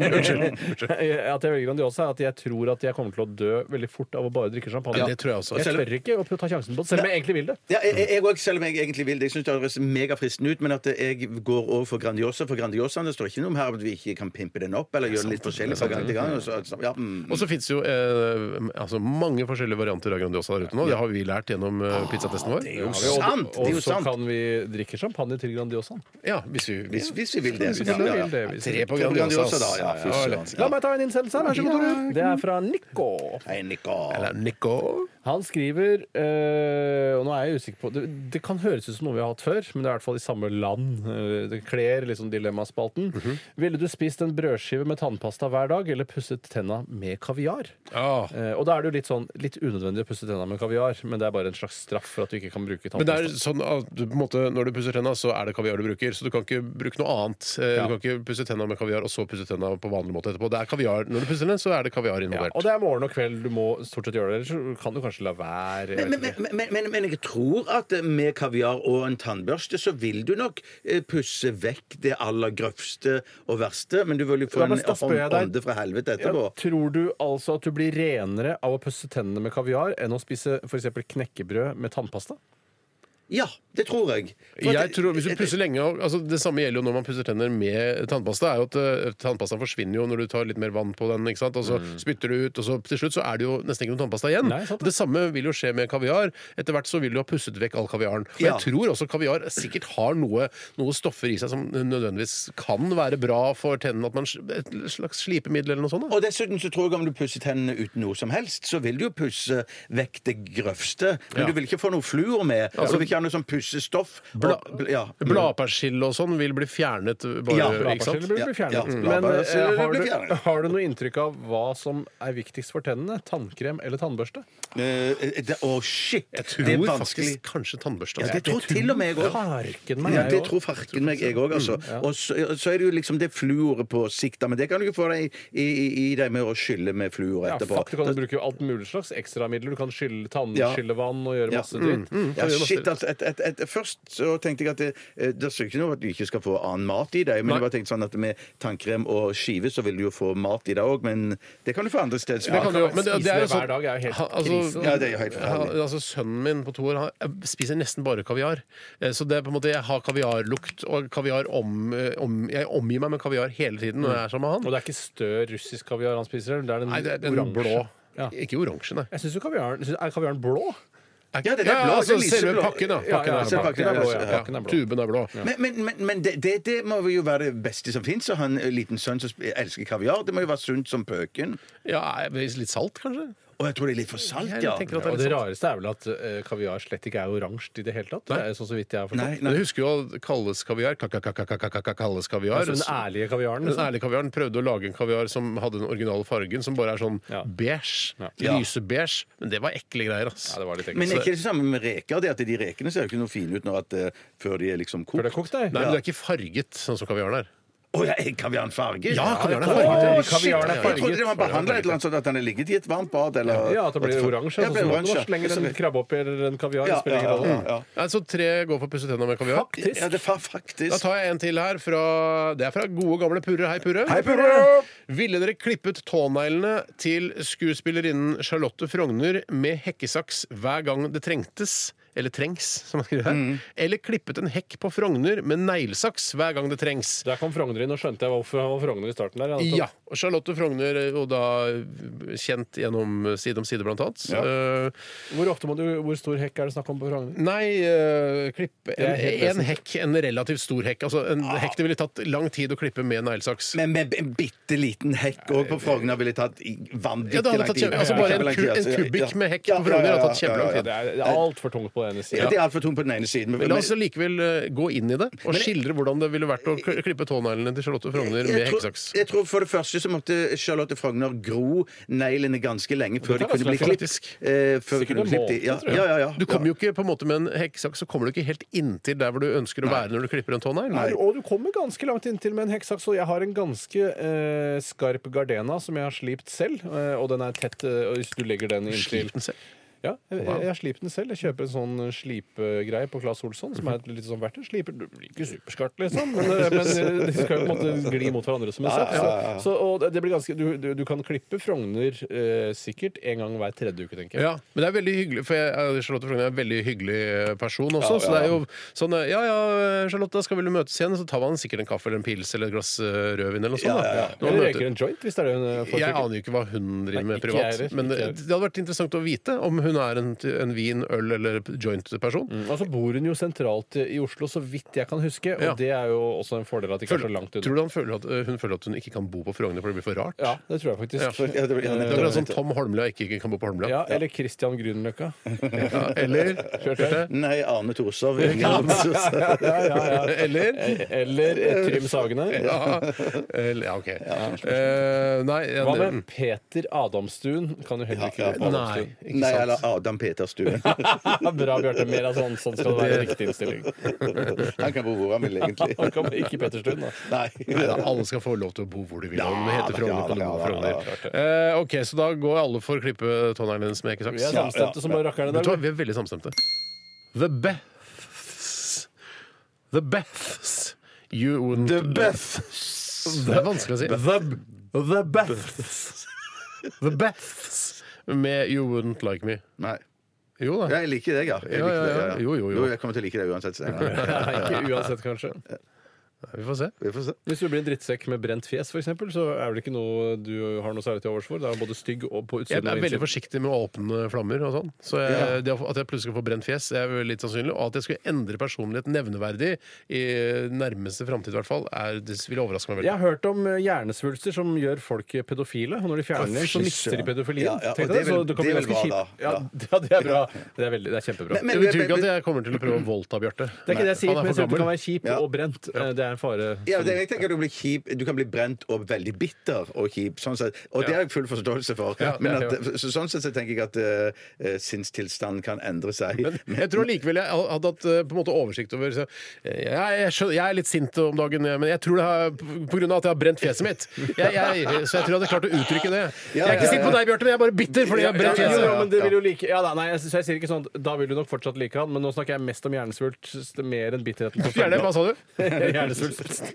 Speaker 6: for at jeg, at jeg velger Grandiosa, er at jeg tror at jeg kommer til å dø veldig fort av å bare drikke champagne.
Speaker 4: Ja, det tror jeg også.
Speaker 6: Jeg tør ikke å ta sjansen på det, selv om jeg egentlig vil det.
Speaker 5: Ja, jeg- jeg òg, selv om jeg egentlig vil det. Jeg syns det høres megafristende ut, men at jeg går over for Grandiosa. For Grandiosaen det står ikke noe om her at vi ikke kan pimpe den opp eller gjøre den litt forskjellig fra gang til gang. Og så, ja, mm.
Speaker 4: Og så fins det jo eh, altså mange forskjellige varianter av Grandiosa der ute nå. Det har vi lært gjennom eh, pizzatesten vår.
Speaker 5: jo
Speaker 6: Ja, og-
Speaker 5: sant! Det Ah, er jo
Speaker 6: Og så
Speaker 5: sant.
Speaker 6: kan vi drikke champagne til Grandiosaen.
Speaker 4: Ja, hvis vi, hvis
Speaker 5: Hvis, hvis vi vil det.
Speaker 6: Hvis vi
Speaker 5: Ja, ja, ja.
Speaker 6: vil det, hvis vi-
Speaker 4: Tre på
Speaker 5: Tre på Grandiosa,
Speaker 4: Grandiosa,
Speaker 5: da. Ja, fy søren.
Speaker 4: lett.
Speaker 6: La meg ta en innsendelse her. Vær så god, Tore. Det er fra Nico.
Speaker 5: Hei, Nico.
Speaker 4: Eller Nico.
Speaker 6: Han skriver øh, Og nå er jeg usikker på det, det kan høres ut som noe vi har hatt før, men det er i hvert fall i samme land. Øh, Det kler liksom dilemmaspalten. Ville du spist en brødskive med tannpasta hver dag, eller pusset tenna med kaviar?
Speaker 4: Ja.
Speaker 6: Eh, og da er det jo litt sånn litt unødvendig å pusse tenna med kaviar, men det er bare en slags straff for at du ikke kan bruke
Speaker 4: Men det er
Speaker 6: tannpasta.
Speaker 4: sånn at du, på en måte, når du pusser tenna, så er det kaviar du bruker. Så du kan ikke bruke noe annet. Eh,
Speaker 6: Ja.
Speaker 4: Du kan ikke pusse tenna med kaviar og så pusse tenna på vanlig måte etterpå. Det er kaviar. Når du pusser den, så er det kaviar
Speaker 6: Ja,
Speaker 4: involvert.
Speaker 6: og det er morgen og kveld du må stort sett gjøre det, ellers så kan du kanskje la være. jeg vet
Speaker 5: Men,
Speaker 6: ikke.
Speaker 5: men, men, men, men jeg tror at eh, med kaviar og en tannbørste så vil du nok eh, pusse vekk det aller grøvste og verste, men du vil jo få
Speaker 6: Ja,
Speaker 5: en
Speaker 6: men da spør
Speaker 5: ånd-
Speaker 6: jeg deg-
Speaker 5: ånde fra helvete etterpå.
Speaker 6: Ja, tror du altså at du blir renere av å pusse tennene med kaviar enn å spise f.eks. knekkebrød med tannpasta?
Speaker 5: Ja, det tror jeg. For
Speaker 4: Jeg
Speaker 5: at-
Speaker 4: tror hvis du pusser lenge og- altså Det samme gjelder jo når man pusser tenner med tannpasta. er jo at eh, Tannpastaen forsvinner jo når du tar litt mer vann på den, ikke sant? og så spytter du ut, og så til slutt så er det jo nesten ikke noe tannpasta igjen.
Speaker 6: Mm. Nei, sant det.
Speaker 4: det samme vil jo skje med kaviar. Etter hvert så vil du ha pusset vekk all kaviaren. Og
Speaker 5: Ja.
Speaker 4: jeg tror også kaviar sikkert har noe, noe stoffer i seg som nødvendigvis kan være bra for tennene, at man Et slags slipemiddel eller noe sånt. Da.
Speaker 5: Og dessuten så tror jeg om du pusser tennene uten noe som helst, så vil du jo pusse vekk det grøvste. Men
Speaker 4: Ja.
Speaker 5: du vil ikke få noe fluor med. Altså, du vil ikke ha noe sånn pussestoff. og-
Speaker 4: Bla,
Speaker 5: bl- ja.
Speaker 4: Bladpersille og sånn vil bli fjernet bare,
Speaker 5: Ja,
Speaker 4: ikke sant?
Speaker 6: Bladpersille blir blir
Speaker 5: Ja, ja,
Speaker 6: fjernet. Men
Speaker 5: bladpersille
Speaker 6: eh, har,
Speaker 5: blir
Speaker 6: du,
Speaker 5: fjernet.
Speaker 6: har du noe inntrykk av hva som er viktigst for tennene? Tannkrem eller tannbørste?
Speaker 5: Eh, eh, det- Å, shit!
Speaker 4: Jeg tror
Speaker 5: det er vanskelig.
Speaker 4: faktisk kanskje tannbørste.
Speaker 5: Ja,
Speaker 4: altså.
Speaker 5: det tror til og med jeg òg.
Speaker 6: Harken meg,
Speaker 5: Ja,
Speaker 6: jeg
Speaker 5: det
Speaker 6: også.
Speaker 5: tror farken meg, jeg òg. Altså. Og så, og så er det jo liksom det fluoret på sikt, da, men det kan du jo få deg i, i, i deg med å skylle med fluor
Speaker 6: Ja,
Speaker 5: etterpå.
Speaker 6: fuck, du kan jo bruke alt mulig slags ekstramidler. Du kan skylle
Speaker 5: Ja.
Speaker 6: tannskyllevann og gjøre
Speaker 5: Ja. Mm,
Speaker 6: masse dritt.
Speaker 5: Ja, shit, altså, et, et, et, først så tenkte jeg at det, eh, det står ikke noe at du ikke skal få annen mat i deg, men
Speaker 4: Nei.
Speaker 5: jeg bare tenkte sånn at med tannkrem og skive så vil du jo få mat i deg òg, men det kan du få andre steder.
Speaker 4: Det kan du jo, men det,
Speaker 6: Spise
Speaker 4: det er jo
Speaker 6: det
Speaker 4: sånn
Speaker 6: hver dag er jo helt
Speaker 4: han-
Speaker 6: krise, da.
Speaker 5: Ja, det er jo helt forferdelig.
Speaker 4: han- altså, Sønnen min på to år han eh, spiser nesten bare kaviar. Eh, Så det er på en måte, jeg har kaviarlukt og kaviar om, eh, om Jeg omgir meg med kaviar hele tiden når jeg er sammen
Speaker 6: Og
Speaker 4: med han.
Speaker 6: det er ikke stø russisk kaviar han spiser? Det er den,
Speaker 4: Nei, det er den
Speaker 6: oransje.
Speaker 4: blå.
Speaker 6: Ja.
Speaker 4: Ikke oransje, nei.
Speaker 6: Jeg syns jo kaviaren synes- Er kaviaren blå?
Speaker 5: Ja, den er blå,
Speaker 4: altså,
Speaker 5: den er
Speaker 4: selve
Speaker 5: lyseblå.
Speaker 4: pakken, da.
Speaker 6: Ja,
Speaker 4: Pakken
Speaker 6: ja,
Speaker 4: er blå.
Speaker 5: selve pakken er blå,
Speaker 4: Ja,
Speaker 5: ja.
Speaker 6: Pakken er blå.
Speaker 4: Tuben er blå.
Speaker 5: Men, men, men, men det, det, det må jo være det beste som fins. Å ha en eh, liten sønn som sp- elsker kaviar. Det må jo være sunt som pøken.
Speaker 4: Ja, litt salt, kanskje?
Speaker 5: Og jeg tror det er litt for salt,
Speaker 4: Jeg
Speaker 5: ja.
Speaker 4: tenker at
Speaker 6: Og
Speaker 4: det
Speaker 6: det
Speaker 4: er litt salt.
Speaker 6: rareste er vel at eh, kaviar slett ikke er oransje i det hele tatt. Det er sånn så vidt jeg har
Speaker 5: Nei,
Speaker 6: forstått.
Speaker 4: Men Jeg husker jo at kalles kaviar. Kalles kaviar.
Speaker 6: Altså, den ærlige
Speaker 4: sånn
Speaker 6: kaviaren.
Speaker 4: Den
Speaker 6: Liksom.
Speaker 4: ærlige kaviaren prøvde å lage en kaviar som hadde den originale fargen, som bare er sånn
Speaker 6: Ja.
Speaker 4: beige.
Speaker 5: Ja.
Speaker 4: Lysebeige. Men det var ekle greier, ass.
Speaker 6: Ja, det var litt ekkelt.
Speaker 5: Men er ikke det det samme med reker? Det at De rekene ser jo ikke noe fine ut når at, eh, før de er liksom
Speaker 6: Før
Speaker 5: kokt.
Speaker 6: det er kokt, nei.
Speaker 4: Nei, men det er ikke farget, sånn som kaviaren er.
Speaker 5: Å ja, eh, kaviaren farget?
Speaker 4: Ja, kaviaren er
Speaker 5: Å,
Speaker 4: farget.
Speaker 5: shit.
Speaker 6: Kaviaren er
Speaker 5: Jeg trodde
Speaker 6: farget.
Speaker 5: det var behandla et eller annet sånn at den har ligget i et varmt bad, eller
Speaker 6: Ja, at det blir oransje.
Speaker 5: Ja, det
Speaker 6: Sånn
Speaker 5: blir
Speaker 6: som
Speaker 5: oransje.
Speaker 6: det var. Så lenge en krabbe opp eller en kaviar, det
Speaker 5: Ja,
Speaker 6: spiller ingen
Speaker 5: ja,
Speaker 6: rolle.
Speaker 5: ja,
Speaker 4: Nei, så tre går for å pusse tenna med kaviar.
Speaker 5: ja. ja, det er fa- faktisk.
Speaker 4: Da tar jeg en til her. Fra, det er fra gode, gamle Purre. Hei, Purre.
Speaker 5: Hei, Purre!
Speaker 4: Ville dere klippet tåneglene til skuespillerinnen Charlotte Frogner med hekkesaks hver gang det trengtes? Eller trengs, som man skriver her.
Speaker 5: Mm.
Speaker 4: Eller klippet en hekk på Frogner med neglesaks hver gang det trengs.
Speaker 6: Der kom Frogner inn, og skjønte jeg hvorfor han var Frogner i starten der.
Speaker 4: Ja. og Charlotte Frogner, og da eh, kjent gjennom eh, Side om side, blant annet. Eh,
Speaker 6: Hvor ofte må du, hvor stor hekk er det snakk om på Frogner?
Speaker 4: Nei, eh, klippe en,
Speaker 6: er helt
Speaker 4: en hekk. En relativt stor hekk. Altså, en hekk det ville tatt lang tid å klippe med neglesaks.
Speaker 5: Men med en bitte liten hekk òg på Frogner ville tatt i-
Speaker 4: Ja,
Speaker 5: vanvittig
Speaker 4: det hadde tatt kjempe, altså bare en, ku, en kubikk med hekk på Frogner hadde tatt kjempelang tid.
Speaker 6: Det er, det er altfor tungt på den ene
Speaker 5: Ja,
Speaker 6: siden.
Speaker 5: det er altfor tungt på den ene siden. Men,
Speaker 4: Men la oss likevel eh, gå inn i det og skildre hvordan det ville vært å kl- klippe tåneglene til Charlotte Frogner med
Speaker 5: jeg, tror,
Speaker 4: hekkesaks.
Speaker 5: jeg tror For det første så måtte Charlotte Frogner gro neglene ganske lenge før de
Speaker 6: kan
Speaker 5: kunne bli
Speaker 6: være
Speaker 5: klippet.
Speaker 4: faktisk.
Speaker 5: Eh, før de
Speaker 6: Sikkert
Speaker 5: kunne
Speaker 6: en
Speaker 5: bli klippet.
Speaker 6: måned,
Speaker 5: Ja,
Speaker 6: tror jeg.
Speaker 5: ja, ja, ja.
Speaker 4: Du kommer jo ikke på en måte med en hekkesaks så kommer du ikke helt inntil der hvor du ønsker å være når du klipper en tånegl.
Speaker 5: Nei.
Speaker 6: Og du kommer ganske langt inntil med en hekksaks. Og jeg har en ganske eh, skarp gardena som jeg har slipt selv. eh, og den er tett. eh, og hvis du legger den inntil
Speaker 4: Slipt den selv.
Speaker 6: Ja, jeg, jeg, jeg sliper den selv. Jeg kjøper en sånn eh, slipegreie på Claes Olsson, som er et litt sånn verktøy. Sliper du blir ikke superskarpt, liksom, men, eh, men eh, de skal jo på en måte gli mot hverandre som en saks. Så, så, og det- det blir ganske, du, du, du kan klippe Frogner eh, sikkert en gang hver tredje uke, tenker jeg.
Speaker 4: Ja, men det er veldig hyggelig, for jeg, eh, Charlotte Frogner er en veldig hyggelig eh, person også. Så det er jo sånn eh, Ja ja, eh, Charlotte, da skal vi vel møtes igjen? Så tar man sikkert en kaffe eller en pils eller et glass eh, rødvin eller noe sånt. da. Når man
Speaker 6: Eller
Speaker 4: møter-
Speaker 6: røyker en joint, hvis det er det hun eh,
Speaker 4: Jeg
Speaker 6: foretrekker.
Speaker 4: aner jo ikke hva hun driver
Speaker 6: Nei,
Speaker 4: med
Speaker 6: ikke
Speaker 4: privat.
Speaker 6: jeg heller,
Speaker 4: men eh,
Speaker 6: ikke
Speaker 4: det
Speaker 6: jeg heller.
Speaker 4: hadde vært interessant å vite om hun er en, en vin-, øl- eller joint-person.
Speaker 6: Og så Altså, bor hun jo sentralt eh, i Oslo, så vidt jeg kan huske. Og
Speaker 4: Ja.
Speaker 6: det er jo også en fordel at det ikke er så langt
Speaker 4: Tror
Speaker 6: unna.
Speaker 4: du han føler at, øh, hun føler at hun ikke kan bo på Frogner, for det blir for rart?
Speaker 6: Ja, det tror jeg faktisk.
Speaker 4: Ja.
Speaker 5: Ja, det- ja,
Speaker 4: Det er
Speaker 5: nettopp,
Speaker 4: akkurat som
Speaker 5: nettopp.
Speaker 4: Tom Holmlia ikke ikke kan bo på Holmlia.
Speaker 6: Ja, eller Christian Grünerløkka.
Speaker 4: Ja, Eller
Speaker 6: Kjørte.
Speaker 5: Nei, Arne Torshov. Ingen Arne Torshov.
Speaker 6: Ja, ja, ja. E-
Speaker 4: Eller
Speaker 6: Eller eh, Trym Sagene.
Speaker 4: Ja, eller, ja OK. Eh, nei ja,
Speaker 6: Hva
Speaker 4: det-
Speaker 6: med Peter Adamstuen? Kan jo heller ikke
Speaker 5: Mm. Ja, ja.
Speaker 6: være på
Speaker 4: Nei,
Speaker 6: Adamstuen.
Speaker 4: ikke
Speaker 5: Nei,
Speaker 4: sant.
Speaker 5: eller Adam Peterstuen.
Speaker 6: Bra, Bjarte. Mer av sånn. Sånn skal det være. Riktig innstilling.
Speaker 5: Han kan bo hvor han vil, egentlig.
Speaker 6: Han kan- Ikke Peterstuen, da.
Speaker 5: Nei.
Speaker 4: Nei, da, alle skal få lov til å bo hvor de vil. Om det heter
Speaker 5: da,
Speaker 4: Frogner,
Speaker 5: ja,
Speaker 4: kan du bo
Speaker 5: da, ja,
Speaker 4: på Frogner.
Speaker 5: da,
Speaker 4: Eh, OK, så da går alle for å klippe tåneglene hennes med
Speaker 6: Vi er
Speaker 4: hekkesaks.
Speaker 6: samstemte som bare rakkerne
Speaker 4: Vet du hva,
Speaker 6: der.
Speaker 4: vi er veldig samstemte. The Beths. The Beths. You wouldn't The Beths. Det er vanskelig å si. The, the Beths. The Beths. Med You Wouldn't Like Me.
Speaker 5: Nei.
Speaker 4: Jo da.
Speaker 5: Jeg liker deg, ja. Jeg
Speaker 4: Ja,
Speaker 5: liker
Speaker 4: ja,
Speaker 5: deg,
Speaker 4: ja. Jo, jo, jo.
Speaker 5: jeg kommer til å like deg uansett. Steinar.
Speaker 6: Nei, ikke uansett, kanskje.
Speaker 4: Vi får se.
Speaker 5: Vi får se.
Speaker 6: Hvis du blir en drittsekk med brent fjes, f.eks., så er det ikke noe du har noe særlig til overs for. Det er både stygg og på
Speaker 4: Jeg
Speaker 6: utsiden
Speaker 4: er
Speaker 6: og
Speaker 4: veldig
Speaker 6: innsiden.
Speaker 4: forsiktig med å åpne flammer og sånn. Så jeg, det at jeg plutselig får brent fjes, er vel litt sannsynlig. Og at jeg skulle endre personlighet nevneverdig i nærmeste framtid, i hvert fall, er, det vil overraske meg veldig.
Speaker 6: Jeg har hørt om eh, hjernesvulster som gjør folk eh, pedofile. Og når de fjerner dem, så
Speaker 5: fy
Speaker 6: mister de
Speaker 5: søren.
Speaker 6: pedofilien.
Speaker 5: Ja, ja, og
Speaker 6: Tenk
Speaker 5: det er
Speaker 6: deg det,
Speaker 5: vel-
Speaker 6: så du kan
Speaker 5: det
Speaker 6: bli
Speaker 5: er vel bra,
Speaker 6: ganske kjipt.
Speaker 5: da.
Speaker 6: Ja, ja, det er bra. Det er, veldig, det er kjempebra.
Speaker 5: Men-
Speaker 4: Det betyr ikke at jeg kommer til å prøve å voldta Bjarte.
Speaker 6: Det er ikke det jeg sier,
Speaker 4: Han
Speaker 6: men
Speaker 4: er for
Speaker 6: jeg sier at du kan
Speaker 4: gammel.
Speaker 6: være kjip
Speaker 5: Ja.
Speaker 6: og brent. Eh, Det er en fare.
Speaker 5: Ja, det, jeg tenker du, blir kjip, du kan bli brent og veldig bitter og kjip. Sånn sett, og det har jeg full forståelse for. men
Speaker 6: ja,
Speaker 5: at, så, sånn sett så tenker jeg at eh, eh, sinnstilstanden kan endre seg. Men,
Speaker 4: Jeg tror likevel jeg hadde hatt eh, på en måte oversikt over så, eh, jeg, jeg, skjønner, jeg er litt sint om dagen, eh, men jeg tror det har, på grunn av at jeg har brent fjeset mitt. Jeg, jeg, så jeg tror jeg hadde klart å uttrykke det. Jeg
Speaker 5: Ja,
Speaker 4: er ikke
Speaker 5: ja,
Speaker 4: sint på
Speaker 5: ja.
Speaker 4: deg, Bjarte, men jeg er bare bitter fordi jeg har
Speaker 6: Ja,
Speaker 4: brent
Speaker 6: ja,
Speaker 4: fjeset.
Speaker 6: jo, men det vil jo like ja, da, nei, jeg, så jeg sier ikke sånn at Da vil du nok fortsatt like han, men nå snakker jeg mest om hjernesvulst s- mer enn bitterheten. på
Speaker 4: Fjerne, hva sa du?
Speaker 6: fjernet. hjernesvulst.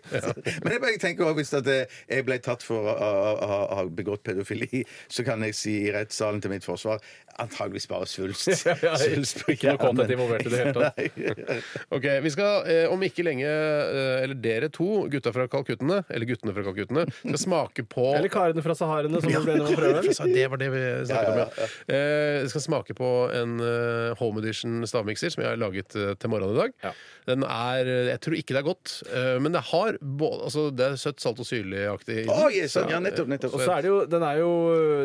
Speaker 5: men jeg bare tenker også, hvis at eh, jeg ble tatt for å å- å- å ha begått pedofili, så kan jeg si i rettssalen til mitt forsvar antageligvis bare svulst.
Speaker 6: Ja, ja,
Speaker 5: Svulst på
Speaker 6: ikke noe kåthet
Speaker 5: hjernen.
Speaker 6: involvert i det hele tatt.
Speaker 5: Nei.
Speaker 4: Ok, Vi skal eh, om ikke lenge, eh, eller dere to, gutta fra Kalkuttene, eller guttene fra Kalkuttene, skal smake på
Speaker 6: Eller karene fra Saharene, som ble enige om å prøve.
Speaker 4: Jeg sa, Det var det vi snakket om, ja. Eh, skal smake på en eh, home edition stavmikser som jeg har laget eh, til morgenen i dag.
Speaker 6: Ja.
Speaker 4: Den er eh, Jeg tror ikke det er godt, eh, men det har både altså, Det er søtt, salt og syrlig-aktig. i den.
Speaker 5: Å, yes, sånn, ja, nettopp, nettopp.
Speaker 6: Og så er det jo, den er jo,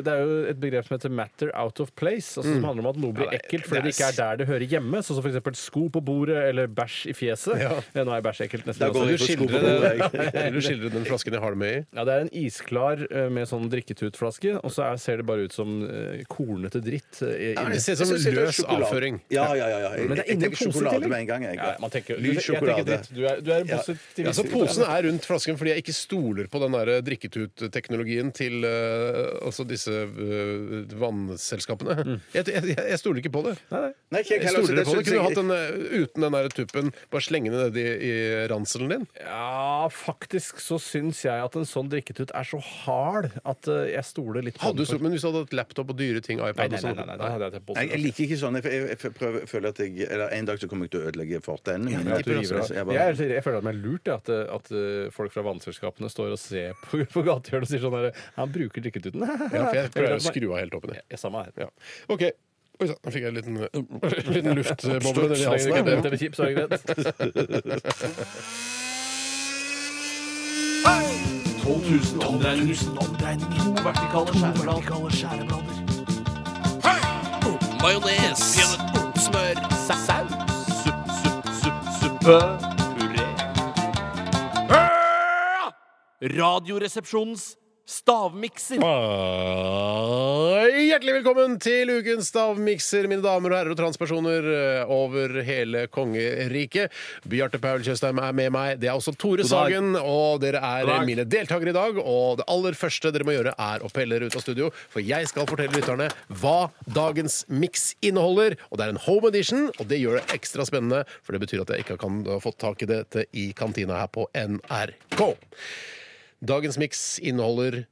Speaker 6: det er jo et begrep som heter 'matter out of place', altså som handler om at noe blir
Speaker 4: Ja, det-
Speaker 6: ekkelt fordi det
Speaker 4: det
Speaker 6: ikke
Speaker 4: er
Speaker 6: er der det hører hjemme. Sånn som f.eks. sko på bordet eller bæsj i fjeset. Eh, Nå er bæsj ekkelt nesten.
Speaker 5: Da går
Speaker 6: uansett.
Speaker 5: vi
Speaker 4: Du
Speaker 5: på sko på
Speaker 4: skildrer,
Speaker 5: bordet.
Speaker 4: den, du skildrer den flasken jeg har det med i.
Speaker 6: Ja, Det er en isklar eh, med sånn drikketutflaske, og så er, ser det bare ut som eh, kornete dritt. eh, inni.
Speaker 4: Det ser ut som
Speaker 5: Jeg synes det er
Speaker 4: løs
Speaker 5: sjokolade.
Speaker 4: avføring.
Speaker 5: Ja, ja, ja. ja. Jeg,
Speaker 6: Men det er
Speaker 5: jeg
Speaker 6: ingen
Speaker 5: tenker
Speaker 6: pose i
Speaker 5: sjokolade
Speaker 6: tillegg.
Speaker 5: med en gang. Jeg,
Speaker 6: Ja, man tenker,
Speaker 5: Lys
Speaker 6: jeg tenker
Speaker 5: sjokolade.
Speaker 6: dritt. Du er, du er en
Speaker 5: Ja.
Speaker 6: positiv de
Speaker 4: Ja, så
Speaker 6: visste ikke
Speaker 4: Posen
Speaker 6: det.
Speaker 4: er rundt flasken fordi jeg ikke stoler på den der eh, drikketut-teknologien til eh, altså disse eh, vannselskapene. Jeg, jeg, jeg stoler ikke på det.
Speaker 5: Nei, ikke jeg
Speaker 4: Jeg
Speaker 5: heller,
Speaker 4: stoler
Speaker 5: altså, det
Speaker 4: ikke på det.
Speaker 5: synes
Speaker 4: Kunne du
Speaker 5: jeg-
Speaker 4: hatt den eh, uten den der tuppen, bare slenge den nedi i ranselen din?
Speaker 6: Ja, faktisk så syns jeg at en sånn drikketut er så hard at eh, jeg stoler litt på
Speaker 4: Hadde du
Speaker 6: den.
Speaker 4: stolt, men hvis du hadde hatt laptop og dyre ting,
Speaker 6: Nei,
Speaker 4: iPad
Speaker 6: nei,
Speaker 4: og
Speaker 6: nei,
Speaker 4: sånn
Speaker 6: nei, nei, nei, det er på
Speaker 5: Nei, jeg liker ikke sånn. Jeg, jeg, jeg prøver, føler at jeg Eller en dag så kommer jeg til å ødelegge fortennene mine.
Speaker 6: At du river av.
Speaker 5: Så jeg
Speaker 6: Jeg,
Speaker 5: bare-
Speaker 6: er- jeg føler at det er lurt ja, at, eh, at eh, folk fra vannselskapene står og ser på, på gatehjørnet og sier sånn herre Han bruker drikketuten.
Speaker 4: Ja, for jeg prøver å skru av helt opp i det.
Speaker 6: Ja, Samme her.
Speaker 4: Ja. OK. Oi sann, nå fikk jeg en liten, liten luftboble nedi
Speaker 6: Så lenge
Speaker 4: halsen.
Speaker 6: du
Speaker 4: her.
Speaker 6: kan drikke chips, er det greit.
Speaker 2: 12 000 omdreininger. 1000 omdreininger. To vertikale skjæreblader.
Speaker 7: Majones. Smør.
Speaker 2: Saus. Supp, supp, supp, suppe. Puré. Ah! Radioresepsjonens stavmikser.
Speaker 4: Ah, Hjertelig velkommen til ukens stavmikser, mine damer og herrer og transpersoner eh, over hele kongeriket. Bjarte Paul Tjøstheim er med meg. Det er også Tore Sagen, og dere er eh, mine deltakere i dag. Og det aller første dere må gjøre, er å pelle dere ut av studio, for jeg skal fortelle lytterne hva dagens miks inneholder. Og det er en home edition, og det gjør det ekstra spennende, for det betyr at jeg ikke kan ha fått tak i dette i kantina her på NRK. Dagens miks inneholder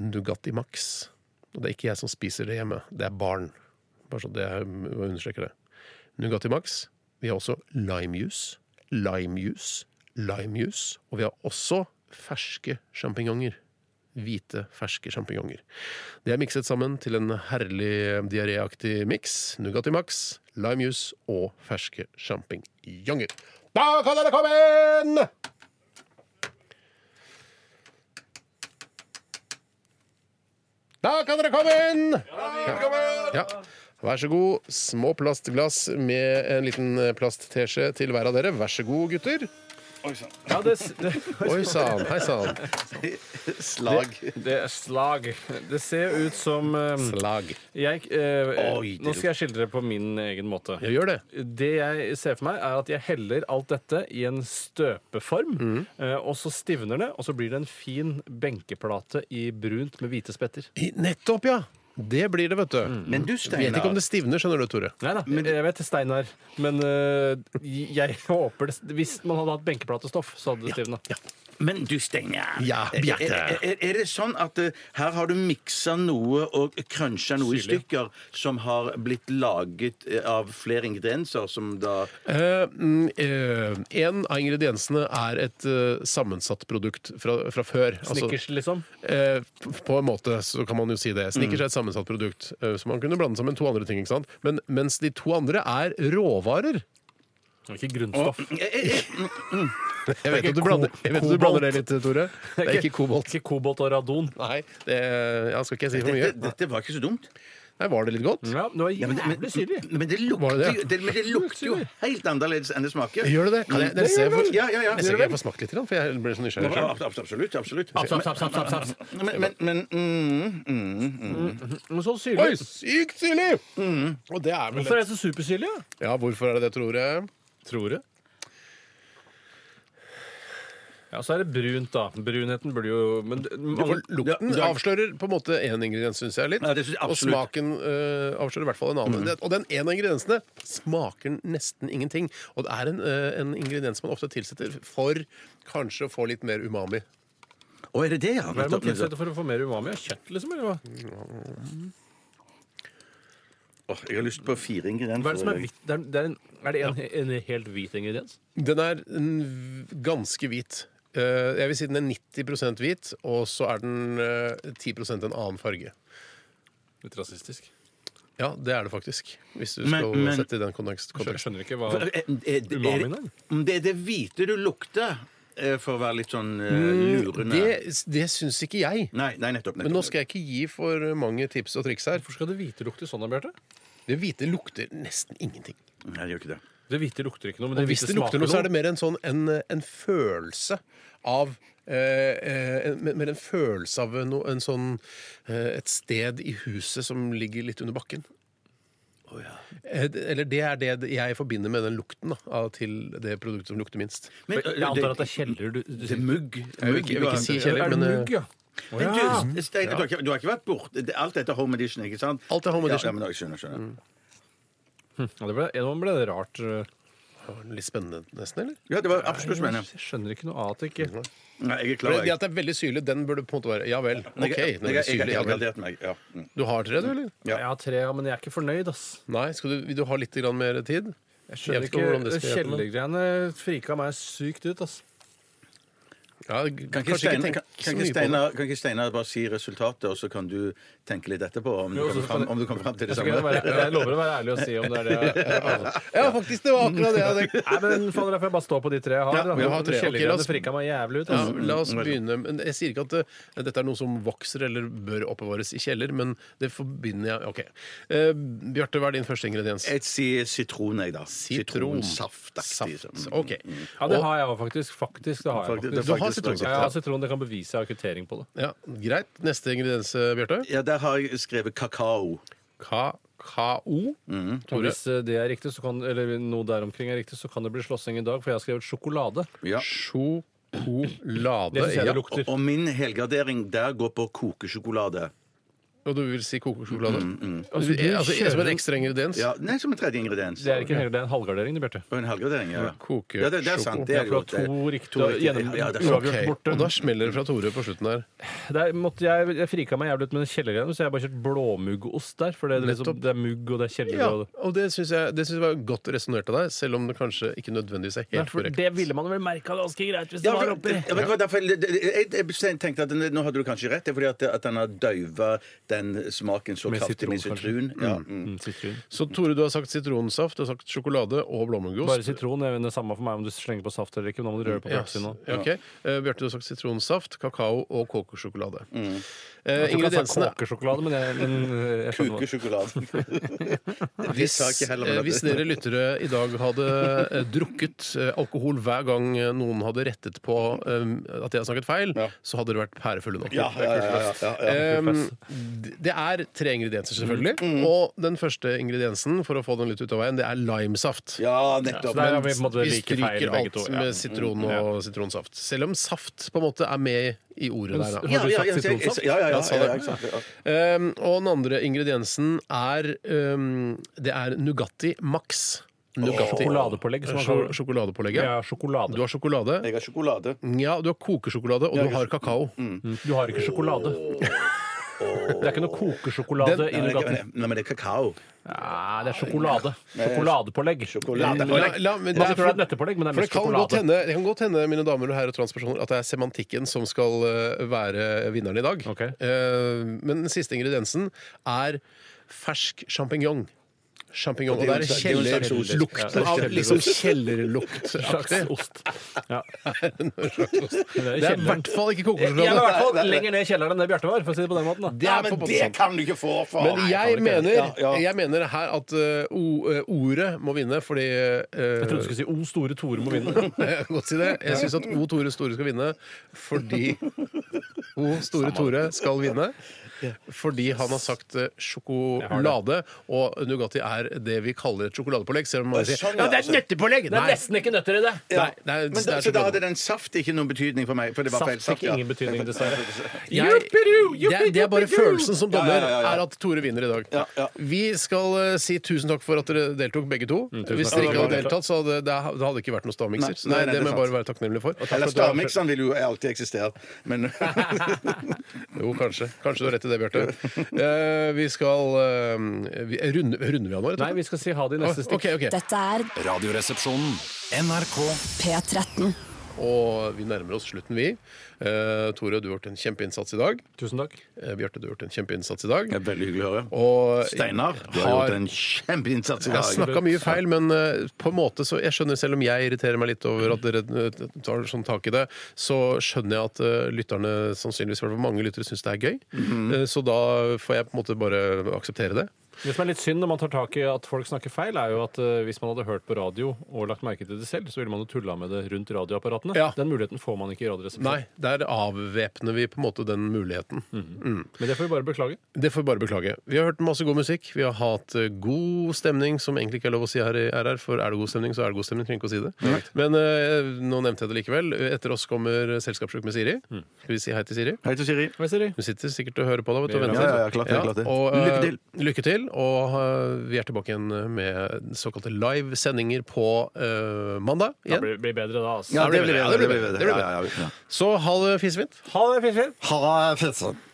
Speaker 4: Nugatti Max. Og det er ikke jeg som spiser det hjemme, det er barn. Bare så det er, jeg understreker det. Nugatti Max. Vi har også limejus, limejus, limejus. Og vi har også ferske sjampinjonger. Hvite, ferske sjampinjonger. Det er mikset sammen til en herlig diaréaktig miks. Nugatti Max, limejus og ferske sjampinjonger. Da kan dere komme inn! Da kan dere komme inn! Ja. Vær så god. Små plastglass med en liten plastteskje til hver av dere. Vær så god, gutter.
Speaker 6: Ja, det, s- det,
Speaker 4: Oi sann, hei sann.
Speaker 5: Slag.
Speaker 6: det er slag. Det ser ut som eh,
Speaker 4: Slag.
Speaker 6: jeg, eh,
Speaker 5: Oi, det
Speaker 6: Nå skal jeg skildre på min egen måte.
Speaker 4: Ja, gjør det.
Speaker 6: Det jeg ser for meg, er at jeg heller alt dette i en støpeform. eh, Og så stivner det, og så blir det en fin benkeplate i brunt med hvite spetter.
Speaker 4: I- Nettopp, ja. Det blir det, vet du.
Speaker 5: Men du,
Speaker 4: Vet ikke om
Speaker 5: Steinar
Speaker 4: det stivner, skjønner du, Tore.
Speaker 6: Nei da, jeg vet Steinar, men eh, jeg håper det Hvis man hadde hatt benkeplatestoff, så hadde det stivna.
Speaker 5: Men du, Steinar.
Speaker 4: Ja, Bjarte.
Speaker 5: Er, er, er det sånn at eh, her har du miksa noe og krønsja noe i stykker som har blitt laget eh, av flere ingredienser, som da
Speaker 4: Eh, mm, eh, en av ingrediensene er et eh, sammensatt produkt fra, fra før. Altså,
Speaker 6: Snickers, liksom.
Speaker 4: Eh, på en måte så kan man jo si det. Snickers er et sammensatt produkt, eh, så man kunne blande sammen to andre ting. ikke sant? Men mens de to andre er råvarer.
Speaker 6: Ikke grunnstoff.
Speaker 5: Eh, eh, eh,
Speaker 4: Jeg vet
Speaker 6: ikke
Speaker 4: at du blander, jeg vet at du
Speaker 6: kobolt.
Speaker 4: blander det litt, Tore. Det er ikke kobolt.
Speaker 6: Ikke kobolt og radon.
Speaker 4: Nei, det ja, skal ikke jeg si for
Speaker 5: eh, dette,
Speaker 4: mye.
Speaker 5: dette var ikke så dumt.
Speaker 4: Nei, Var det litt godt?
Speaker 6: Ja, det var
Speaker 5: Ja, men, men,
Speaker 6: jævlig syrlig.
Speaker 5: men, det
Speaker 4: Var
Speaker 5: lukter,
Speaker 4: det det?
Speaker 5: jo- det, men det lukter jo helt annerledes enn det smaker.
Speaker 4: Gjør det det? Kan jeg,
Speaker 5: Det
Speaker 4: jeg
Speaker 5: gjør
Speaker 4: ser
Speaker 5: det
Speaker 4: for-
Speaker 5: vel. Ja, ja, ja.
Speaker 4: Jeg ser ikke jeg får smakt litt, for jeg ble så
Speaker 5: Ja,
Speaker 4: nysgjerrig selv.
Speaker 5: ab- ab- Absolutt. absolutt
Speaker 6: Saps, saps, saps, saps, saps.
Speaker 5: Men, men, men mm, mm, mm.
Speaker 6: Men så
Speaker 4: Oi,
Speaker 6: syrlig.
Speaker 4: sykt syrlig! Og det er vel
Speaker 6: Hvorfor er det så supersyrlig? da?
Speaker 4: Ja, hvorfor er det det, tror jeg?
Speaker 6: Tror du? Ja, så er det brunt, da. Brunheten burde jo Men mange,
Speaker 4: For lukten avslører på en måte én ingrediens, syns jeg. litt
Speaker 5: Ja, det synes jeg
Speaker 4: Og
Speaker 5: absolutt. Mm.
Speaker 4: smaken eh, avslører i hvert fall en annen. Det- Og den ene av ingrediensene smaker nesten ingenting. Og det er en, eh, en ingrediens man ofte tilsetter for kanskje å få litt mer umami.
Speaker 5: Å, er det det, ja?
Speaker 6: hva er det
Speaker 5: Nettopp,
Speaker 6: man
Speaker 5: nettopp.
Speaker 6: tilsetter for å få mer umami? Er det Kjøtt, liksom? Eller hva?
Speaker 5: Åh, jeg har lyst på fire ingredienser.
Speaker 6: Hva er det som er hvitt? Det er, det er, en, er det en, en helt hvit ingrediens?
Speaker 4: Den er mm, ganske hvit. Eh, jeg vil si den er 90 hvit, og så er den eh, 10 en annen farge.
Speaker 6: Litt rasistisk.
Speaker 4: Ja, det er det faktisk. Hvis du
Speaker 5: Men-
Speaker 4: skal
Speaker 5: men-
Speaker 4: sette det i den kontekst.
Speaker 6: Jeg
Speaker 4: kontekst.
Speaker 6: skjønner ikke hva
Speaker 5: Er- er- er- Eh, er-
Speaker 6: Umamien, eller?
Speaker 5: Om Det er det hvite du lukter, eh, for å være litt sånn eh, lurende.
Speaker 4: Det, det syns ikke jeg.
Speaker 5: Nei, nei, nettopp. nettopp.
Speaker 4: Men nå skal jeg ikke gi for mange tips og triks her.
Speaker 6: Hvorfor skal det hvite lukte sånn, da, Bjarte?
Speaker 4: Det hvite lukter nesten ingenting.
Speaker 5: Nei, det gjør ikke det.
Speaker 6: Det hvite lukter ikke noe, men
Speaker 4: Og
Speaker 6: det
Speaker 4: hvis
Speaker 6: hvite
Speaker 4: det lukter
Speaker 6: smaker
Speaker 4: noe, så er det mer en sånn en, en følelse av eh, eh, en- mer en følelse av noe, en sånn, eh, et sted i huset som ligger litt under bakken. Eh, d- Eller det er det jeg forbinder med den lukten da, av, til det produktet som lukter minst.
Speaker 5: Men,
Speaker 2: Jeg antar at det er kjeller du, du
Speaker 5: det er mugg.
Speaker 4: Jeg vil ikke, jeg vil ikke si
Speaker 2: Er
Speaker 4: kjeller,
Speaker 2: det
Speaker 4: men eh,
Speaker 2: mugg, ja?
Speaker 5: Men du, Stein, du, har ikke, du har ikke vært borte det- Alt dette er home edition, ikke sant?
Speaker 4: Alt er home edition.
Speaker 5: Ja, ja, men jeg skjønner, skjønner.
Speaker 6: Ja, det ble, nå ble det rart. Jeg
Speaker 4: det var eh, litt spennende nesten, eller?
Speaker 5: Ja, det var absolutt spennende.
Speaker 6: skjønner ikke noe av at det ikke
Speaker 5: Nei, jeg er klar.
Speaker 4: Det
Speaker 5: Jeg,
Speaker 4: at det er veldig syrlig, den burde på en måte være Ja vel.
Speaker 5: jeg,
Speaker 4: OK. Den er
Speaker 5: jeg,
Speaker 4: veldig syrlig,
Speaker 5: jeg
Speaker 4: ja
Speaker 5: har
Speaker 4: vel.
Speaker 5: gradert meg. Ja. Mm.
Speaker 4: Du har tre, du, eller?
Speaker 5: Ja.
Speaker 6: Jeg har tre, ja, men jeg er ikke fornøyd, ass.
Speaker 4: Nei? Skal du, vil du ha litt grann mer tid?
Speaker 6: Jeg
Speaker 4: Jeg
Speaker 6: skjønner
Speaker 4: vet ikke hvordan det
Speaker 6: ikke,
Speaker 4: skal hjelpe meg.
Speaker 6: Kjellergreiene frika meg sykt ut, ass.
Speaker 4: Ja,
Speaker 5: Kan ikke
Speaker 4: kanskje jeg
Speaker 5: Steinar-
Speaker 4: tenker
Speaker 5: kan- kan
Speaker 4: så
Speaker 5: ikke
Speaker 4: mye på det.
Speaker 5: Steinar kan ikke Steinar bare si resultatet, og så kan du tenke litt etterpå om du
Speaker 6: Jo, så
Speaker 5: kommer
Speaker 6: kan
Speaker 5: fram,
Speaker 6: jeg-
Speaker 5: om du kommer fram til det
Speaker 6: Jeg, skal gjerne
Speaker 5: samme?
Speaker 6: være, jeg lover å være ærlig og si om det er det jeg altså.
Speaker 4: Ja, faktisk, det var akkurat det jeg hadde tenkt.
Speaker 6: Nei, men fader, jeg får bare stå på de tre jeg har.
Speaker 4: Ja,
Speaker 6: da.
Speaker 4: vi har tre. Ok, la oss-
Speaker 6: Kjellergreiene frika meg jævlig ut,
Speaker 4: Ja,
Speaker 6: ass.
Speaker 4: la oss begynne. Men jeg sier ikke at eh, dette er noe som vokser eller bør oppbevares i kjeller, men det forbinder jeg OK. Eh, Bjarte, hva er din første ingrediens?
Speaker 5: Jeg sier sitron, jeg, da.
Speaker 4: Sitron.
Speaker 5: Sitronsaft.
Speaker 4: Saft. OK.
Speaker 5: Mm.
Speaker 6: Ja, det har jeg òg, faktisk. Faktisk, det har jeg
Speaker 5: Faktisk- det
Speaker 6: faktisk.
Speaker 5: er
Speaker 4: Du har
Speaker 5: faktisk-
Speaker 4: sitronsaft,
Speaker 6: Ja, altså, jeg har sitron, det kan bevise jeg har kvittering på det.
Speaker 4: Ja, greit. Neste ingrediens, eh, Bjarte?
Speaker 5: Ja, der har jeg skrevet kakao.
Speaker 4: Kakao.
Speaker 5: Mm.
Speaker 6: Og
Speaker 4: Tore?
Speaker 6: hvis eh, det er riktig, så kan, eller noe der omkring er riktig, så kan det bli slåssing i dag, for jeg har skrevet sjokolade.
Speaker 5: Ja.
Speaker 4: Sjokolade.
Speaker 6: Det synes jeg
Speaker 4: Ja.
Speaker 6: det lukter.
Speaker 5: Og, og min helgardering der går på kokesjokolade.
Speaker 4: Og du vil si kokosjokolade?
Speaker 6: Altså, du
Speaker 4: Eh, Altså,
Speaker 6: kjører-
Speaker 4: som en ekstra
Speaker 5: Mm,
Speaker 4: ingrediens?
Speaker 5: Ja, nei, som en tredje ingrediens.
Speaker 6: Det er ikke en hel, det er en halvgardering, det, Bjarte.
Speaker 5: Og en helgardering, ja.
Speaker 4: Koke-
Speaker 5: ja det, det er sant. Det
Speaker 6: Ja,
Speaker 5: er
Speaker 6: for
Speaker 5: jo
Speaker 6: du har to
Speaker 5: det-
Speaker 6: riktige gjennom-
Speaker 5: Ja, det er sant.
Speaker 6: uavgjort.
Speaker 4: Ok,
Speaker 6: borte.
Speaker 4: Og da smeller det fra Tore på slutten her.
Speaker 6: Der måtte jeg, jeg frika meg jævlig ut med den kjellergreiene, så jeg har bare kjørt blåmuggost der. For det er, liksom,
Speaker 4: Nettopp.
Speaker 6: det er mugg, og det er kjeller.
Speaker 4: Ja,
Speaker 6: og det.
Speaker 4: og det syns jeg, det synes jeg var godt resonnert av deg, selv om det kanskje ikke nødvendigvis er
Speaker 6: Nei,
Speaker 4: helt
Speaker 6: for
Speaker 4: korrekt.
Speaker 6: det ville man vel merka ganske greit hvis
Speaker 5: Ja, for,
Speaker 6: det var oppi.
Speaker 5: ja, men det var derfor, jeg- jeg, jeg tenkte at den- Nå hadde du kanskje rett. Det er fordi at, at den har døyva den smaken så
Speaker 6: Med
Speaker 5: kraftig med
Speaker 6: sitron,
Speaker 5: sitron. Ja. Mm.
Speaker 6: Mm, sitron.
Speaker 4: Så Tore, du har sagt sitronsaft, du har sagt sjokolade og blåmuggost.
Speaker 6: Bare sitron. Det er det samme for meg om du slenger på saft eller ikke. Men da må du røre på
Speaker 4: Ja,
Speaker 6: praksis nå.
Speaker 4: ja, ok. Eh, Bjarte, du har sagt sitronsaft, kakao og kokosjokolade.
Speaker 5: Mm.
Speaker 4: Eh,
Speaker 6: Jeg tror ikke han sa
Speaker 4: ingrediensene
Speaker 6: kokesjokolade, men jeg, men eh, jeg skjønner hva-
Speaker 5: Kukesjokolade.
Speaker 4: Hvis,
Speaker 5: sa ikke heller, men
Speaker 4: eh,
Speaker 5: at-
Speaker 4: hvis dere lyttere i dag hadde eh, drukket eh, alkohol hver gang eh, noen hadde rettet på eh, at jeg har snakket feil, så hadde dere vært pærefulle nå. Eh, Em, Ehm, d- det er tre ingredienser, selvfølgelig.
Speaker 6: Mm.
Speaker 4: Og den første ingrediensen for å få den litt ut av veien, det er limesaft.
Speaker 5: Ja,
Speaker 6: Så
Speaker 5: nettopp.
Speaker 6: der har vi på en måte
Speaker 4: Vi
Speaker 6: like feil,
Speaker 4: stryker
Speaker 6: begge
Speaker 4: alt
Speaker 6: to. Ja.
Speaker 4: med sitron og sitronsaft. Selv om saft på en måte er med i ordet der. Da.
Speaker 6: Ja,
Speaker 5: Ja, ja, ja, ja, ja, ja, ja,
Speaker 4: Jeg sa
Speaker 5: ja,
Speaker 4: det.
Speaker 5: ja, ikke sant, ja.
Speaker 4: Um, og den andre ingrediensen er um, Det er Nugatti Max. Nugatti.
Speaker 6: Sjokoladepålegg, som man kaller det.
Speaker 4: Sjo- Sjokoladepålegget.
Speaker 6: Ja, sjokolade.
Speaker 4: Du har sjokolade.
Speaker 5: Jeg har sjokolade.
Speaker 4: Ja, du har kokesjokolade, og du har kakao.
Speaker 6: Du har ikke sjokolade. Det er ikke noe kokesjokolade
Speaker 4: Den-
Speaker 6: i
Speaker 5: Nei, men
Speaker 6: Nugatten.
Speaker 5: det- nei, men det er kakao.
Speaker 6: Nei, det er sjokolade. Sjokoladepålegg.
Speaker 5: Sjokolade.
Speaker 4: La- la- la- men
Speaker 6: Man
Speaker 4: det er-
Speaker 6: tror det er et nøttepålegg, men det er
Speaker 4: For det
Speaker 6: mest
Speaker 4: kan, godt
Speaker 6: sjokolade.
Speaker 4: hende, det kan godt hende mine damer og herrer og transpersoner, at det er semantikken som skal eh, være vinneren i dag.
Speaker 6: Ok.
Speaker 4: Eh, men den siste ingrediensen er fersk sjampinjong. Sjampinjong. Og
Speaker 5: Og
Speaker 4: det
Speaker 5: det er jo en
Speaker 4: er
Speaker 5: slags- det er jo en slags ost.
Speaker 4: kjellerlukten
Speaker 6: Ja,
Speaker 4: av
Speaker 6: kjellerost.
Speaker 4: liksom kjellerluktaktig.
Speaker 6: Slags ost. Ja.
Speaker 4: Det er i hvert fall ikke
Speaker 6: Jeg var i
Speaker 4: kokosjokolade.
Speaker 6: hvert fall lenger ned i kjelleren enn det Bjarte var. for å si det på den måten. Da.
Speaker 4: Det er på en måte sant.
Speaker 5: kan du ikke få for!
Speaker 4: Men jeg mener,
Speaker 5: Ja, ja.
Speaker 4: jeg mener her at eh, o- eh, ordet må vinne, fordi eh,
Speaker 6: Jeg trodde du skulle si O store Tore må vinne.
Speaker 4: Jeg kan godt si det. Jeg syns at O Tore Store skal vinne fordi O Store Tore skal vinne. Fordi han har sagt eh, sjokolade, og Nugatti er det vi kaller et sjokoladepålegg. Selv om man sier
Speaker 5: sånn, ja,
Speaker 4: ja, det er et
Speaker 5: altså.
Speaker 4: nøttepålegg!
Speaker 6: Det
Speaker 4: Nei,
Speaker 6: er nesten ikke nøtter i det.
Speaker 4: nei, det er,
Speaker 5: Men da,
Speaker 4: det er
Speaker 5: så da hadde
Speaker 4: sjokolade.
Speaker 5: den saft ikke noen betydning for meg? For det var feil
Speaker 6: Saft
Speaker 5: saft,
Speaker 6: fikk
Speaker 5: ja.
Speaker 6: ingen betydning, dessverre.
Speaker 4: Jeg, det, er, det er bare følelsen som dommer,
Speaker 5: ja, ja, ja.
Speaker 4: er at Tore vinner i dag.
Speaker 5: Ja, ja.
Speaker 4: Vi skal eh, si tusen takk for at dere deltok, begge to.
Speaker 6: Mm, tusen
Speaker 4: Hvis
Speaker 6: takk.
Speaker 4: dere ikke hadde
Speaker 6: Ja, det var
Speaker 4: deltatt, så hadde det, det hadde ikke vært noen stavmikser.
Speaker 5: Nei,
Speaker 4: Så det,
Speaker 5: nei, nei, det
Speaker 4: det
Speaker 5: er
Speaker 4: må jeg
Speaker 5: sant.
Speaker 4: bare være takknemlig for.
Speaker 5: Eller stavmikseren vil jo alltid eksistere. Men
Speaker 4: Jo, kanskje. Kanskje du har rett i det, Bjarte. Eh, vi skal eh, vi, runde, Runder vi av nå, rett og Ah,
Speaker 6: Nei, vi skal si ha det i neste stikk.
Speaker 4: Ok, ok.
Speaker 1: Dette er
Speaker 8: Radioresepsjonen. NRK.
Speaker 1: P13.
Speaker 4: Og vi nærmer oss slutten, vi. Eh, Tore, du har gjort en kjempeinnsats i dag.
Speaker 6: Tusen takk.
Speaker 4: Eh, Bjarte, du har gjort en kjempeinnsats i dag.
Speaker 5: Veldig hyggelig å høre.
Speaker 4: Og
Speaker 5: Steinar, du har
Speaker 4: Har-
Speaker 5: gjort en kjempeinnsats i
Speaker 4: jeg
Speaker 5: dag.
Speaker 4: har snakka mye feil, men eh, på en måte så jeg skjønner, selv om jeg irriterer meg litt over at dere eh, tar sånn tak i det, så skjønner jeg at eh, lytterne,
Speaker 5: Mhm.
Speaker 4: sannsynligvis i hvert fall mange lyttere, syns det er gøy. Eh, så da får jeg på en måte bare akseptere det.
Speaker 6: Det som er litt synd når man tar tak i at folk snakker feil, er jo at eh, hvis man hadde hørt på radio og lagt merke til det selv, så ville man jo tulla med det rundt radioapparatene.
Speaker 4: Ja.
Speaker 6: Den muligheten får man ikke i Radioresepsjonen.
Speaker 4: Nei, der avvæpner vi på en måte den muligheten.
Speaker 6: Men det får vi bare beklage.
Speaker 4: Det får vi bare beklage. Vi har hørt masse god musikk. Vi har hatt eh, god stemning, som egentlig ikke er lov å si her i RR, for er det god stemning, så er det god stemning. Trenger ikke å si det. Men eh, nå nevnte jeg det likevel. Etter oss kommer Selskapssjuk med Siri.
Speaker 5: Mm.
Speaker 4: Skal vi si hei til Siri?
Speaker 5: Hei til Siri.
Speaker 6: Hva sier du?
Speaker 4: Hun sitter sikkert og hører på deg. vet du, og
Speaker 6: Ja,
Speaker 4: venter.
Speaker 5: ja, ja, klart det, klart det.
Speaker 4: og, eh,
Speaker 5: Lykke til.
Speaker 4: Lykke til. Og eh, vi er tilbake igjen med såkalte live sendinger på eh, mandag
Speaker 6: Det
Speaker 4: igjen.
Speaker 6: blir, blir bedre da, altså.
Speaker 4: Ja, det blir bedre, det blir bedre.
Speaker 5: Ja, ja, ja.
Speaker 4: Så ha det fisefint.
Speaker 6: Ha det, fint, fint.
Speaker 9: Ha det fint.